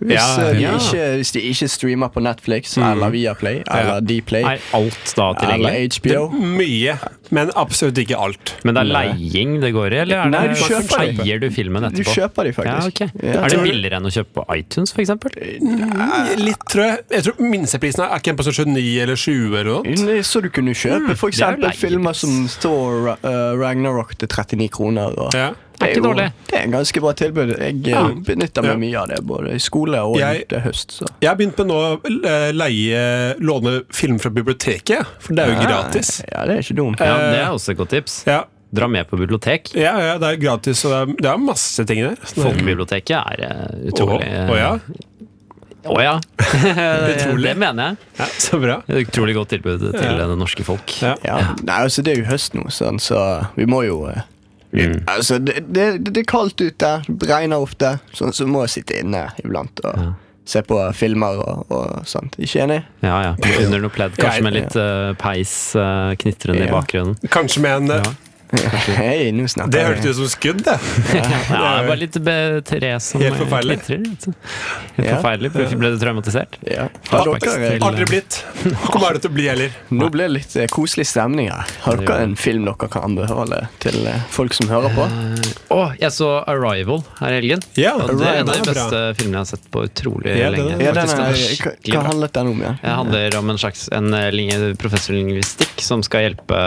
[SPEAKER 3] Hvis,
[SPEAKER 4] Ja,
[SPEAKER 3] eh, de,
[SPEAKER 2] ja. Mm.
[SPEAKER 3] ikke, hvis de ikke streamer på Netflix eller Viaplay eller Dplay
[SPEAKER 2] Er alt da tilgjengelig?
[SPEAKER 3] eller HBO.
[SPEAKER 4] Mye, men absolutt ikke alt.
[SPEAKER 2] Men det er leiing det går i, eller er
[SPEAKER 3] Nei,
[SPEAKER 2] det,
[SPEAKER 3] du kjøper det.
[SPEAKER 2] eier du filmen
[SPEAKER 3] Du
[SPEAKER 2] etterpå?
[SPEAKER 3] kjøper
[SPEAKER 2] ja,
[SPEAKER 3] de faktisk.
[SPEAKER 2] ok. Er det
[SPEAKER 4] Tror du-
[SPEAKER 2] billigere enn å kjøpe på iTunes, for eksempel?
[SPEAKER 4] Mm, Litt, tror jeg. Jeg tror Minsteprisen er er ikke en på sånn 29 eller 20 eller
[SPEAKER 2] Mm.
[SPEAKER 4] noe.
[SPEAKER 3] Nei, Så du
[SPEAKER 4] Mm,
[SPEAKER 3] kunne kjøpe for
[SPEAKER 2] det er jo
[SPEAKER 3] eksempel filmer
[SPEAKER 2] leiebitt.
[SPEAKER 3] som står eh, Ragnarok til 39 kroner. Og,
[SPEAKER 4] Ja.
[SPEAKER 3] Det
[SPEAKER 1] ikke dårlig.
[SPEAKER 3] det er en ganske bra tilbud. Jeg eh,
[SPEAKER 4] Ja.
[SPEAKER 3] benytter meg mye
[SPEAKER 4] Ja.
[SPEAKER 3] av det, både i skole og
[SPEAKER 4] Jeg-
[SPEAKER 3] til høst. Så.
[SPEAKER 4] Jeg har begynt med nå å leie, låne film fra biblioteket, for det er jo gratis.
[SPEAKER 3] Ja, det er ikke dumt.
[SPEAKER 2] Ja, det er også et godt tips.
[SPEAKER 4] Ja,
[SPEAKER 2] Dra med på bibliotek.
[SPEAKER 4] ja, ja det er gratis, og det er, det er masse ting der. Så det-
[SPEAKER 2] Folkebiblioteket er eh, utrolig eh,
[SPEAKER 4] Å, å ja.
[SPEAKER 2] Å ja.
[SPEAKER 4] Utrolig.
[SPEAKER 2] det mener jeg.
[SPEAKER 4] ja, så bra.
[SPEAKER 2] Et utrolig godt tilbud til
[SPEAKER 4] Ja.
[SPEAKER 2] det norske folk.
[SPEAKER 4] Ja.
[SPEAKER 3] Ja. Nei, altså, det er jo høst nå, sånn, så vi må jo eh, vi,
[SPEAKER 4] Mm.
[SPEAKER 3] Altså, det, det, det er kaldt ute, det regner ofte, sånn, så vi må sitte inne iblant og se på filmer og, og sånt. Ikke enig?
[SPEAKER 2] Ja, ja. Under noe pledd, kanskje
[SPEAKER 4] Jeg-
[SPEAKER 2] med litt eh, peis eh, knitrende i
[SPEAKER 3] Ja.
[SPEAKER 2] bakgrunnen.
[SPEAKER 4] Kanskje med en eh,
[SPEAKER 2] Ja.
[SPEAKER 3] Hei, nå
[SPEAKER 4] Det
[SPEAKER 3] snakker
[SPEAKER 4] hørtes ut som skudd, det.
[SPEAKER 2] Ja, det er bare litt be- tre som
[SPEAKER 4] Helt forferdelig.
[SPEAKER 2] knitrer. vet du. Helt
[SPEAKER 3] Ja.
[SPEAKER 2] forferdelig. Plutselig ble du traumatisert.
[SPEAKER 3] Ja. Har
[SPEAKER 2] Flashbacks
[SPEAKER 3] dere, eh,
[SPEAKER 2] til-
[SPEAKER 4] Aldri blitt. Kommer aldri til å bli heller.
[SPEAKER 3] nå ble det litt eh, koselig stemning her. Har dere en film dere kan anbefale til eh, folk som hører på?
[SPEAKER 2] Å, jeg så 'Arrival' her i helgen.
[SPEAKER 4] Ja,
[SPEAKER 2] Og det er en av
[SPEAKER 4] Arrival
[SPEAKER 2] de
[SPEAKER 4] er bra.
[SPEAKER 2] beste filmene jeg har sett på utrolig
[SPEAKER 4] Ja, den er-
[SPEAKER 2] lenge.
[SPEAKER 3] Ja, den
[SPEAKER 2] faktisk. Det
[SPEAKER 3] er, hva,
[SPEAKER 2] var skikkelig
[SPEAKER 3] hva
[SPEAKER 2] bra.
[SPEAKER 3] handlet den om igjen?
[SPEAKER 2] Det Eh, handler om en slags en eh, lin- professor i lingvistikk som skal hjelpe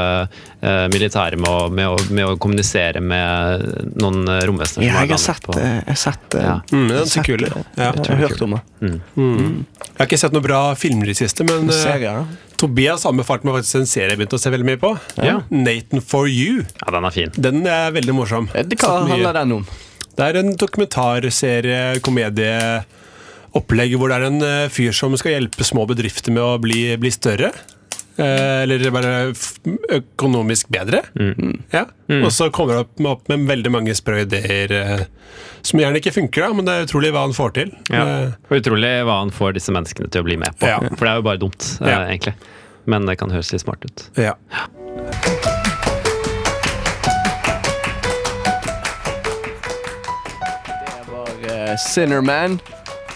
[SPEAKER 2] eh, militæret med å, med, å, med å kommunisere med noen eh, romvesener. som
[SPEAKER 3] Ja,
[SPEAKER 2] har
[SPEAKER 3] jeg har
[SPEAKER 2] landet
[SPEAKER 3] sett
[SPEAKER 2] på-
[SPEAKER 3] eh, Jeg har sett eh,
[SPEAKER 2] Ja.
[SPEAKER 4] Mm, den ser
[SPEAKER 3] sett,
[SPEAKER 4] kul ut.
[SPEAKER 3] eh,
[SPEAKER 4] Ja.
[SPEAKER 3] Jeg har hørt om den.
[SPEAKER 4] Jeg har ikke sett noen bra filmer i det siste, men eh,
[SPEAKER 3] Serier?
[SPEAKER 4] Tobias anbefalte meg faktisk en serie jeg begynte å se veldig mye på.
[SPEAKER 2] Ja.
[SPEAKER 4] Nathan for you.
[SPEAKER 2] ja, den er fin.
[SPEAKER 4] Den er veldig morsom.
[SPEAKER 3] Eh, det- Hva
[SPEAKER 4] Sett mye.
[SPEAKER 3] handler den om?
[SPEAKER 4] Det er en dokumentarserie, komedie opplegg hvor det er en eh, fyr som skal hjelpe små bedrifter med å bli, bli større. Eh, eller bare f- økonomisk bedre.
[SPEAKER 2] Mm.
[SPEAKER 4] Ja. Og så kommer han opp med, opp med veldig mange sprø ideer eh, som gjerne ikke funker, da, men det er utrolig hva han får til.
[SPEAKER 2] Ja.
[SPEAKER 4] Eh,
[SPEAKER 2] Og utrolig hva han får disse menneskene til å bli med på.
[SPEAKER 4] Ja.
[SPEAKER 2] For det er jo bare dumt, eh,
[SPEAKER 4] Ja.
[SPEAKER 2] egentlig. Men det kan høres litt smart ut.
[SPEAKER 4] ja.
[SPEAKER 3] var eh, Sinner Man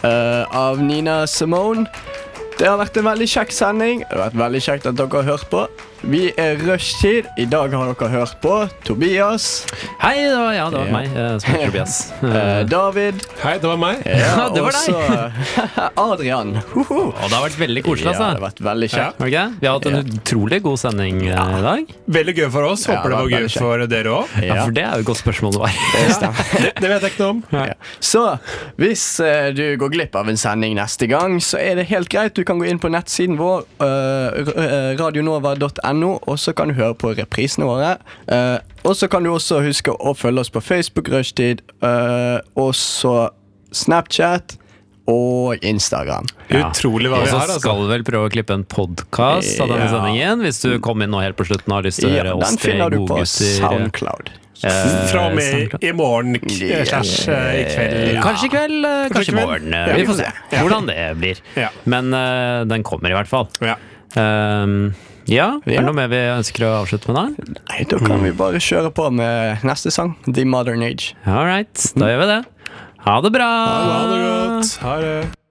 [SPEAKER 3] eh, av Nina Simone. Det har vært en veldig kjekk sending. Det har vært veldig kjekt at dere har hørt på. Vi er Rushtid. I dag har dere hørt på Tobias,
[SPEAKER 2] Hei, det var, ja, det var
[SPEAKER 3] Ja.
[SPEAKER 2] meg eh, som heter Tobias.
[SPEAKER 3] eh,
[SPEAKER 2] Eh,
[SPEAKER 3] David
[SPEAKER 4] Hei, det var meg.
[SPEAKER 2] Ja, det var
[SPEAKER 3] og så eh, Adrian. Hoho.
[SPEAKER 2] og det har vært veldig
[SPEAKER 3] Ja,
[SPEAKER 2] koselig,
[SPEAKER 3] det har
[SPEAKER 2] altså.
[SPEAKER 3] vært veldig kjekt.
[SPEAKER 2] Har det ikke? Vi har hatt en
[SPEAKER 3] Ja.
[SPEAKER 2] utrolig god sending eh, i dag.
[SPEAKER 4] Veldig gøy for oss.
[SPEAKER 3] Ja,
[SPEAKER 4] Håper det var
[SPEAKER 3] det var
[SPEAKER 4] gøy for dere òg.
[SPEAKER 2] Ja, for det er jo et godt spørsmål å være.
[SPEAKER 3] det stemmer.
[SPEAKER 4] Det, det vet jeg ikke noe om.
[SPEAKER 3] Ja. Så hvis eh, du går glipp av en sending neste gang, så er det helt greit. Du kan gå inn på nettsiden vår, eh, r- eh, radionova.no, og så kan du høre på reprisene våre. Eh, og så kan du også huske å følge oss på Facebook, Rushtid, eh, og så Snapchat og Instagram.
[SPEAKER 2] Ja.
[SPEAKER 4] Utrolig hva
[SPEAKER 2] Og
[SPEAKER 4] vi
[SPEAKER 2] så
[SPEAKER 4] har, altså.
[SPEAKER 2] skal vi vel prøve å klippe en podkast av denne
[SPEAKER 3] Ja.
[SPEAKER 2] sendingen. Hvis du kom inn nå helt på slutten og har lyst til å høre
[SPEAKER 3] Ja,
[SPEAKER 2] oss
[SPEAKER 3] den
[SPEAKER 2] tre
[SPEAKER 3] finner du på
[SPEAKER 2] godgutter.
[SPEAKER 3] Soundcloud.
[SPEAKER 2] eh,
[SPEAKER 4] Fra og med
[SPEAKER 2] SoundCloud.
[SPEAKER 4] i morgen
[SPEAKER 3] Ja.
[SPEAKER 4] slash eh, i kveld.
[SPEAKER 2] Eh, Kanskje i kveld, eh, kanskje i
[SPEAKER 4] kveld.
[SPEAKER 2] morgen.
[SPEAKER 4] Ja,
[SPEAKER 2] eh, Vi
[SPEAKER 4] vi
[SPEAKER 2] får
[SPEAKER 4] får
[SPEAKER 2] se hvordan det blir.
[SPEAKER 4] Ja.
[SPEAKER 2] Men eh, den kommer i hvert fall.
[SPEAKER 4] Ja.
[SPEAKER 2] Um, ja, er
[SPEAKER 3] Ja.
[SPEAKER 2] det noe mer vi ønsker å avslutte med da?
[SPEAKER 3] Nei, da kan vi bare kjøre på med neste sang, The Modern Age.
[SPEAKER 2] All right, da gjør vi det. Ha det bra!
[SPEAKER 4] Ha det godt. Ha det.